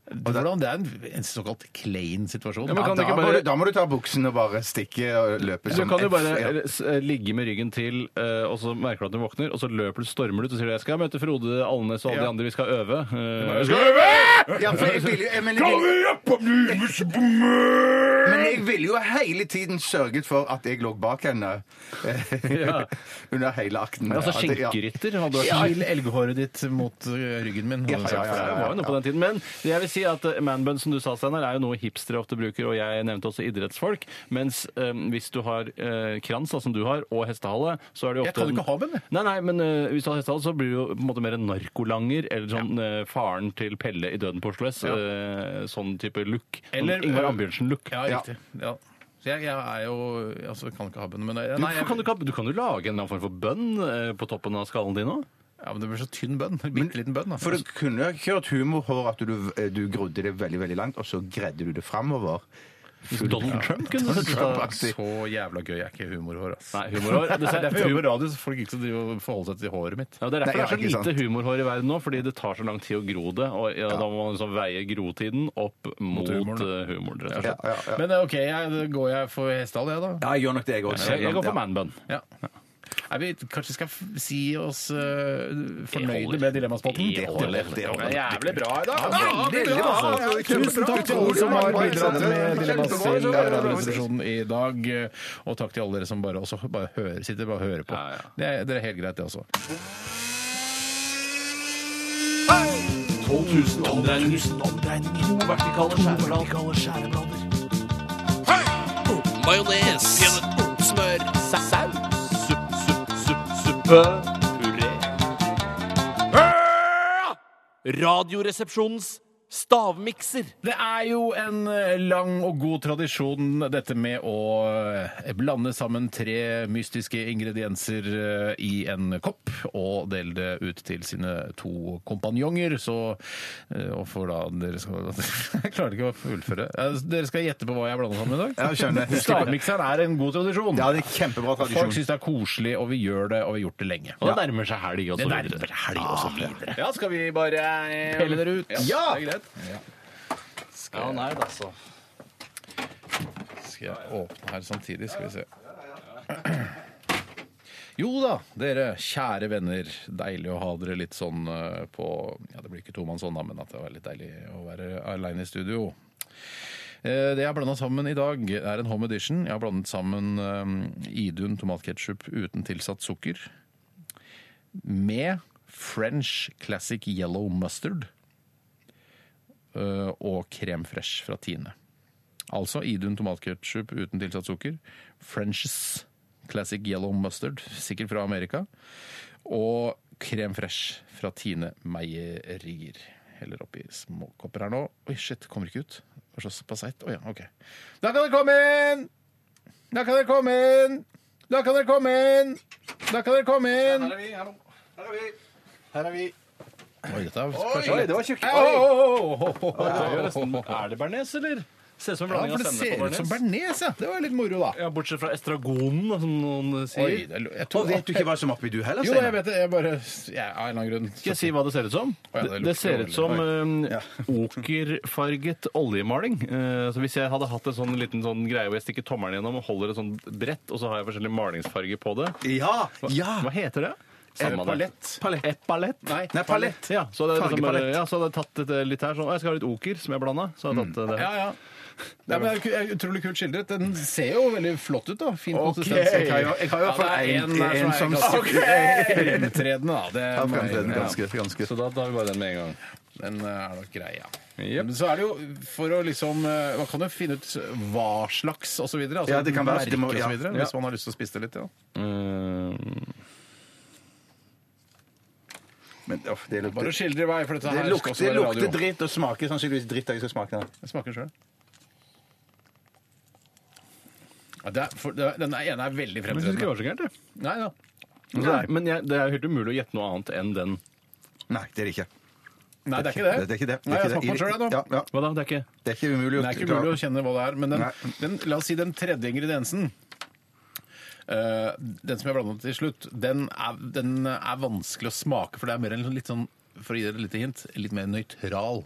[SPEAKER 4] Det, hvordan, det er en, en såkalt klein situasjon.
[SPEAKER 5] Ja, men
[SPEAKER 6] Ja,
[SPEAKER 5] kan
[SPEAKER 6] da,
[SPEAKER 5] du ikke
[SPEAKER 6] må
[SPEAKER 5] bare-
[SPEAKER 6] du, da må du ta buksen og bare stikke og løpe
[SPEAKER 5] Du
[SPEAKER 6] som
[SPEAKER 5] kan jo
[SPEAKER 6] F,
[SPEAKER 5] bare
[SPEAKER 6] ja.
[SPEAKER 5] eh, s- eh, ligge med ryggen til, eh, og så merker du at du våkner, og så løper du, stormer du ut og sier du, jeg skal møte Frode Alnes og alle de andre, vi skal øve. Eh, jeg skal øve!
[SPEAKER 6] Ja, for jeg vil jo, jeg, men, jeg, men jeg ville jo hele tiden sørget for at jeg lå bak henne eh,
[SPEAKER 5] Ja.
[SPEAKER 6] under hele akten.
[SPEAKER 5] Altså
[SPEAKER 6] At det- ja.
[SPEAKER 5] skinkerytter hadde vært
[SPEAKER 4] Kil elghåret ditt mot eh, ryggen min. hadde hun sagt.
[SPEAKER 6] ja, ja, ja.
[SPEAKER 5] Det var jo noe på den tiden. Men jeg vil si at eh, manbun, som du sa, Steinar, er jo noe hipstere ofte bruker, og jeg nevnte også idrettsfolk. Mens eh, hvis du har eh, krans, da, som du har, og hestehale, så er det jo
[SPEAKER 4] Jeg
[SPEAKER 5] ofte
[SPEAKER 4] kan jo ikke ha bun, jeg.
[SPEAKER 5] Nei, nei, men eh, hvis du har hestehale, så blir du jo på en måte mer en narkolanger, eller sånn eh, faren til Pelle i Døden på Oslo S.
[SPEAKER 4] Ja.
[SPEAKER 5] eh, sånn type look. Sånn
[SPEAKER 4] Eller,
[SPEAKER 5] Ingvar
[SPEAKER 4] eh,
[SPEAKER 5] Ambjørnsen-look.
[SPEAKER 4] Ja, riktig. Ja. Så jeg, jeg er jo altså, jeg kan ikke ha bønn, men jeg, nei,
[SPEAKER 5] Hvorfor kan du,
[SPEAKER 4] jeg,
[SPEAKER 5] ikke ha- du kan jo lage en eller annen form for bønn eh, på toppen av skallen din òg.
[SPEAKER 4] ja, men det blir så tynn bønn. Bitte liten bønn. da.
[SPEAKER 6] For du kunne jo kjørt humorhår at du, eh, du grodde det veldig veldig langt, og så gredde du det framover.
[SPEAKER 5] Donald Trump kunne sett ut
[SPEAKER 4] altså.
[SPEAKER 5] av
[SPEAKER 6] Trump-aktig.
[SPEAKER 4] Så jævla gøy. Jeg er ikke humorhår, ass.
[SPEAKER 5] Nei, humorhår.
[SPEAKER 4] Det er
[SPEAKER 5] Det
[SPEAKER 4] derfor jeg jobber med radio, så folk ikke skal drive og forholde seg til håret mitt.
[SPEAKER 5] Ja, Det er
[SPEAKER 6] Nei, ja,
[SPEAKER 5] derfor det er
[SPEAKER 6] ikke
[SPEAKER 5] så lite
[SPEAKER 6] sant.
[SPEAKER 5] humorhår i verden nå, fordi det tar så lang tid å gro det. og ja, Da må man liksom veie grotiden opp mot, eh,
[SPEAKER 4] humoren,
[SPEAKER 5] humoren.
[SPEAKER 4] da.
[SPEAKER 5] humor, rett og slett.
[SPEAKER 6] Ja, ja.
[SPEAKER 4] Men eh, OK, jeg, da går jeg for hestehale, jeg, da.
[SPEAKER 6] Ja, jeg gjør nok det, jeg også.
[SPEAKER 5] Jeg, jeg går for manbun.
[SPEAKER 4] Ja. Nei, vi kanskje skal f- si oss eh,
[SPEAKER 5] holder.
[SPEAKER 4] fornøyde med Dilemmaspotten?
[SPEAKER 5] Det holder, det holder.
[SPEAKER 4] Jævlig bra i dag!
[SPEAKER 6] Ja,
[SPEAKER 4] altså.
[SPEAKER 6] veldig bra. Ja, det er kjempebra.
[SPEAKER 4] Tusen takk til alle som har
[SPEAKER 6] Kjempebra.
[SPEAKER 4] bidratt med Dilemmas
[SPEAKER 6] Kjempebra.
[SPEAKER 4] til Radioresepsjonen i dag. Og takk til alle dere som bare, også bare hører, sitter bare og hører på.
[SPEAKER 5] Ja, ja.
[SPEAKER 4] Det er, det er helt greit, det også.
[SPEAKER 11] 12 000 omdreininger. To vertikale skjæreblader. Majones. Smør. Saus. Supp, supp, supp, suppe. Puré. Radioresepsjonens stavmikser.
[SPEAKER 4] Det er jo en eh, lang og god tradisjon, dette med å eh, blande sammen tre mystiske ingredienser eh, i en kopp og dele det ut til sine to kompanjonger. Så eh, Og for da dere skal Jeg klarer ikke å fullføre. Eh, Dere skal gjette på hva jeg blanda sammen i dag?
[SPEAKER 6] Ja, skjønner.
[SPEAKER 4] Stavmikseren er en god tradisjon.
[SPEAKER 6] Ja, det er kjempebra
[SPEAKER 4] Folk
[SPEAKER 6] tradisjon.
[SPEAKER 4] syns det er koselig, og vi gjør det, og vi har gjort det lenge.
[SPEAKER 5] Og det nærmer seg helg og så videre.
[SPEAKER 4] helg og så videre.
[SPEAKER 5] Ja, skal vi bare
[SPEAKER 4] Pelle dere ut.
[SPEAKER 5] Ja!
[SPEAKER 4] Det er greit.
[SPEAKER 5] Ja, nei, da, så.
[SPEAKER 4] Skal jeg åpne her samtidig? Skal vi se. Jo da, dere kjære venner. Deilig å ha dere litt sånn eh, på Ja, det blir ikke tomannshånd, da, men at det var litt deilig å være aleine i studio. Eh, Det jeg har blanda sammen i dag, er en home edition. Jeg har blandet sammen eh, Idun tomatketchup uten tilsatt sukker med French classic yellow mustard eh, og krem fresh fra Tine. Altså Idun tomatketchup uten tilsatt sukker, Frenches classic yellow mustard, sikkert fra Amerika, og krem fresh fra Tine Meierier. Heller oppi små kopper her nå. Oi, shit, kommer ikke ut. Det var såpass seigt. Å ja, OK. Da kan dere komme inn! Da kan dere komme inn! Da kan dere komme inn! Da kan dere komme inn!
[SPEAKER 11] Her er vi, hallo. Her er vi. Her er vi.
[SPEAKER 4] Oi, dette er
[SPEAKER 11] Oi,
[SPEAKER 4] kanskje litt-
[SPEAKER 11] det var tjukt.
[SPEAKER 4] Au, au, au, au, au, au,
[SPEAKER 5] Det gjør
[SPEAKER 4] au,
[SPEAKER 5] nesten-
[SPEAKER 4] au, au.
[SPEAKER 5] Er det bearnés, eller? Ser ut som en
[SPEAKER 4] Ja, for
[SPEAKER 5] blanding av
[SPEAKER 4] det
[SPEAKER 5] sennep
[SPEAKER 4] ser
[SPEAKER 5] og
[SPEAKER 4] ut som
[SPEAKER 5] bearnés.
[SPEAKER 4] bearnés, ja. Det var litt moro, da.
[SPEAKER 5] Ja, bortsett fra estragonen, som noen sier.
[SPEAKER 4] Oi, det er- jeg tror-
[SPEAKER 6] Og vet du ikke hva som er oppi du heller,
[SPEAKER 4] Jo,
[SPEAKER 6] Steinar?
[SPEAKER 4] jeg vet det. Jeg bare jeg, Av en eller annen grunn.
[SPEAKER 5] Skal jeg si hva det ser ut som?
[SPEAKER 4] ja, det
[SPEAKER 5] det,
[SPEAKER 4] lukter
[SPEAKER 5] ser ut
[SPEAKER 4] veldig.
[SPEAKER 5] som eh, okerfarget oljemaling. Eh, så hvis jeg hadde hatt en sånn liten sånn greie hvor jeg stikker tommelen gjennom og holder et sånn brett, og så har jeg forskjellig malingsfarge på det
[SPEAKER 6] Ja!
[SPEAKER 5] Hva,
[SPEAKER 6] ja.
[SPEAKER 5] hva heter det? Samme det.
[SPEAKER 4] palett.
[SPEAKER 5] Et palett?
[SPEAKER 4] Nei.
[SPEAKER 6] Nei, palett.
[SPEAKER 5] Ja, så hadde jeg, liksom,
[SPEAKER 6] Fargepalett.
[SPEAKER 5] bare- ja, så hadde jeg tatt et, eh, litt her sånn. «Å, Jeg skal ha litt oker som jeg blanda. Så hadde jeg
[SPEAKER 6] Mm.
[SPEAKER 5] tatt eh, det.
[SPEAKER 4] Ja, ja. Nei, men det er jo Utrolig kult skildret. Den ser jo veldig flott ut, da. Fin
[SPEAKER 5] Ok.
[SPEAKER 4] konsistens. Jeg har jo-
[SPEAKER 6] Jeg har jo
[SPEAKER 4] Ja, det er
[SPEAKER 6] fått en-
[SPEAKER 4] der
[SPEAKER 6] en som-
[SPEAKER 4] ganske
[SPEAKER 6] Ok.
[SPEAKER 4] fremtredende, da. Det
[SPEAKER 6] Ja,
[SPEAKER 4] må jeg-
[SPEAKER 6] fremtredende,
[SPEAKER 4] ja.
[SPEAKER 6] ganske- ganske.
[SPEAKER 4] Så da tar vi bare den med en gang. Den eh, er nok grei, ja.
[SPEAKER 5] Jep.
[SPEAKER 4] Men så er det jo for å liksom eh, Man kan jo finne ut hva slags og så videre. Altså
[SPEAKER 6] Ja, det kan være-
[SPEAKER 4] merke
[SPEAKER 6] det må-
[SPEAKER 4] og så
[SPEAKER 6] ja.
[SPEAKER 4] videre,
[SPEAKER 6] Ja.
[SPEAKER 4] Hvis man har lyst til å spise det litt, ja.
[SPEAKER 5] Mm.
[SPEAKER 6] Men, uff, det lukter,
[SPEAKER 4] Bare skildre i vei, for dette
[SPEAKER 6] det
[SPEAKER 4] her
[SPEAKER 6] lukter,
[SPEAKER 4] skal
[SPEAKER 6] det
[SPEAKER 4] også være
[SPEAKER 6] lukter
[SPEAKER 4] radio.
[SPEAKER 6] dritt og smaker sannsynligvis dritt. Jeg skal smake den.
[SPEAKER 4] Jeg smaker sjøl. Ja, det er, for, det er, den ene er veldig
[SPEAKER 5] Men jeg synes ikke
[SPEAKER 4] fremtredende.
[SPEAKER 5] det var så gærent, jeg.
[SPEAKER 4] Nei da.
[SPEAKER 5] Nei, Men jeg, det er jo helt umulig å gjette noe annet enn den.
[SPEAKER 6] Nei, det er det ikke.
[SPEAKER 4] Nei, det er ikke det.
[SPEAKER 6] Det er ikke det.
[SPEAKER 4] Nei,
[SPEAKER 6] det
[SPEAKER 4] jeg
[SPEAKER 6] er ikke
[SPEAKER 4] smaker på
[SPEAKER 6] det.
[SPEAKER 4] sjøl, jeg, nå.
[SPEAKER 6] Ja, ja.
[SPEAKER 5] Hva da? Det er ikke
[SPEAKER 6] Det er ikke umulig å
[SPEAKER 4] Det er ikke mulig å kjenne hva det er. Men den,
[SPEAKER 6] Nei.
[SPEAKER 4] den, la oss si den tredje ingrediensen. eh, den som jeg blandet til slutt, den er, den er vanskelig å smake, for det er mer en sånn- litt sånn, for å gi dere et lite hint, litt mer nøytral.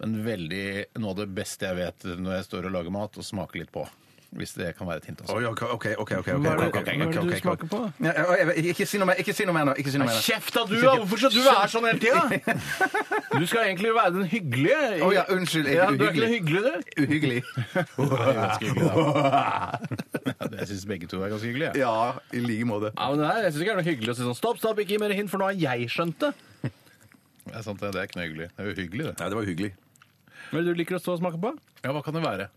[SPEAKER 4] Men veldig noe av det beste jeg vet når jeg står og lager mat, og smaker litt på. Hvis det kan være et hint. Også.
[SPEAKER 6] Oi, OK, OK. ok, ok,
[SPEAKER 5] Hva er det-
[SPEAKER 6] ok, ok,
[SPEAKER 5] hva er det
[SPEAKER 6] ok,
[SPEAKER 5] du
[SPEAKER 6] ok.
[SPEAKER 5] smaker på?
[SPEAKER 6] Ja, ja, jeg vet- Ikke si noe mer ikke si noe mer nå. Ikke si noe mer nå.
[SPEAKER 5] Kjeft da, du, da! Hvorfor skal du være sånn hele tida? Du skal egentlig være den hyggelige.
[SPEAKER 6] Å ja, unnskyld. Jeg
[SPEAKER 5] Ja,
[SPEAKER 6] er
[SPEAKER 5] du er ikke den
[SPEAKER 6] uhyggelig.
[SPEAKER 5] hyggelige, du.
[SPEAKER 6] Uhyggelig.
[SPEAKER 4] Det er ganske hyggelig, da. Ja, det- Jeg syns begge to er ganske hyggelige. jeg.
[SPEAKER 6] Ja, i like måte.
[SPEAKER 5] Ja, men det her, jeg synes ikke det er noe hyggelig å si sånn stopp, stopp, ikke gi mer hint, for nå har jeg skjønt det.
[SPEAKER 4] Det er sant, det. Det er ikke noe hyggelig. Det er uhyggelig, det.
[SPEAKER 6] Nei, det var hyggelig.
[SPEAKER 5] Hva er det du liker å stå og smake på?
[SPEAKER 4] Ja, hva kan det være?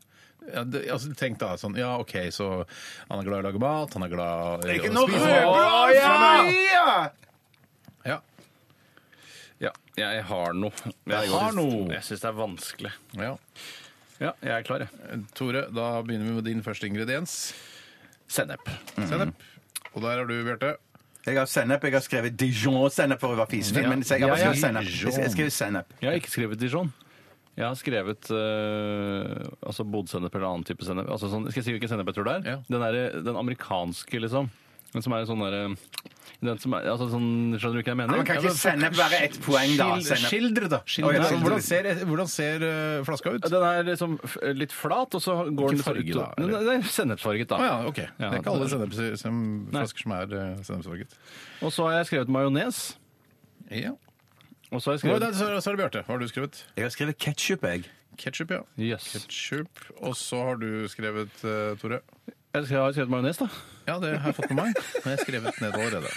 [SPEAKER 4] Ja, det, altså, tenk da sånn Ja, OK, så han er glad i å lage mat, han er glad i å spise mat.
[SPEAKER 5] Å,
[SPEAKER 6] ja!
[SPEAKER 4] Ja.
[SPEAKER 5] Ja, jeg har noe.
[SPEAKER 4] Jeg har noe.
[SPEAKER 5] Jeg syns det er vanskelig.
[SPEAKER 4] ja.
[SPEAKER 5] Ja, jeg er klar, jeg.
[SPEAKER 4] Tore, da begynner vi med din første ingrediens.
[SPEAKER 5] Sennep.
[SPEAKER 4] Sennep. Og der er du, Bjarte.
[SPEAKER 6] Jeg har sennep. Jeg har skrevet Dijon-sennep for å være fisefin,
[SPEAKER 5] Ja.
[SPEAKER 6] men jeg har bare
[SPEAKER 5] Ja, ja,
[SPEAKER 6] skrevet sennep.
[SPEAKER 4] Dijon.
[SPEAKER 6] Jeg- Jeg skriver sennep.
[SPEAKER 5] Jeg har ikke skrevet Dijon. Jeg har skrevet øh, altså bodsennep eller annen type sennep. Altså sånn, skal jeg si hvilken sennep jeg tror det er?
[SPEAKER 4] Ja.
[SPEAKER 5] Den, derre- den amerikanske, liksom. Den som er sånn derre den som er, altså sånn, Skjønner du hva jeg mener?
[SPEAKER 6] Ja, men kan ikke sennep være ett poeng, da?
[SPEAKER 4] Skil-
[SPEAKER 6] Sennep.
[SPEAKER 4] Skildre, da. Skildre.
[SPEAKER 6] Å, ja, skildre.
[SPEAKER 4] Hvordan ser, hvordan ser eh, flaska ut?
[SPEAKER 5] Ja, Den er liksom f- litt flat, og så går den litt
[SPEAKER 4] farge,
[SPEAKER 5] ut-
[SPEAKER 4] da,
[SPEAKER 5] Den-
[SPEAKER 4] eller?
[SPEAKER 5] Den er sennepsfarget, da.
[SPEAKER 4] Å ja, OK. Det er ikke alle senneps- sem-
[SPEAKER 5] Nei.
[SPEAKER 4] flasker som er eh, sennepsfarget.
[SPEAKER 5] Og så har jeg skrevet majones.
[SPEAKER 4] Ja.
[SPEAKER 5] Og så har
[SPEAKER 4] Nå,
[SPEAKER 5] jeg skrevet
[SPEAKER 4] nei, Så så er det Bjarte. Hva har du skrevet?
[SPEAKER 6] Jeg har skrevet ketsjup, jeg.
[SPEAKER 4] Ketsjup, ja.
[SPEAKER 5] Yes.
[SPEAKER 4] Ketchup. Og så har du skrevet, eh, Tore
[SPEAKER 5] Jeg skrev- har skrevet majones, da.
[SPEAKER 4] Ja, det har jeg fått med meg. Men jeg har skrevet ned allerede.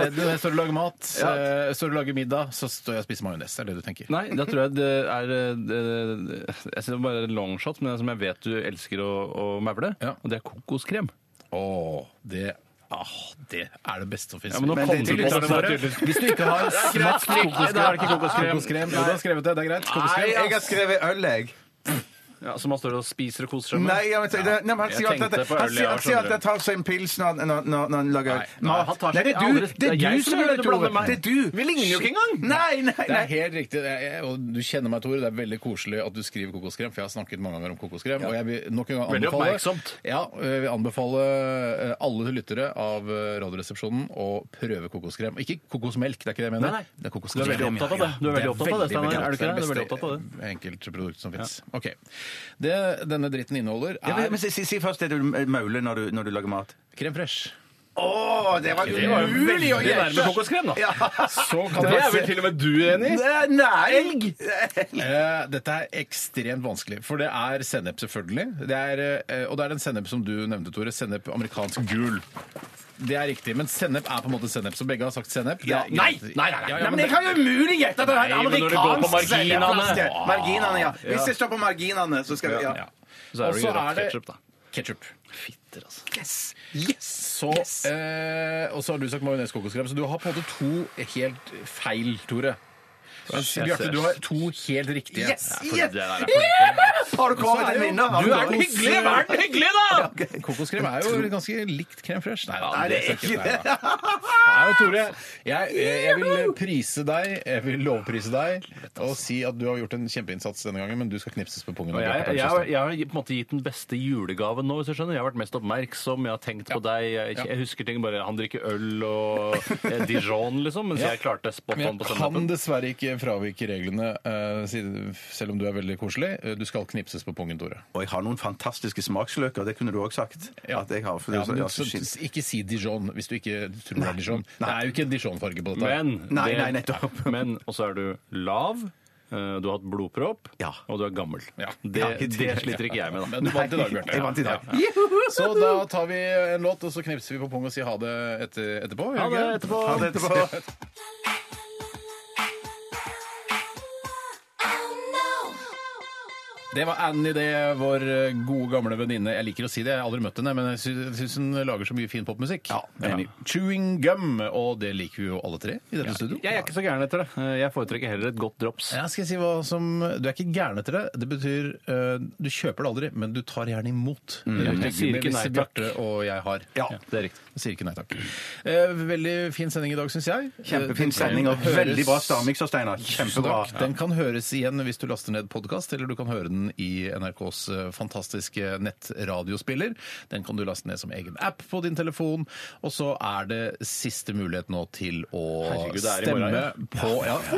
[SPEAKER 4] Så er det, når jeg står og lager mat, eh, står og lager middag, så står jeg og spiser majones. Det er det du tenker?
[SPEAKER 5] Nei, da tror jeg det er eh, det- Jeg synes det er bare en longshot, men det som jeg vet du elsker å, å maule,
[SPEAKER 4] Ja.
[SPEAKER 5] og det er kokoskrem.
[SPEAKER 4] Åh, det, ah, det er det beste som finnes.
[SPEAKER 5] Ja, men nå kom du på det, så er det tydelig.
[SPEAKER 4] Hvis du ikke har smakt kokoskrem,
[SPEAKER 5] da er det ikke kokoskrem.
[SPEAKER 4] Jo, du har skrevet det. Det er greit. Kokoskrem.
[SPEAKER 6] Jeg har skrevet øl, jeg.
[SPEAKER 5] Ja, Så man står og spiser og koser seg med?
[SPEAKER 6] Nei, jeg vet, det, nei, men han
[SPEAKER 5] Jeg
[SPEAKER 6] sier alltid
[SPEAKER 5] tenkte
[SPEAKER 6] at
[SPEAKER 5] på
[SPEAKER 6] han
[SPEAKER 5] øl,
[SPEAKER 6] sier,
[SPEAKER 5] ja,
[SPEAKER 6] han sier at
[SPEAKER 5] skjønner
[SPEAKER 6] han tar seg en pils når, han- når, når, når han lager
[SPEAKER 5] Nei, nei,
[SPEAKER 6] mat.
[SPEAKER 5] han tar seg-
[SPEAKER 6] det er
[SPEAKER 5] aldri-
[SPEAKER 6] du, det er
[SPEAKER 5] jeg
[SPEAKER 6] du
[SPEAKER 5] som
[SPEAKER 6] som
[SPEAKER 5] gjør
[SPEAKER 6] gjør
[SPEAKER 5] det,
[SPEAKER 6] det,
[SPEAKER 5] du blander meg.
[SPEAKER 6] Tore. Det er du.
[SPEAKER 5] Vi ligner jo ikke engang.
[SPEAKER 6] Nei, nei,
[SPEAKER 4] Det er
[SPEAKER 6] nei.
[SPEAKER 4] helt riktig. Det er, og du kjenner meg, Tore. Det er veldig koselig at du skriver kokoskrem, for jeg har snakket mange ganger om kokoskrem. Og jeg vil nok en gang
[SPEAKER 5] Veldig
[SPEAKER 4] anbefale
[SPEAKER 5] oppmerksomt.
[SPEAKER 4] Ja, jeg vil anbefale eh, alle lyttere av eh, Radioresepsjonen å prøve kokoskrem. Ikke kokosmelk, det er ikke det jeg mener.
[SPEAKER 5] Nei, nei.
[SPEAKER 4] Det er
[SPEAKER 5] Du
[SPEAKER 4] kokoskrem.
[SPEAKER 5] er veldig opptatt av det. Du er veldig opptatt av det, Steinar. Er du ikke det? Du er veldig opptatt av det.
[SPEAKER 4] Enkeltprodukt som fins. OK. Det denne dritten inneholder,
[SPEAKER 6] Ja, men-
[SPEAKER 4] er
[SPEAKER 6] men si, si, si først det du mauler når du, når du lager mat.
[SPEAKER 4] Krem fresh.
[SPEAKER 6] Å, det var
[SPEAKER 4] Det var jo
[SPEAKER 6] umulig å
[SPEAKER 4] veldig
[SPEAKER 6] gjette!
[SPEAKER 4] nærme kokoskrem, da. Så kan
[SPEAKER 6] Det
[SPEAKER 4] jeg
[SPEAKER 6] er vel
[SPEAKER 4] se-
[SPEAKER 6] til og
[SPEAKER 5] med du enig
[SPEAKER 6] i? Nei! Elg!
[SPEAKER 4] Eh, Dette er ekstremt vanskelig, for det er sennep, selvfølgelig. Det er, eh, og det er den sennep som du nevnte, Tore. Sennep amerikansk gul. Det er riktig, men sennep er på en måte sennep, så begge har sagt sennep. Det er
[SPEAKER 6] Nei,
[SPEAKER 4] greit.
[SPEAKER 6] nei, nei, nei.
[SPEAKER 4] Ja, ja,
[SPEAKER 6] nei, men jeg kan jo umulig gjette at det er
[SPEAKER 4] Nei,
[SPEAKER 6] en
[SPEAKER 4] men når det går på
[SPEAKER 6] amerikansk
[SPEAKER 4] marginene.
[SPEAKER 6] sennepflaske.
[SPEAKER 4] Ah.
[SPEAKER 6] Marginene, ja.
[SPEAKER 4] Ja.
[SPEAKER 6] Hvis det står på marginene, så skal vi ja.
[SPEAKER 4] Ja.
[SPEAKER 5] Så er det
[SPEAKER 4] Og
[SPEAKER 5] jo rødt ketchup, da.
[SPEAKER 4] Ketchup.
[SPEAKER 5] Fitter, altså.
[SPEAKER 6] Yes! Yes!
[SPEAKER 4] Så, eh, og så har du sagt majones kokoskrem, så du har på en måte to helt feil, Tore. Mens
[SPEAKER 5] Yes,
[SPEAKER 4] Bjarte,
[SPEAKER 5] yes.
[SPEAKER 4] du har to helt riktige.
[SPEAKER 6] Yes!
[SPEAKER 5] for det
[SPEAKER 6] yes.
[SPEAKER 5] der er for-
[SPEAKER 6] Yeah! Har du
[SPEAKER 4] Så
[SPEAKER 6] kommet
[SPEAKER 4] er
[SPEAKER 6] en
[SPEAKER 4] jo-
[SPEAKER 6] vinner? Har
[SPEAKER 4] du er
[SPEAKER 6] kommet-
[SPEAKER 4] den hyggelige, vær den hyggelige,
[SPEAKER 5] da!
[SPEAKER 4] Kokoskrem er jo ganske likt krem fresh. Nei,
[SPEAKER 6] Nei, det er ikke det.
[SPEAKER 4] Nei, men Tore, jeg, jeg vil eh, prise deg, jeg vil lovprise deg, og si at du har gjort en kjempeinnsats denne gangen, men du skal knipses på pungen. av
[SPEAKER 5] Og jeg,
[SPEAKER 4] Bjarte
[SPEAKER 5] jeg,
[SPEAKER 4] Perlsøster.
[SPEAKER 5] har- jeg har på en måte gitt den beste julegaven nå, hvis du skjønner. Jeg har vært mest oppmerksom, jeg har tenkt på deg. Jeg, jeg husker ting bare Han drikker øl og eh, Dijon, liksom, mens
[SPEAKER 4] Ja.
[SPEAKER 5] jeg klarte spot
[SPEAKER 4] Men
[SPEAKER 5] on på
[SPEAKER 4] jeg kan
[SPEAKER 5] søndagen.
[SPEAKER 4] dessverre ikke fravike reglene, eh, siden- selv om du er veldig koselig. Eh, Du skal knipses på pungen, Tore.
[SPEAKER 6] Og jeg har noen fantastiske smaksløker, det kunne du òg sagt. At jeg har, for det,
[SPEAKER 4] Ja,
[SPEAKER 6] er så-
[SPEAKER 4] men
[SPEAKER 6] ja,
[SPEAKER 4] så,
[SPEAKER 6] så skinn-
[SPEAKER 4] ikke si Dijon hvis du ikke tror det er Dijon. Det er jo ikke en Dijon-farge på dette. her.
[SPEAKER 5] Men,
[SPEAKER 6] Nei,
[SPEAKER 5] det-
[SPEAKER 6] nei, nettopp.
[SPEAKER 5] men og så er du lav. eh, Du har hatt blodpropp,
[SPEAKER 6] Ja.
[SPEAKER 5] og du er gammel.
[SPEAKER 4] Ja.
[SPEAKER 5] Det,
[SPEAKER 6] Ja, ikke
[SPEAKER 5] det
[SPEAKER 6] det.
[SPEAKER 5] sliter ikke jeg med, da.
[SPEAKER 4] Men du vant i dag, Bjarte.
[SPEAKER 6] Jeg vant i dag.
[SPEAKER 4] Ja, ja. Så da tar vi en låt, og så knipser vi på pung og sier ha det etter, etterpå. gjør
[SPEAKER 5] Ha
[SPEAKER 4] vi ikke
[SPEAKER 5] det etterpå.
[SPEAKER 6] Ha det etterpå.
[SPEAKER 4] Det var Annie, det, vår eh, gode gamle venninne. Jeg liker å si det, jeg har aldri møtt henne, men jeg sy- syns hun lager så mye fin popmusikk.
[SPEAKER 6] Ja, enig.
[SPEAKER 4] Chewing gum, og det liker vi jo alle tre i dette studio.
[SPEAKER 5] Jeg er ikke så gæren etter det. Eh, Jeg foretrekker heller et godt drops.
[SPEAKER 4] Ja, skal jeg si hva som Du er ikke gæren etter det. Det betyr eh, du kjøper det aldri, men du tar gjerne imot. Det er
[SPEAKER 5] Jeg
[SPEAKER 4] hyggelig
[SPEAKER 5] sier
[SPEAKER 4] med
[SPEAKER 5] ikke nei
[SPEAKER 4] visse
[SPEAKER 5] takk.
[SPEAKER 4] Bjarte og jeg har.
[SPEAKER 6] Ja.
[SPEAKER 5] Det er riktig.
[SPEAKER 4] Jeg Sier ikke nei takk. Eh, veldig fin sending i dag, syns jeg.
[SPEAKER 6] Kjempefin
[SPEAKER 4] Eh,
[SPEAKER 6] sending og
[SPEAKER 4] høres-
[SPEAKER 6] veldig bra stavmikser, Steinar. Kjempebra.
[SPEAKER 4] Takk. Den kan høres igjen hvis du laster ned podkast, eller du kan høre den i NRKs eh, fantastiske nettraradiospiller. Den kan du laste ned som egen app på din telefon. Og så er det siste mulighet nå til å
[SPEAKER 5] Herregud, det er i
[SPEAKER 4] stemme,
[SPEAKER 5] morgen, ja.
[SPEAKER 4] på,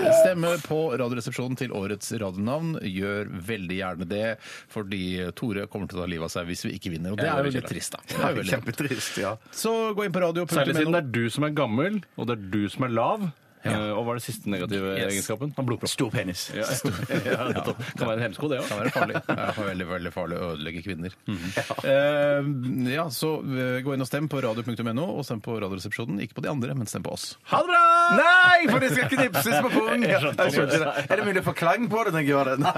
[SPEAKER 4] ja, stemme på Radioresepsjonen til årets radionavn. Gjør veldig gjerne det, fordi Tore kommer til å ta livet av seg hvis vi ikke vinner. Og det er jo litt trist, da. Det er jo veldig-
[SPEAKER 6] Kjempetrist, ja.
[SPEAKER 4] Så gå inn på
[SPEAKER 5] Særlig
[SPEAKER 4] radio.no.
[SPEAKER 5] siden det er du som er gammel, og det er du som er lav. Eh, Og hva er det siste negative
[SPEAKER 4] Yes.
[SPEAKER 5] egenskapen? Han blodpropp.
[SPEAKER 6] Stor penis.
[SPEAKER 5] Ja, ja, nettopp. Kan være Mhm. en hemsko, det òg.
[SPEAKER 4] kan være farlig. Det er veldig, veldig farlig å ødelegge kvinner. Eh, ja, så eh, gå inn og stem på radio.no, og stem på Radioresepsjonen. Ikke på de andre, men stem på oss.
[SPEAKER 5] Ha det bra!
[SPEAKER 6] Nei, for det skal knipses på pungen! Ja, jeg skjønte det. Er det mulig å få klang på det når jeg gjør det?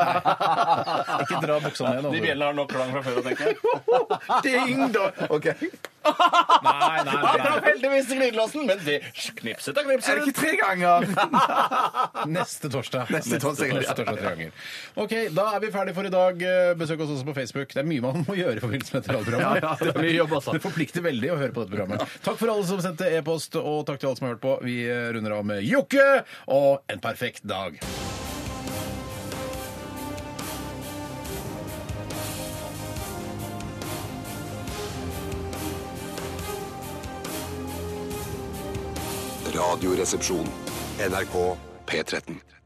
[SPEAKER 4] Ikke dra buksa ned nå.
[SPEAKER 5] De bjellene har nok klang fra før, tenker jeg.
[SPEAKER 6] Ding, da! Ok.
[SPEAKER 4] Nei, nei, nei.
[SPEAKER 5] heldigvis i glidelåsen, men det knipset er
[SPEAKER 6] Er det
[SPEAKER 5] knipset.
[SPEAKER 6] ikke tre ganger?
[SPEAKER 4] Neste torsdag.
[SPEAKER 6] Neste torsdag, ja.
[SPEAKER 4] Neste torsdag tre ganger. Ok, da er vi ferdig for i dag. Eh, Besøk oss også på Facebook. Det er mye man må gjøre i forbindelse med dette radioprogrammet.
[SPEAKER 5] Ja, ja, det er mye jobb, altså.
[SPEAKER 4] Det forplikter veldig å høre på dette programmet. Takk for alle som sendte e-post, og takk til alle som har hørt på. Vi eh, runder av med Jokke og en perfekt dag.
[SPEAKER 7] Radioresepsjon. NRK P13.